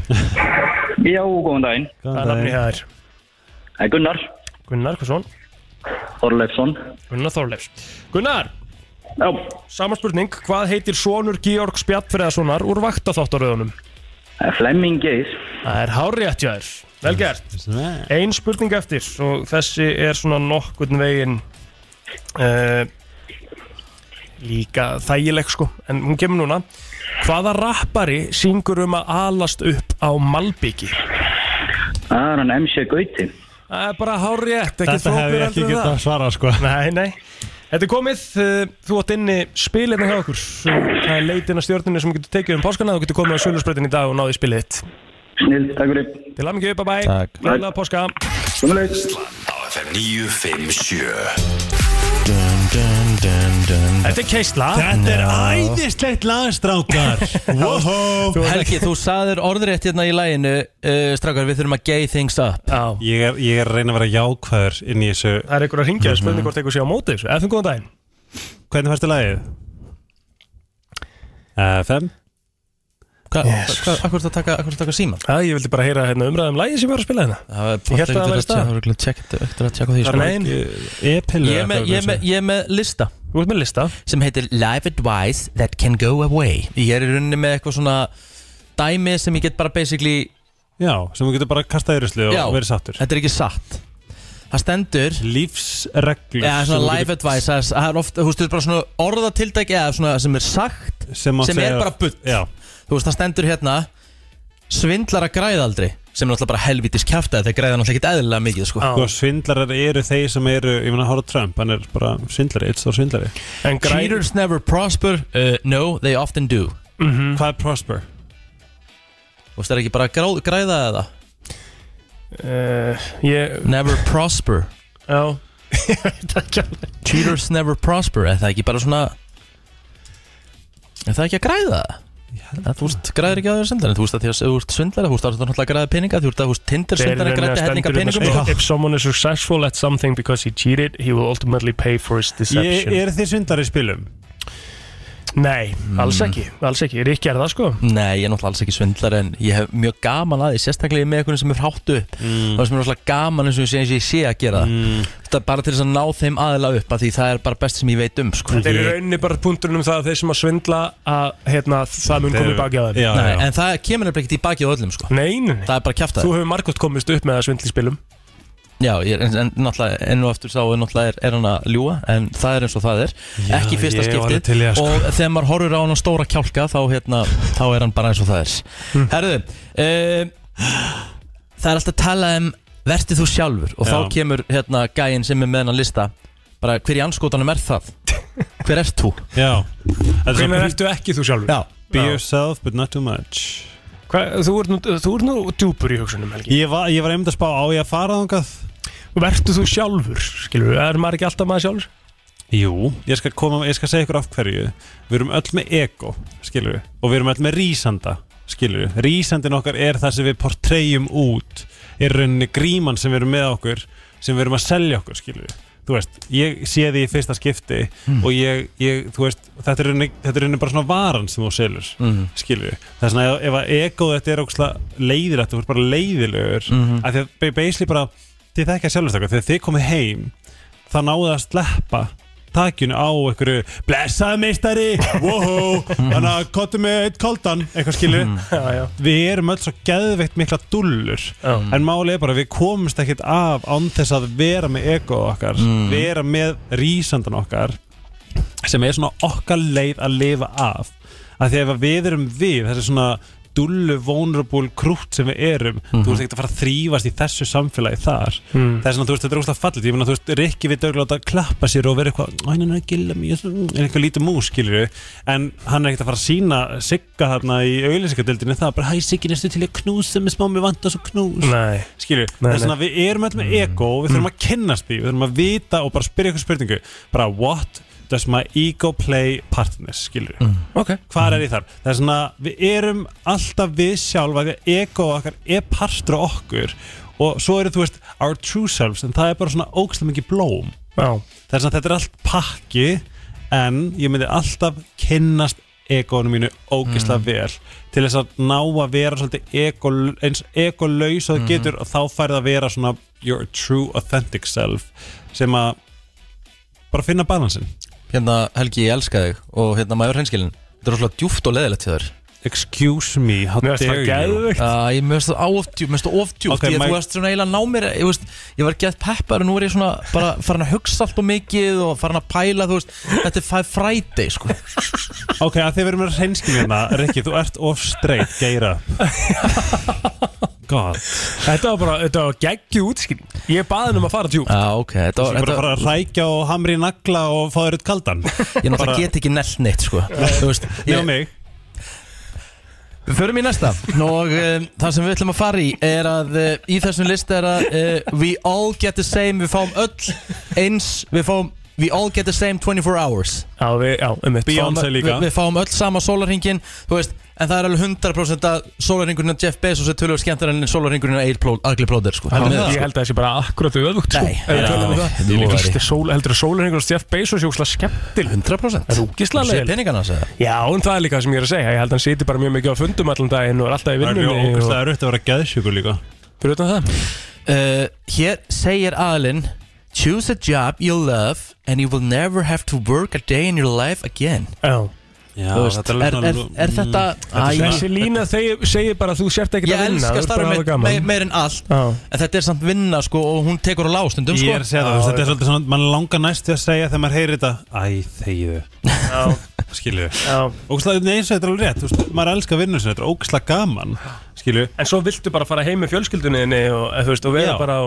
K: Já, góðan daginn.
C: Hvað er nafni hér?
K: Það er Gunnar.
C: Gunnar, hvað svon?
K: Þorleifsson.
C: Gunnar Þorleifs Gunnar!
K: Já
C: Sama spurning, hvað heitir sonur Georgs Bjart Freðarssonar úr vaktaþáttaröðunum?
K: Það er Flemming Geir.
C: Það er hárétt hjá þér Vel gert Ein spurning eftir og þessi er svona nokkurn veginn uh, líka þægileg sko en hún kemur núna Hvaða rappari syngur um að alast upp á Malbyggi?
K: Það er hann MC Gauti.
C: Það er bara hárétt, ekki
D: Þetta hefði ég ekki getað að svara sko
C: Nei, nei Þetta er komið, eh, þú átt inni spilirna hjá okkur Það er leitin að stjórninu sem þú getur tekið um páskana Þú getur komið á sölusbreytin í dag og náði spilið þitt
K: Snill, takk fyrir.
C: Til aðmyggju, bye bye
K: Takk.
C: Glæðilega páska
A: á FM 957
C: Þetta er keisla
D: Þetta er
B: Já.
D: æðislegt lagstrákar Wow
B: Helgi, þú saðir orðrétt hérna í læginu uh, Strákar, við þurfum að gay things up
C: Já
D: Ég er, ég er að reyna að vera jákvæður inn í þessu
C: Það er einhver að ringja, spurning hvort eitthvað sé á móti þessu Efum góðan daginn
D: Hvernig færstu lagið? Uh, fem
B: Hva, yes. hva, Akkur er þetta að taka, akkur er þetta að taka síman?
C: Það, ég vildi bara heyra hérna, umræðum lægi sem ég var að spila hérna
B: Það er
C: Ég held að það
B: Það
C: væri stað
B: er ekki að tjekka því sko.
C: Það er negin
D: E-pillu
B: Ég er með, ég er með, ég er með lista
C: Þú ert með lista
B: Sem heitir Life Advice That Can Go Away Ég er í rauninni með eitthvað svona dæmi sem ég get bara basically
D: Já, sem þú getur bara kastað í rusli og
B: Já,
D: verið sattur
B: þetta er ekki satt Það stendur
D: Lífsreglur
B: Já,
D: sem
B: svona
D: þú
B: life
D: getur-
B: advice Það er- það er ofta, þú veist, þetta er bara svona orðatildæk eða svona sem er sagt
D: Sem að
B: er
D: segja-
B: bara bull
D: Já.
B: Þú veist, það stendur hérna Svindlar að græða aldrei sem er náttúrulega bara helvitis kjafta þeir græða náttúrulega ekkert eðlilega mikið sko.
D: Sko, svindlarar eru þeir sem eru, ég meina, horfðu á Trump, hann er bara svindlari, eitt stór svindlari.
B: Cheaters never prosper, uh, no, they often do
D: Mhm. Hvað er prosper?
B: Þú veist, það er ekki bara grá, græða eða?
D: Eh,
C: Uh, ég...
B: Never prosper
C: Já
B: Cheaters never prosper, er það ekki bara svona Er það ekki að græða það? Að þú veist, græðir ekki á þér svindlarinn Þú veist að því að þú ert svindlarinn Þú veist að þú ert náttúrulega að græða peninga Þú veist að þú veist Tinder svindlarinn græði hellinga peningum
C: sko. If someone is successful at something because he cheated he will ultimately pay for his
D: Ég,
C: deception
D: er þið svindlari í spilum?
C: Nei, alls ekki, alls ekki, er ekki er það sko
B: Mm. Nei, ég er náttúrulega alls ekki svindlar en ég hef mjög gaman að því, sérstaklega með einhvern sem er fráttu upp mm. það er sem er náttúrulega gaman eins og ég sé, eins og ég sé að gera það
C: Mm.
B: Þetta er bara til þess að ná þeim aðila upp að því það er bara best sem ég veit um sko.
C: Þeir eru rauninni bara punkturinn um það að þeir sem að svindla að hérna, það mun komið baki á þeim
B: Nei, En það kemur nefnilega ekkert í baki á öllum sko.
C: Nei, nei, nei.
B: Það er bara kjaftaði
C: Þú hefur margótt komist upp með að svindla í spilum
B: Já, ég, er- en, en náttúrulega enn og aftur sá er náttúrulega er, er hann að ljúa en það er eins og það er
D: Já,
B: ekki í fyrsta
D: ég var alveg
B: skipti
D: til í það, sko.
B: og þegar maður horfir á hann stóra kjálka þá, hérna, þá er hann bara eins og það er
D: Hm.
B: Herðu um, Það er alltaf að tala um vertið þú sjálfur og
F: Já.
B: þá kemur hérna gæinn sem er með hennan lista bara hver í anskotanum er það Hver ert þú?
D: Já
C: Hvenær ertu ekki þú sjálfur?
B: Já
D: Be yourself but not too much
C: Hva, þú, ert nú, þú ert nú djúpur í hugsunum Helgi
D: Ég var, ég var einmitt að spá á ég að fara þangað
C: Vertu þú sjálfur, skilur við, er maður ekki alltaf maður sjálfur?
D: Jú Ég skal, koma, ég skal segja ykkur af hverju Við erum öll með ego, skilur við Og við erum öll með rísanda, skilur við Rísandin okkar er það sem við portreyjum út Er rauninni gríman sem við erum með okkur Sem við erum að selja okkur, skilur við Þú veist, ég sé því í fyrsta skipti
C: Hmm.
D: Og ég, ég, þú veist Þetta er rauninni, þetta er rauninni bara svona varan sem þú selur
C: Hmm.
B: Mhm.
D: skilju það er svona ef- ef að ego þetta er ógslag leiðilegt þú ert bara leiðilegur
B: Mhm.
D: af því að ba- basically bara þið þekkja sjálfur þakka þegar þið komið heim þá náðu það að sleppa takjunu á einhverju blessað meistari wow þannig að kottu með eitt koldan eitthvað skilju
C: Mhm. Já, já.
D: við erum öll svo geðveikt mikla dullur en málið er bara að við komumst ekkert af án þess að vera með ego okkar
B: Mm.
D: vera með rísandan okkar sem er svona okkar leið að lifa af að því ef að við erum við þessi svona dullu, vulnerable krútt sem við erum
C: Mhm.
D: þú veist ekkert að fara að þrýfast í þessu samfélagi þar
C: Mm.
D: þess að þú veist þetta er úrslag fallið ég meina þú veist Rikki við dögla að klappa sér og vera eitthvað "Æ, nei, nei, gilla mig, ég er eitthvað lítið mús skilur en hann er ekkert að fara að sína Sigga þarna í auðlýsingadeildinni það bara hæ Siggi næstu til ég knúsa mig smá mér vant og svo knús
C: Nei.
D: skilur
C: Nei,
D: þess
C: nei.
D: að við erum öll með ego og við þurfum að kynnast því, við þurfum að vita og bara spyrja ykkur spurningu, bara what does my ego play part in this, skilur mm.
B: okay.
D: hvað er í þar, það er svona við erum alltaf við sjálfa því að ego okkar er partur á okkur og svo eru þú veist our true selves en það er bara svona ógstlega mikið blóm
C: Já.
D: það er svona þetta er allt pakki en ég myndi alltaf kynnast egoinu mínu ógislega
C: Mm.
D: vel til þess að ná að vera svolítið ego, eins egolaus og það
C: Mhm.
D: getur og þá færð að vera svona your true authentic self sem að bara finna balansin
B: Hérna Helgi, ég elska þig og hérna maður hreinskilin Þetta er rosalega djúft og leðilegt hjá þér
D: Excuse me, how
B: Mér finnst
D: dare
B: það
D: you.
B: geðveikt. Æ, Mér finnst það ofdjúft, mér finnst það ofdjúft
D: Ok,
B: okay, Ég,
D: Mike-
B: Þú veist svona eiginlega ná mér Ég, veist, ég var gett peppar og nú er ég svona bara farin að hugsa allt og mikið og farin að pæla þú veist, Þetta er Five Friday sko
D: Ok, að þið verðum að reynskjum hérna Rikki, þú ert of straight, geira God
C: Þetta var bara, þetta var geggju útskýring Ég baði um að fara djúpt
B: Já, ok, þetta
D: Þú
B: var
D: sé bara að fara að rækja og hamri í nagla og fá þér eitt kaldan
B: Ég náttúrulega get ekki nelt neitt sko Þú veist,
D: Nema mig.
B: Við förum í næsta og um, það sem við ætlum að fara í er að uh, í þessum lista er að uh, we all get the same, við fáum öll eins, við fáum we all get the same 24 hours
C: Já, við, já, um mitt
B: Fáum- við, við fáum öll sama sólarhingin þú veist, en það er alveg 100% að sólarhingurinn af Jeff Bezos er tölvöld skemmtar en sólarhingurinn af Agli Plóter sko.
C: Heldur það? Ég held að það sé bara sko. akkurat auðvögt
B: Nei, já,
C: Ég
B: nú væri.
C: líka fyrsti sól, heldur að sólurningur og Stef Bezos jóksla skemmtil
B: 100%
C: Það er úkislega
B: Þú sér peningana hans eða?
C: Já, en það er líka það sem ég er að segja Ég held að hann siti bara mjög mikið á fundum allan daginn og er alltaf í
D: Það er
C: vinnunni
D: mjög ógeðslega
C: og-
D: erfitt að vera geðsjúkur líka
C: Fyrir utan það
B: uh, Hér segir aðlinn Choose a job you love and you will never have to work a day in your life again
C: Já
D: Já,
B: Þú veist,
C: þetta er Mm.
B: er,
C: alveg
B: er,
C: svona-
B: er þetta Æ,
C: Þessi lína þegi- segir bara að þú sért ekkert
B: Ég
C: að vinna
B: elska
C: þú ert bara að
B: starfið
C: hafa
B: mitt
C: gaman.
B: meir, meir en allt
C: Já.
B: En þetta er samt vinna sko og hún tekur á lástundum sko
D: Ég er að segja það, þú veist, þetta er svolítið svona, mann langar næst við að segja þegar maður heyrir þetta Æ, þegiðu skilju Ógæslega, nei, eins og þetta er alveg rétt, þú veist, maður elskar vinnu sinni, þetta er ógæslega gaman, skilju
C: En svo viltu bara fara heim með fjölskyldunni þinni og, eða, þú veist, og vera
D: Já.
C: bara á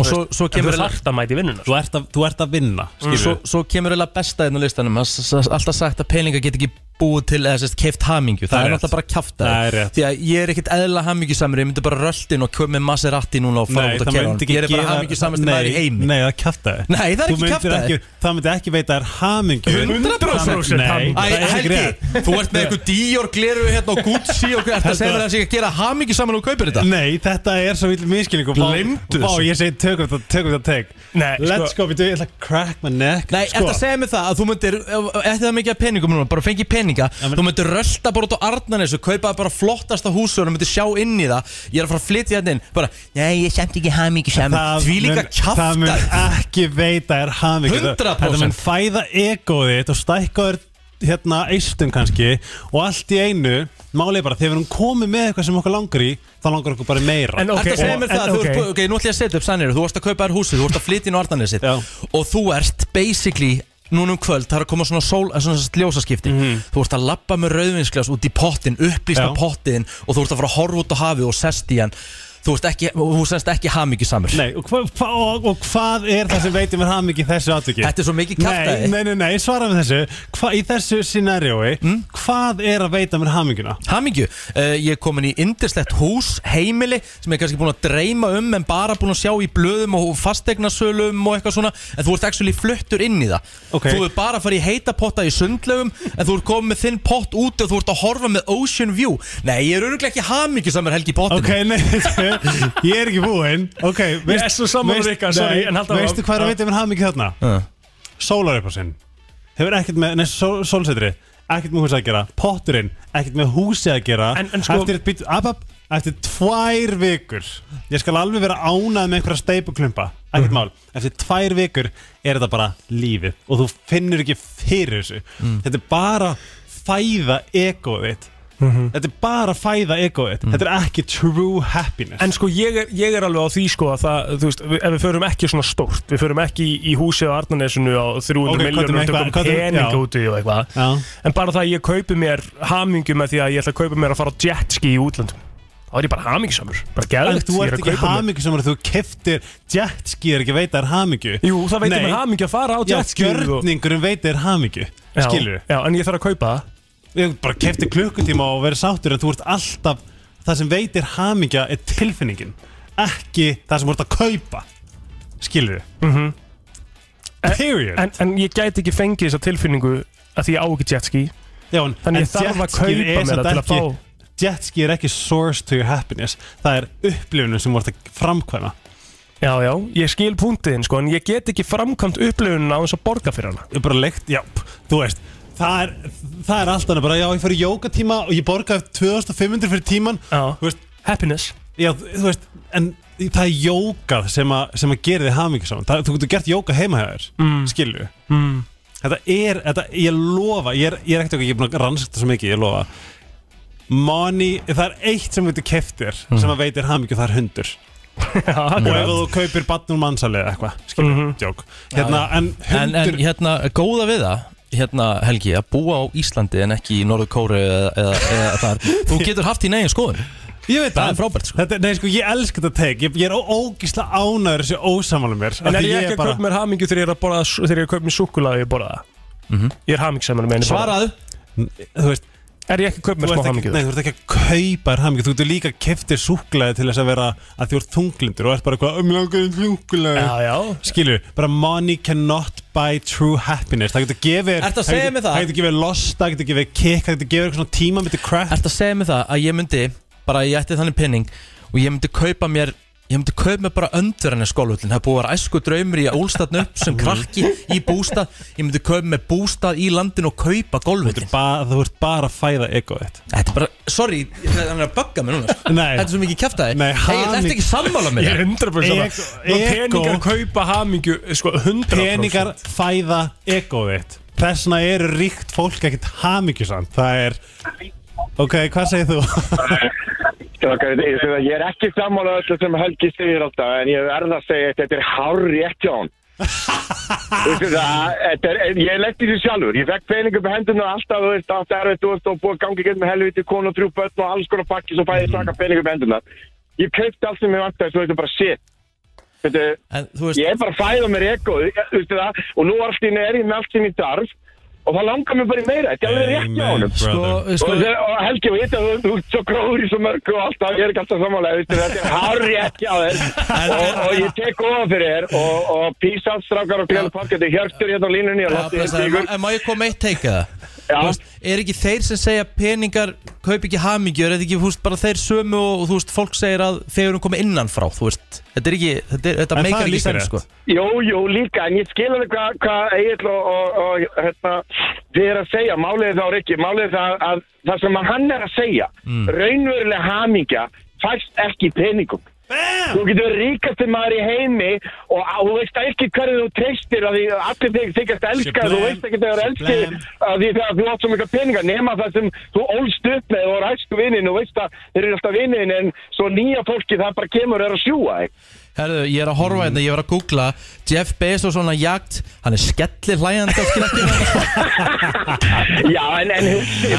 B: Og svo- svo kemur-
C: Þú þarft að mæti vinnuna
D: Þú ert að, þú ert að vinna
B: sko. Mm. Svo, svo kemur eiginlega besta einn á listanum Það er s- s- alltaf sagt að peningar get ekki búið til eða sérst keift hamingju, það,
D: Það
B: er
D: er rétt.
B: náttúrulega bara kjafta
D: Það er rétt.
B: Því að ég er ekkert eðla hamingjusamur, ég myndi bara röldin og kjöf með Maserati núna og fara
D: Nei,
B: út
D: það
B: að kera
D: myndi
B: honum Ég er
D: ekki
B: bara hamingjusamur sem það er í heimi
D: Nei, það er kjaftaði
B: Nei, það er ekki kjaftæði.
D: Það myndi ekki veita að það er hamingju
B: 100%
D: Nei,
B: Æ,
D: það er ekki
B: Helgi,
D: rétt
B: þú ert með eitthvað Dior gleru hérna og Gucci og ert að segja mér að það sé ekki að gera hamingi saman og kaupir þetta
D: Nei, þetta er svo vill miskilning og vá-
B: Gleymdu
D: Vá,
B: þessu.
D: ég segi tökum þetta, tökum þetta teg
C: Nei,
D: Let's
B: sko-
D: go, við ég ætla að crack my neck Sko,
B: Nei, eftir að segja mig það að þú myndir eftir það mikið að peningum núna, bara fengi peninga þú myndir rölda bara út á Arnarnes og kaupa bara flottasta húsur og myndir sjá inn í það ég er að fara að flytja hérna inn bara, nei, ég er samt ekki hamingi saman því líka
D: Það mun
B: kjafta
D: ekki veita er hamingju
B: 100%.
D: Þetta mun fæða egoðið þitt og stækka þér hérna eistum kannski og allt í einu málið er bara þegar við erum komið með eitthvað sem okkur langar í þá langar okkur bara í meira
B: En okay, Þetta segir mér það, þú ert, ok, nú ætlum ég að setja upp sannir Þú varst að kaupa þér húsið, þú varst að flytja inn á Ardanesið Og þú ert basically Núna um kvöld, það er að koma svona, sól, eh, svona sagt ljósaskipti Þú ert að labba með rauðvinsglas út í pottin Upplýsta
D: Mhm. Já.
B: pottin Og þú ert að fara að horfa út á hafi og sest í hann Þú ert ekki, og þú senst ekki hamingi samur
D: Nei, og, hva, hva, og, og hvað er það sem veitir mér hamingi í þessu atviki?
B: Þetta er svo mikið kjaftæði.
D: Nei, nei, nei, nei svara með þessu hva, Í þessu scenariói,
B: Mm?
D: hvað er að veita mér haminguna?
B: Hamingju, uh, ég er komin í indislegt hús, heimili sem ég er kannski búin að dreyma um en bara búin að sjá í blöðum og fastegnasölum og eitthvað svona, en þú ert actually fluttur inn í það
D: Ok.
B: Þú ert bara að fara í heita potta í sundlögum en þú ert komin með þinn pott út og þú ert að horfa með Ocean View Nei, ég er öruglega ekki hamingju samar helgi í pottinu
D: Ok, nei, ég er ekki búinn Ok,
C: Ég er svo sammála við ykkar, sorry,
D: nei,
C: en halda áfram.
D: Veistu hvað er að
C: Já.
D: veitir mér hamingi þarna? Sólaröfasinn Hefur ekkert með, nei, sól, sólsetri Ekkert með húsi að gera, potturinn Ekkert með húsi að gera
C: En- en sko-
D: Eftir, být, ab, ab, eftir tvær vikur Ég skal alveg vera ánað með einhverja steipuklumpa Ekkert mál Eftir tvær vikur er þetta bara lífið Og þú finnur ekki fyrir þessu Þetta er bara fæða egoið þitt Þetta er bara fæða egoið þitt Þetta er ekki true happiness
C: En sko ég er, ég er alveg á því sko að það, þú veist, við, ef við förum ekki svona stórt, við förum ekki í, í húsið á Arnanesinu á 300
D: Ok,
C: okay,
D: hvað er
C: miljónum
D: með
C: og tökum
D: eitthvað- hvað er-
C: pening
D: já.
C: út í og eitthvað. En bara það að ég kaupi mér hamingu með því að ég ætla að kaupa mér að fara á jetski í útlandum. Þá er ég bara hamingisamur, bara
D: En
C: geðvægt.
D: þú ert ekki hamingju sem þú keftir jetski er ekki veit að er hamingju
C: Jú, það veitir mér hamingju að fara á
D: Já,
C: jetski og-
D: gjörningurinn veit að er hamingju
C: Já,
D: Skilur
C: Já, en ég þarf að kaupa
D: það Ég bara kefti klukkutíma og verið sáttur en þú ert alltaf Það sem veit er hamingja er tilfinningin Ekki það sem þú ert að kaupa Skilur
C: Mm -hmm.
D: Period
C: en, en ég gæti ekki fengið þessa tilfinningu að því ég á ekki jetski.
D: Já, en,
C: Þannig ég þarf að kaupa mér það til að fá.
D: Jetski er ekki source to your happiness Það er upplifunum sem þú ert að framkvæma
C: Já, já, ég skil punktiðin sko, en ég get ekki framkvæmt upplifunina á þess að borga fyrir hana.
D: Ég er bara leikt, já, þú veist Það er, það er allt annað bara, já, ég fyrir jókatíma og ég borgaði 2500 fyrir tíman
C: Já,
D: veist,
C: happiness
D: Já, þú veist, en það er jókað sem, að- sem að gera þig hamingi saman Þú getur gert jóka heima hjá þér,
C: Mm.
D: skilju
C: Mm.
D: Þetta er, þetta, ég lofa, ég er, ég er ekkert ekki búin að rannsakta svo mikið, ég lofa Money, það er eitt sem þú getur keftir mm. sem að veitir hamingi og það er hundur
C: Já,
D: og
B: akkurat.
D: ef þú kaupir batnum mannsalið eitthvað, skilju, mm jók hérna, en
B: Mhm. en,
D: hundur
B: en hérna, góða við það hérna Helgi, að búa á Íslandi en ekki í Norður Kóru eða, eða, eða þar þú getur haft í negin skoðun
D: Ég veit
B: það er frábært sko.
D: Þetta, nei, sko, ég elska þetta teik Ég, ég er ó- ógeðslega ánæður þessu ósamála mér
C: En er ég ekki að kaupa mér hamingu þegar ég er að borða þegar ég er að kaupa mér súkulaði og ég borða það? Ég er hamingsamur með henni
B: Svaraðu
D: Mhm. Þú veist
C: Er ég ekki að kaupa mér
D: Þú
C: smá
D: ert ekki,
C: hamingu?
D: nei, þú ert ekki að kaupa þér hamingi Þú ert líka keftir súklaði til þess að vera að þú ert þunglindur og ert bara eitthvað um langar um súklaði
C: Já, já
D: Skilju, bara money cannot buy true happiness Það getur gefið
B: Ertu að segja mér það?
D: Það getur gefið lost, það getur gefið kick Það getur gefið eitthvað svona tíma mitt crap
B: Ertu að segja mig það að ég myndi bara ég ætti þannig penning og ég myndi kaupa mér ég myndi kaupa mér bara öndur henni skóluhullin það er búið að vera æsku draumur í að úlstatn upp sem krakki í bústað ég myndi kaupa mér bústað í landin og kaupa golfhullin
D: Þú ert bara að fæða egoð þitt
B: Þetta er bara, sorry, hann er að bugga mig núna sko.
D: Nei.
B: Þetta er svo mikið kjæftæði
D: Nei,
B: hey,
D: haming-
B: Þetta ekki sammála mér
C: Ég er 100%
D: Ego-
C: saman Og peningar
D: ego-
C: kaupa hamingu, sko, 100%
D: peningar fæða egoið þitt. Þess vegna eru ríkt fólk ekkert hamingjusamt það er ok, hvað segir þú?
P: Strákar, ég segi það, ég er ekki sammála öllu sem Helgi segir alltaf en ég verð að segja eitt, þetta er hár rétt hjá hann Veistu það, þetta er, en ég lendi því sjálfur Ég fekk peningur með hendunar alltaf Þú veist, allt erfitt, þú veist, og búið að gangi gett með helviti Kona og þrjú börn og alls konar pakki Svo fæði ég taka peningur með hendunar Ég kaupti allt sem ég vantaði, svo þetta er bara shit Þetta, ég er bara að fæða mér ekko Veistu það, og nú allt inni er ég með allt sem ég þarf Og það langar mér bara í meira, þetta er alveg rétt hjá honum
B: Sko- sko-
P: Og þegar- Og Helgi, og ég veit að þú- þú ert svo gróður í svo mörgu og alltaf Ég er ekki alltaf samanlega, veistu þetta er hári ekki á þér og, og ég tek ofan fyrir þér Og, og písað strákar og gljáðu parkið Þetta er hjörtur hérna á línunni og
B: Já,
P: látti
B: blessaður,
P: ykkur
B: en má ég koma með eitt teika
P: Já.
B: það? Er ekki þeir sem segja peningar kaup ekki hamingjör, er þetta ekki þú veist, bara þeir sömu og, og þú veist, fólk segir að þeir eru komið innanfrá, þú veist Þetta er ekki, þetta, er- þetta
P: En það
B: meikar
P: er
B: ekki
P: líka
B: sem
P: rétt.
B: sko
P: Jú, jú, líka, en ég skilur þig hvað hva Egil og, og, og hérna, þið er að segja, máliði þá Rikki, máliði það að það sem að hann er að segja,
M: Mm.
P: raunveruleg hamingja fæst ekki í peningum. Bam! Þú getur ríkasti maður í heimi og á- þú veist ekki hverju þú treystir að því að allir þig þykast elska,
M: Shablam,
P: þú veist ekki þegar elskið að því þegar þú átt svo mikla peninga, nema það sem þú ólst upp með og ræstu vinnin og veist að þeir eru alltaf vinnin en svo nýja fólki það bara kemur og er að sjúa þig.
B: Herðu, ég er að horfa hérna, ég var að googla Jeff Bezos svona jagt, hann er skellir hlæjandi á skilakki
P: Já, en, en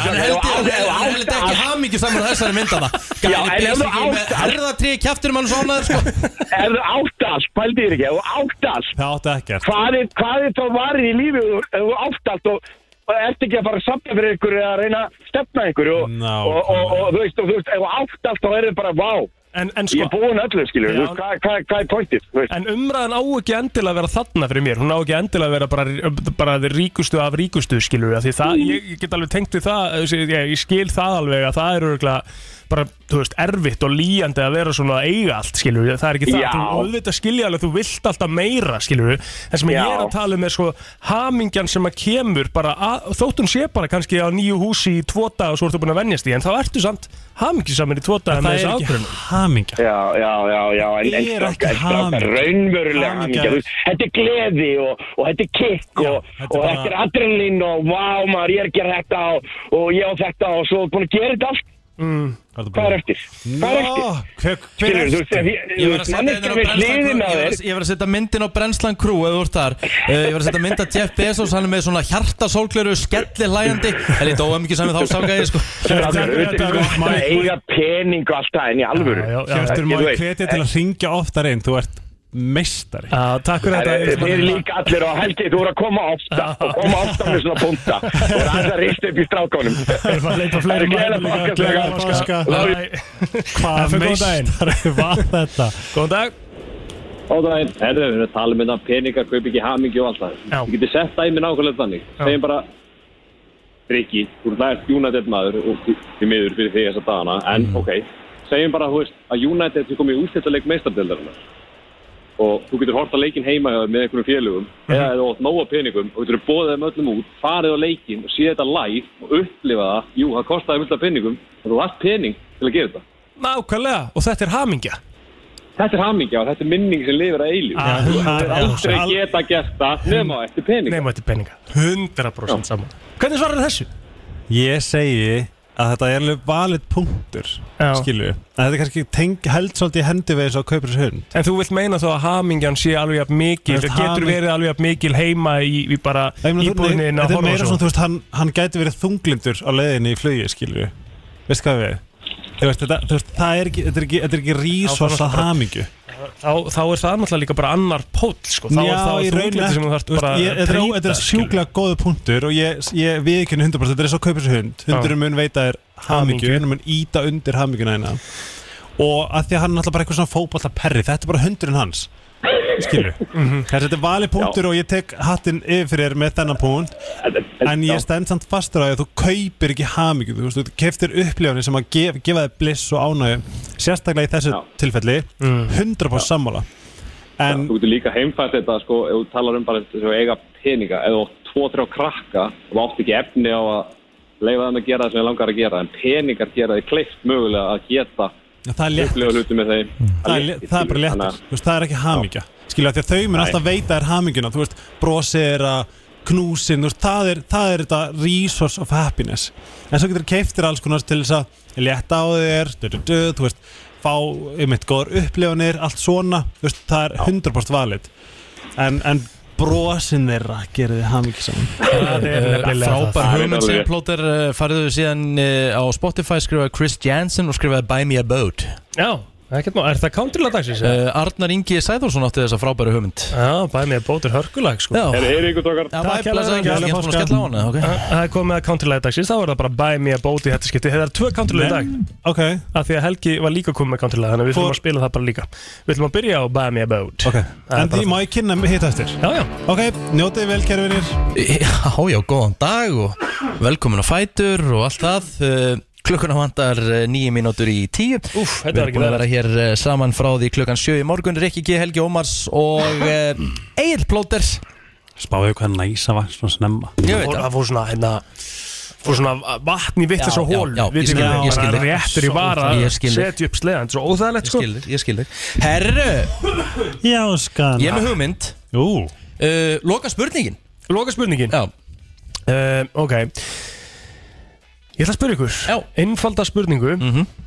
B: Hann heldur held ekki hamingjur saman á þessari myndana
P: Já, en ef þú átt-
B: Herðatrið kjæftur mann svona sko.
P: Ef þú áttast, pældi þér ekki, ef þú áttast
D: Það átti ekkert
P: Hvað er, hvað er þá varið í lífi ef þú- ef þú áttast og, og ert ekki að fara að sapna fyrir ykkur eða að reyna að stefna ykkur og,
D: Ná,
P: og, og, og, þú veist, og þú veist, ef þú áttast þá er þið bara vá
C: en, en sko,
P: Ég er búin öllu, skiljum,
C: Já.
P: þú veist, hvað, hvað, hvað er pointið, þú veist
C: En umræðan á ekki endilega að vera þarna fyrir mér Hún á ekki endilega að vera bara, bara þeir ríkustu af ríkustu skilur við Af Því það,
D: Mhm.
C: ég get alveg tengt við það þessi- ég, ég skil það alveg að það er örgulega bara, þú veist, erfitt og líjandi að vera svona að eiga allt skilur við Það er ekki það,
P: Já.
C: þú auðvitað skilja alveg, þú vilt alltaf meira skilur við En sem
P: Já.
C: ég er að tala um er sko hamingjan sem að kemur bara að, Þótt hún sé bara kannski á nýju húsi í tvo dag og svo ertu búin að venjast í En þá ertu samt hamingjusamir í tvo dag
D: En það
C: með
D: er
C: þessa
D: ekki
C: ákvörðun.
D: hamingja
P: Já, já, já, já, en, sko, en
D: Er
P: stráka,
D: ekki
P: stráka,
D: hamingja.
P: raunverulega
D: Hamingja
P: hamingja,
D: er-
P: þú veist, þetta er gleði og, og þetta er kikk og, og
D: bara-
P: þetta er adrenalín og vá maður, ég er að gera þetta og, og ég á þetta og svo búin að gera þetta allt.
C: Mm.
P: Hvað er eftir? Hvað er eftir?
D: Hver,
P: Skilur, þú veist, ef ég-
B: Ég var að setja
P: manneskjan
B: myndin
P: við
B: á brennslan
P: hliðina á
B: Crew, ég var
P: þér.
B: að- ég var að setja myndin á brennslan krú eða þú ert þar Eh, Ég var að setja mynd að Jeff Bezos hann er með svona hjartasólklöru skellir hlæjandi Það er lítið óömmingi saman þá sáka ég sko eh,
P: Strákar, þetta er gott að eiga pening og allt það en í alvöru.
D: Hjörtur
P: Ég- þú
D: maður
P: veist, eh,
D: hvetja til að ringja oftar einn Þú ert meistari
C: Já, takk
P: Herri, eh, Þið eru líka allir á helgi, þú voru að koma ofta og koma ofta með svona punta og það er að rista upp í strákónum Það
C: er að leipa fleiri mæður líka, gleðilega páska.
D: Hvað meistari var þetta?
C: Góðan dag
G: Góðan daginn Herðu, við erum að tala um þetta peningar, kaup ekki hamingju og allt það
C: Já.
G: Við getum sett dæmi nákvæmlega þannig
C: Já.
G: Segjum bara Riki, þú ert United maður og því miður fyrir því þessa dagana En
C: Mm.
G: ok, segjum bara þú veist, að United sé komið í úrstættaleik meistardeldarinnar og þú getur hort að leikin heima hjá þér með einhverjum félögum eða þú átt nóga peningum og getur bóðið þeim öllum út, farið á leikin og sé þetta live og upplifa það, jú, það kostaði mjög peningum og þú hast pening til að gera þetta
C: Nákvæmlega, og þetta er hamingja
G: Þetta er hamingja og þetta er minning sem lifir að eilíf
C: Ah,
G: Þú hefur aldrei
C: al-
G: geta gert það nema á eftir pening
C: Nefnum þetta peninga 100% saman Hvernig svarar þessu?
D: Ég segi að þetta er alveg valið punktur
C: Já.
D: Skilju En þetta er kannski teng, held svolítið í hendi við þess að kaupir þessu hund
C: En þú vilt meina þá að hamingjan sé alveg jafn mikil
D: Þú
C: Það
D: veist,
C: getur
D: haming-
C: verið alveg jafn mikil heima í, í bara íbúðinni inn að
D: Þetta er
C: horfa
D: meira
C: svo
D: svona, þú veist, hann, hann gæti verið þunglindur á leiðinni í flugi, skilju Veist hvað við? Þú veist, þetta, þú veist, það er ekki, þetta er ekki, þetta er ekki rísorsa hamingju
C: þá, þá er það náttúrulega líka bara annar pól sko. Þá er það þunglindi sem þú þarft bara
D: ég, þetta, er, ó- þetta er
C: skilur.
D: sjúklega góðu punktur og ég, ég viðkynni 100% þetta er svo kaupir þessu hund hundurum mun veita þér hamingju,
C: Hamingju.
D: hundurum mun íta undir hamingjuna hérna og að því að hann er náttúrulega bara eitthvað svona fótballtaperri þetta er bara hundurinn hans skilu
C: Mhm.
D: Þessi, þetta er valið punktur og ég tek hattinn yfir fyrir þér með þennan punkt en ég stend samt fastur á því að þú kaupir ekki hamingju, þú veist, þú keftir upplifni sem að gef, gefa þér bliss og ánægju sérstaklega í þessu tilfelli
C: Mm.
D: 100% sammála en
G: Þú getur líka heimfært þetta sko, ef þú talar um bara þess að eiga peninga ef þú átt tvo, þrjá krakka og þú átt ekki efni á að leifa þeim að gera það sem þið langar að gera en peningar gera þið kleift mögulega að geta
D: það er létt.
G: upplifa hluti með þeim
D: það er, le- það er bara léttir, þú veist, það er ekki hamingja skilja, því að þau mun
G: Nei.
D: alltaf veita er hamingjuna þú veist, brosir að knúsin þú veist, það er, það er þetta resource of happiness, en svo getur keiftir alls konar til þess að létta á þér du, du, du, þú veist, fá um eitt góðar upplifanir, allt svona, þú veist, það er 100% valid en, en brosin þeirra gerði það mikið saman
B: Eh, Frábær hugmynd sem plóter fariðu síðan eh, á Spotify skrifaði Chris Jansen og skrifaði Buy Me A Boat
C: Já, ekkert má, er það countrylag dagsins?
B: Eh, Arnar Ingi Sæðursson átti þessa frábæru hugmynd
C: Já, Buy Me A Boat er hörkulag sko
B: Já.
C: Heyrðu, heyrðu ykkur tókar
B: Já, bæ, blessaður, ég er búin að skella á hana, ok.
C: Það er komið að countrylag dagsins, þá er það bara Buy Me A Boat í þetta skipti Það er tvö countrylag í dag
D: Ok
C: Af því að Helgi var líka komið með countrylag Þannig að við
D: Hvor-
C: ætlum að spila það bara líka Við ætlum að byrja á Buy Me A Boat
D: Ok, En því má ég kynna hitt eftir
C: Já, já
D: Ok, njótið vel kæri vinir
B: Já, já, góðan dag og velkomin á Fætur og allt það Eh, Klukkuna vantar nýju mínútur í tíu Úf, Við
C: þetta var
B: erum
C: ekki
B: búin að vera
C: verra.
B: hér eh, saman frá því klukkan sjö í morgun Rikki G. Helgi Ómars og eh, Egil Plóter
D: Spáðu hvað næsa var svona snemma
B: Ég veit
C: Það fór svona, hérna Fór svona vatn í vittis
B: Já,
C: og hól
B: já, já, ég skil þig, ég skil þig.
C: Réttur í
B: Svo
C: vara
B: óþægilegt. Ég skil þig.
C: Setja upp sleðan, svo óþægilegt sko
B: Skildir, ég skildir Herru,
D: Já, skan
B: ég er með hugmynd
D: Jú
B: uh, Loka spurningin
C: Loka spurningin
B: Já
C: uh, Ok Ég ætla að spyrja ykkur Já Einfalda spurningu
B: Mhm.
C: -hmm.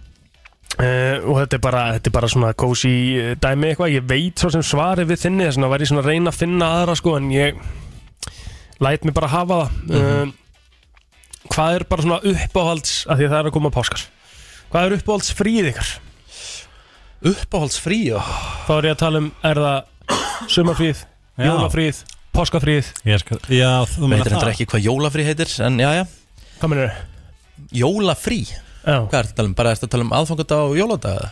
C: uh, Og þetta er bara, þetta er bara svona kósi eh, dæmi eitthvað Ég veit svo sem svari við þinni Þess vegna var ég svona að reyna að finna aðra sko En ég læt mig bara hafa það
B: Mhm.
C: uh, Hvað er bara svona uppáhalds af Því að það er að koma páskar Hvað er uppáhalds fríð ykkar?
B: Uppáhalds fríð?
C: Þá er ég að tala um, er það sumarfríð,
B: Já.
C: jólafríð, páskafríð
D: Ég skal, já, þú
B: Veitir þetta ekki hvað jólafrí heitir, en já, já
C: Hvað mennur þau?
B: Jólafrí?
C: Já
B: Hvað er þetta að tala um? Bara ertu að tala um aðfangadag og jóladaga?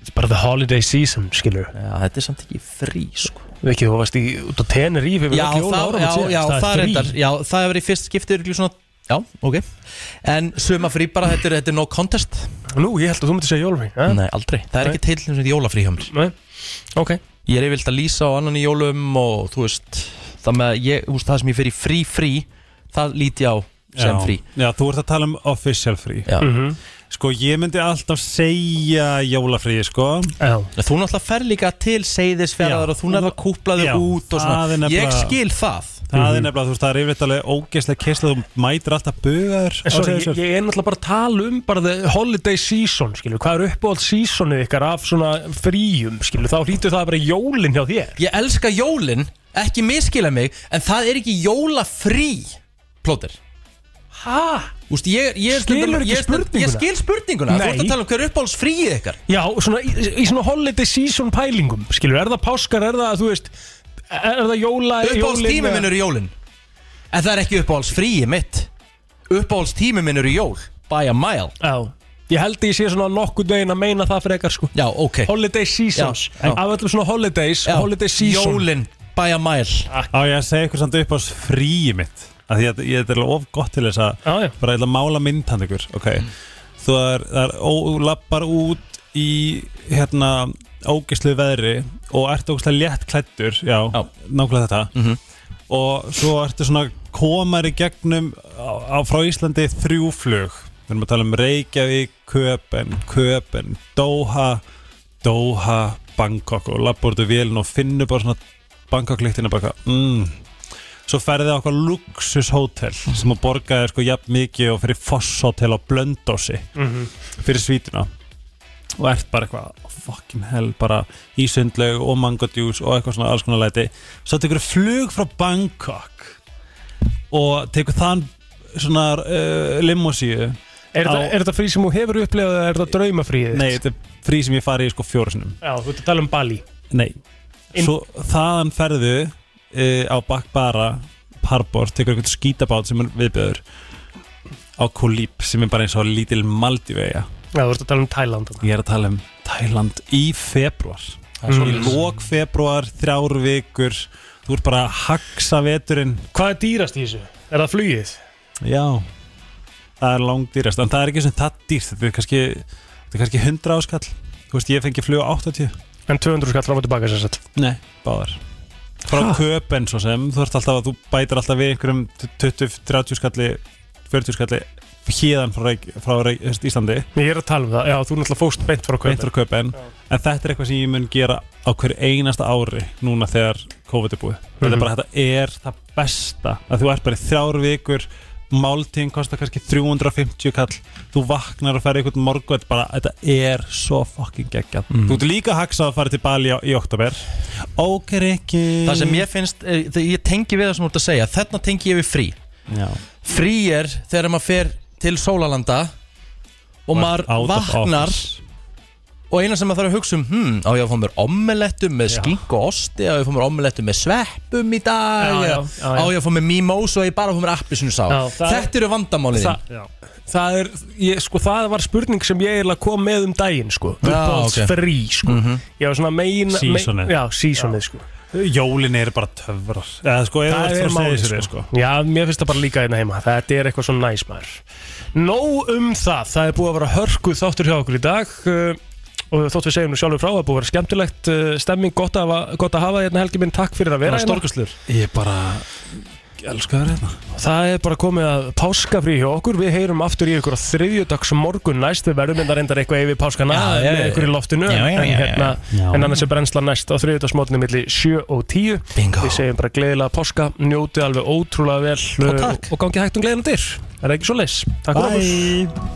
C: It's bara the holiday season, skilur
B: Já, þetta er samt ekki frí, sko
C: Ekki, þú varst í, út á Teneríf
B: Já, það, já, já, það er
C: þetta
B: reyndar Já, það hefur í fyrst skiptið örugglega svona Já, ok En sumafrí bara, þetta er, þetta er no contest
C: Nú, ég held að þú myndir segja jólafrí eh?
B: Nei, aldrei Það er
C: Nei.
B: ekki til sem þetta jólafrí hjá mér
C: Nei, ok
B: Ég er yfirvilt að lýsa á annan í jólum og þú veist Það með að ég, þú veist, það sem ég fer í frí frí Það líti á sem frí
D: Já, þú ert að tala um official frí
B: Já. Mhm.
D: Sko, ég myndi alltaf segja jólafrí, sko
C: Já
B: Þú náttúrulega fer líka til
D: Já.
B: seiðisferðar og þú nærða að kúpla þig
D: Já,
B: út og
D: það er
B: svona
D: nefnilega-
B: Ég skil það Mhm.
D: Það er nefnilega, þú veist, það er yfirleitt alveg ógeðslega kyslað Þú mætir alltaf bugaður
C: En sorry, ég, ég er náttúrulega bara að tala um bara the holiday season, skilur Hvað er uppáhald seasonu ykkar af svona fríum, skilur Þá hlýtur það að vera jólin hjá þér
B: Ég elska jólin, ekki miskila mig En það er ekki jólafrí Plóter
C: Hæ?
B: Úst, ég, ég er
C: Skilur
B: stundum-
C: ekki
B: ég er stundum-
C: spurninguna?
B: Ég skil spurninguna, þú
C: Nei.
B: ert að tala um hverju uppáhalds fríið ykkar
C: Já, svona, í, í svona holiday season pælingum, skilur Er það páskar, er það, þú veist Er það jóla,
B: Uppáhalds tími minn eru jólin En það er ekki uppáhalds fríið mitt Uppáhalds tími minn eru jól By a mile
C: Já Ég held að ég sé svona nokkuð veginn að meina það frekar sko
B: Já, ok
C: Holiday seasons
B: Já, já.
C: Af öllum svona holidays, holiday season
B: Jólin, by a mile
D: Á ég að segja ykkur samt upp á fríi mitt að Því að ég þetta er alveg of gott til þess að
C: já, já.
D: Bara ég ætla að mála mynd hann ykkur okay.
B: Mm.
D: Þú er, það er ó, þú lappar út í hérna ógeðslu veðri Og ert ógeðslega létt klættur Já, nákvæmlega þetta
B: Mhm.
D: Og svo ertu svona komar í gegnum á, á, Frá Íslandi þrjúflug Við erum að tala um Reykjavík, Köpen, Köpen, Doha, Doha, Bangkok og labba úr þetta vélin og finnur bara svona Bangkok-lyktina bara eitthvað, mm. Svo ferðið á okkur luxushótel sem að borga þér sko jafn mikið og fyrir fosshótel á Blöndósi
C: Mhm.
D: fyrir svítuna og ert bara eitthvað fucking hell, bara ísundleg og mangodjús og eitthvað svona alls konar læti svo tekur flug frá Bangkok og tekur þann svona uh, limosíu
C: Er þetta- er þetta frí sem þú hefur upplegað eða er þetta draumafríið?
D: Nei, þetta er frí sem ég fari í sko fjórusinum
C: Já, þú ert að tala um Bali
D: Nei Svo þaðan ferðu uh, á Bakbara Harbor, tekur eitthvað skítabát sem er viðbjöður á Kulíp sem er bara eins og lítil Maldivega
C: Já, þú ert að tala um Thailand þarna.
D: Ég er að tala um Tæland í februar
C: Það er
D: Svo
C: svoleiðis.
D: lók februar, þrjár vikur Þú ert bara að haksa veturinn
C: Hvað er dýrast í þessu? Er það flugið?
D: Já Það er langdýrast, en það er ekki sem það dýrt Þetta er kannski, þetta er kannski 100 áskall Þú veist, ég fengi flug á 80
C: En 200 skall fram og tilbaka sér sett
D: Nei, báðar Frá
C: Ha?
D: köpen svo sem, þú ert alltaf að þú bætir alltaf við einhverjum 20, 30 skalli 40 skalli hérðan frá, Reyk- frá Reyk- þú veist, Íslandi
C: Ég er að tala um það, já, þú náttúrulega fóst beint frá Köben.
D: Beint frá köpen En þetta er eitthvað sem ég mun gera á hverju einasta ári núna þegar COVID er búið Þetta er
C: Mhm.
D: bara, þetta er það besta að þú ert bara í þrjár vikur málting kostar kannski 350 kall þú vaknar og ferði einhvern morgu þetta, bara, þetta er svo fucking geggjað
B: Mm.
D: þú ert líka haksað að fara til Bali á, í oktober ok Rikki
B: Það sem ég finnst, eh, þegar ég tengi við það sem þú ert að segja Þarna tengi ég við frí
D: Já.
B: Frí er þegar maður fer til Sólalanda Og
D: Og
B: maður
D: out of
B: vaknar Og eina sem maður þarf að hugsa um hmm, Á ég að fá mér omelettu með skink og osti Á ég að fá mér omelettu með sveppum í dag
C: Já, já, já, já.
B: Á ég að fá mér mimosa og ég bara að fá mér appisinu sá
C: Já, það-
B: Þetta eru vandamálið
C: Það-
B: þín
C: það er, ég, sko, það var spurning sem ég eiginlega kom með um daginn, sko Uppáhalds frí, sko
B: Mhm.
C: Ég var svona meina
D: Seasonið.
C: Já, seasonið, sko
D: jólin er bara töfrar eða sko eða
C: Það
D: allt
C: er
D: frá
C: málið,
D: segir
C: sko.
D: sko
C: Já, mér finnst það bara líka einn heima Þetta er eitthvað svo næs maður Nóg um það, það er búið að vera hörkuð þáttur hjá okkur í dag uh, og þótt við segjum nú sjálfur frá það er búið að vera skemmtilegt uh, stemming gott að, hafa- gott að hafa þérna helgi minn takk fyrir að vera hérna.
D: ég bara elska það hérna
C: Það er bara komið að páskafrí hjá okkur Við heyrum aftur í ykkur á þriðjudags morgun næst Við verðum enda reyndar eitthvað yfir páskana
B: Já, já,
C: með
B: já.
C: ykkur í loftinu
B: Já, já,
C: en,
B: já, já.
C: hérna,
B: Já.
C: en annars er brennsla næst á þriðjudagsmorgunni milli 7 og 10 Bingo. Við segjum bara gleðilega páska Njótið alveg ótrúlega
B: Og
C: vel uh,
B: takk.
C: og, og gangi hægt um gleðina dyr Það er ekki svo leis Takk fyrir okkur
D: Bye.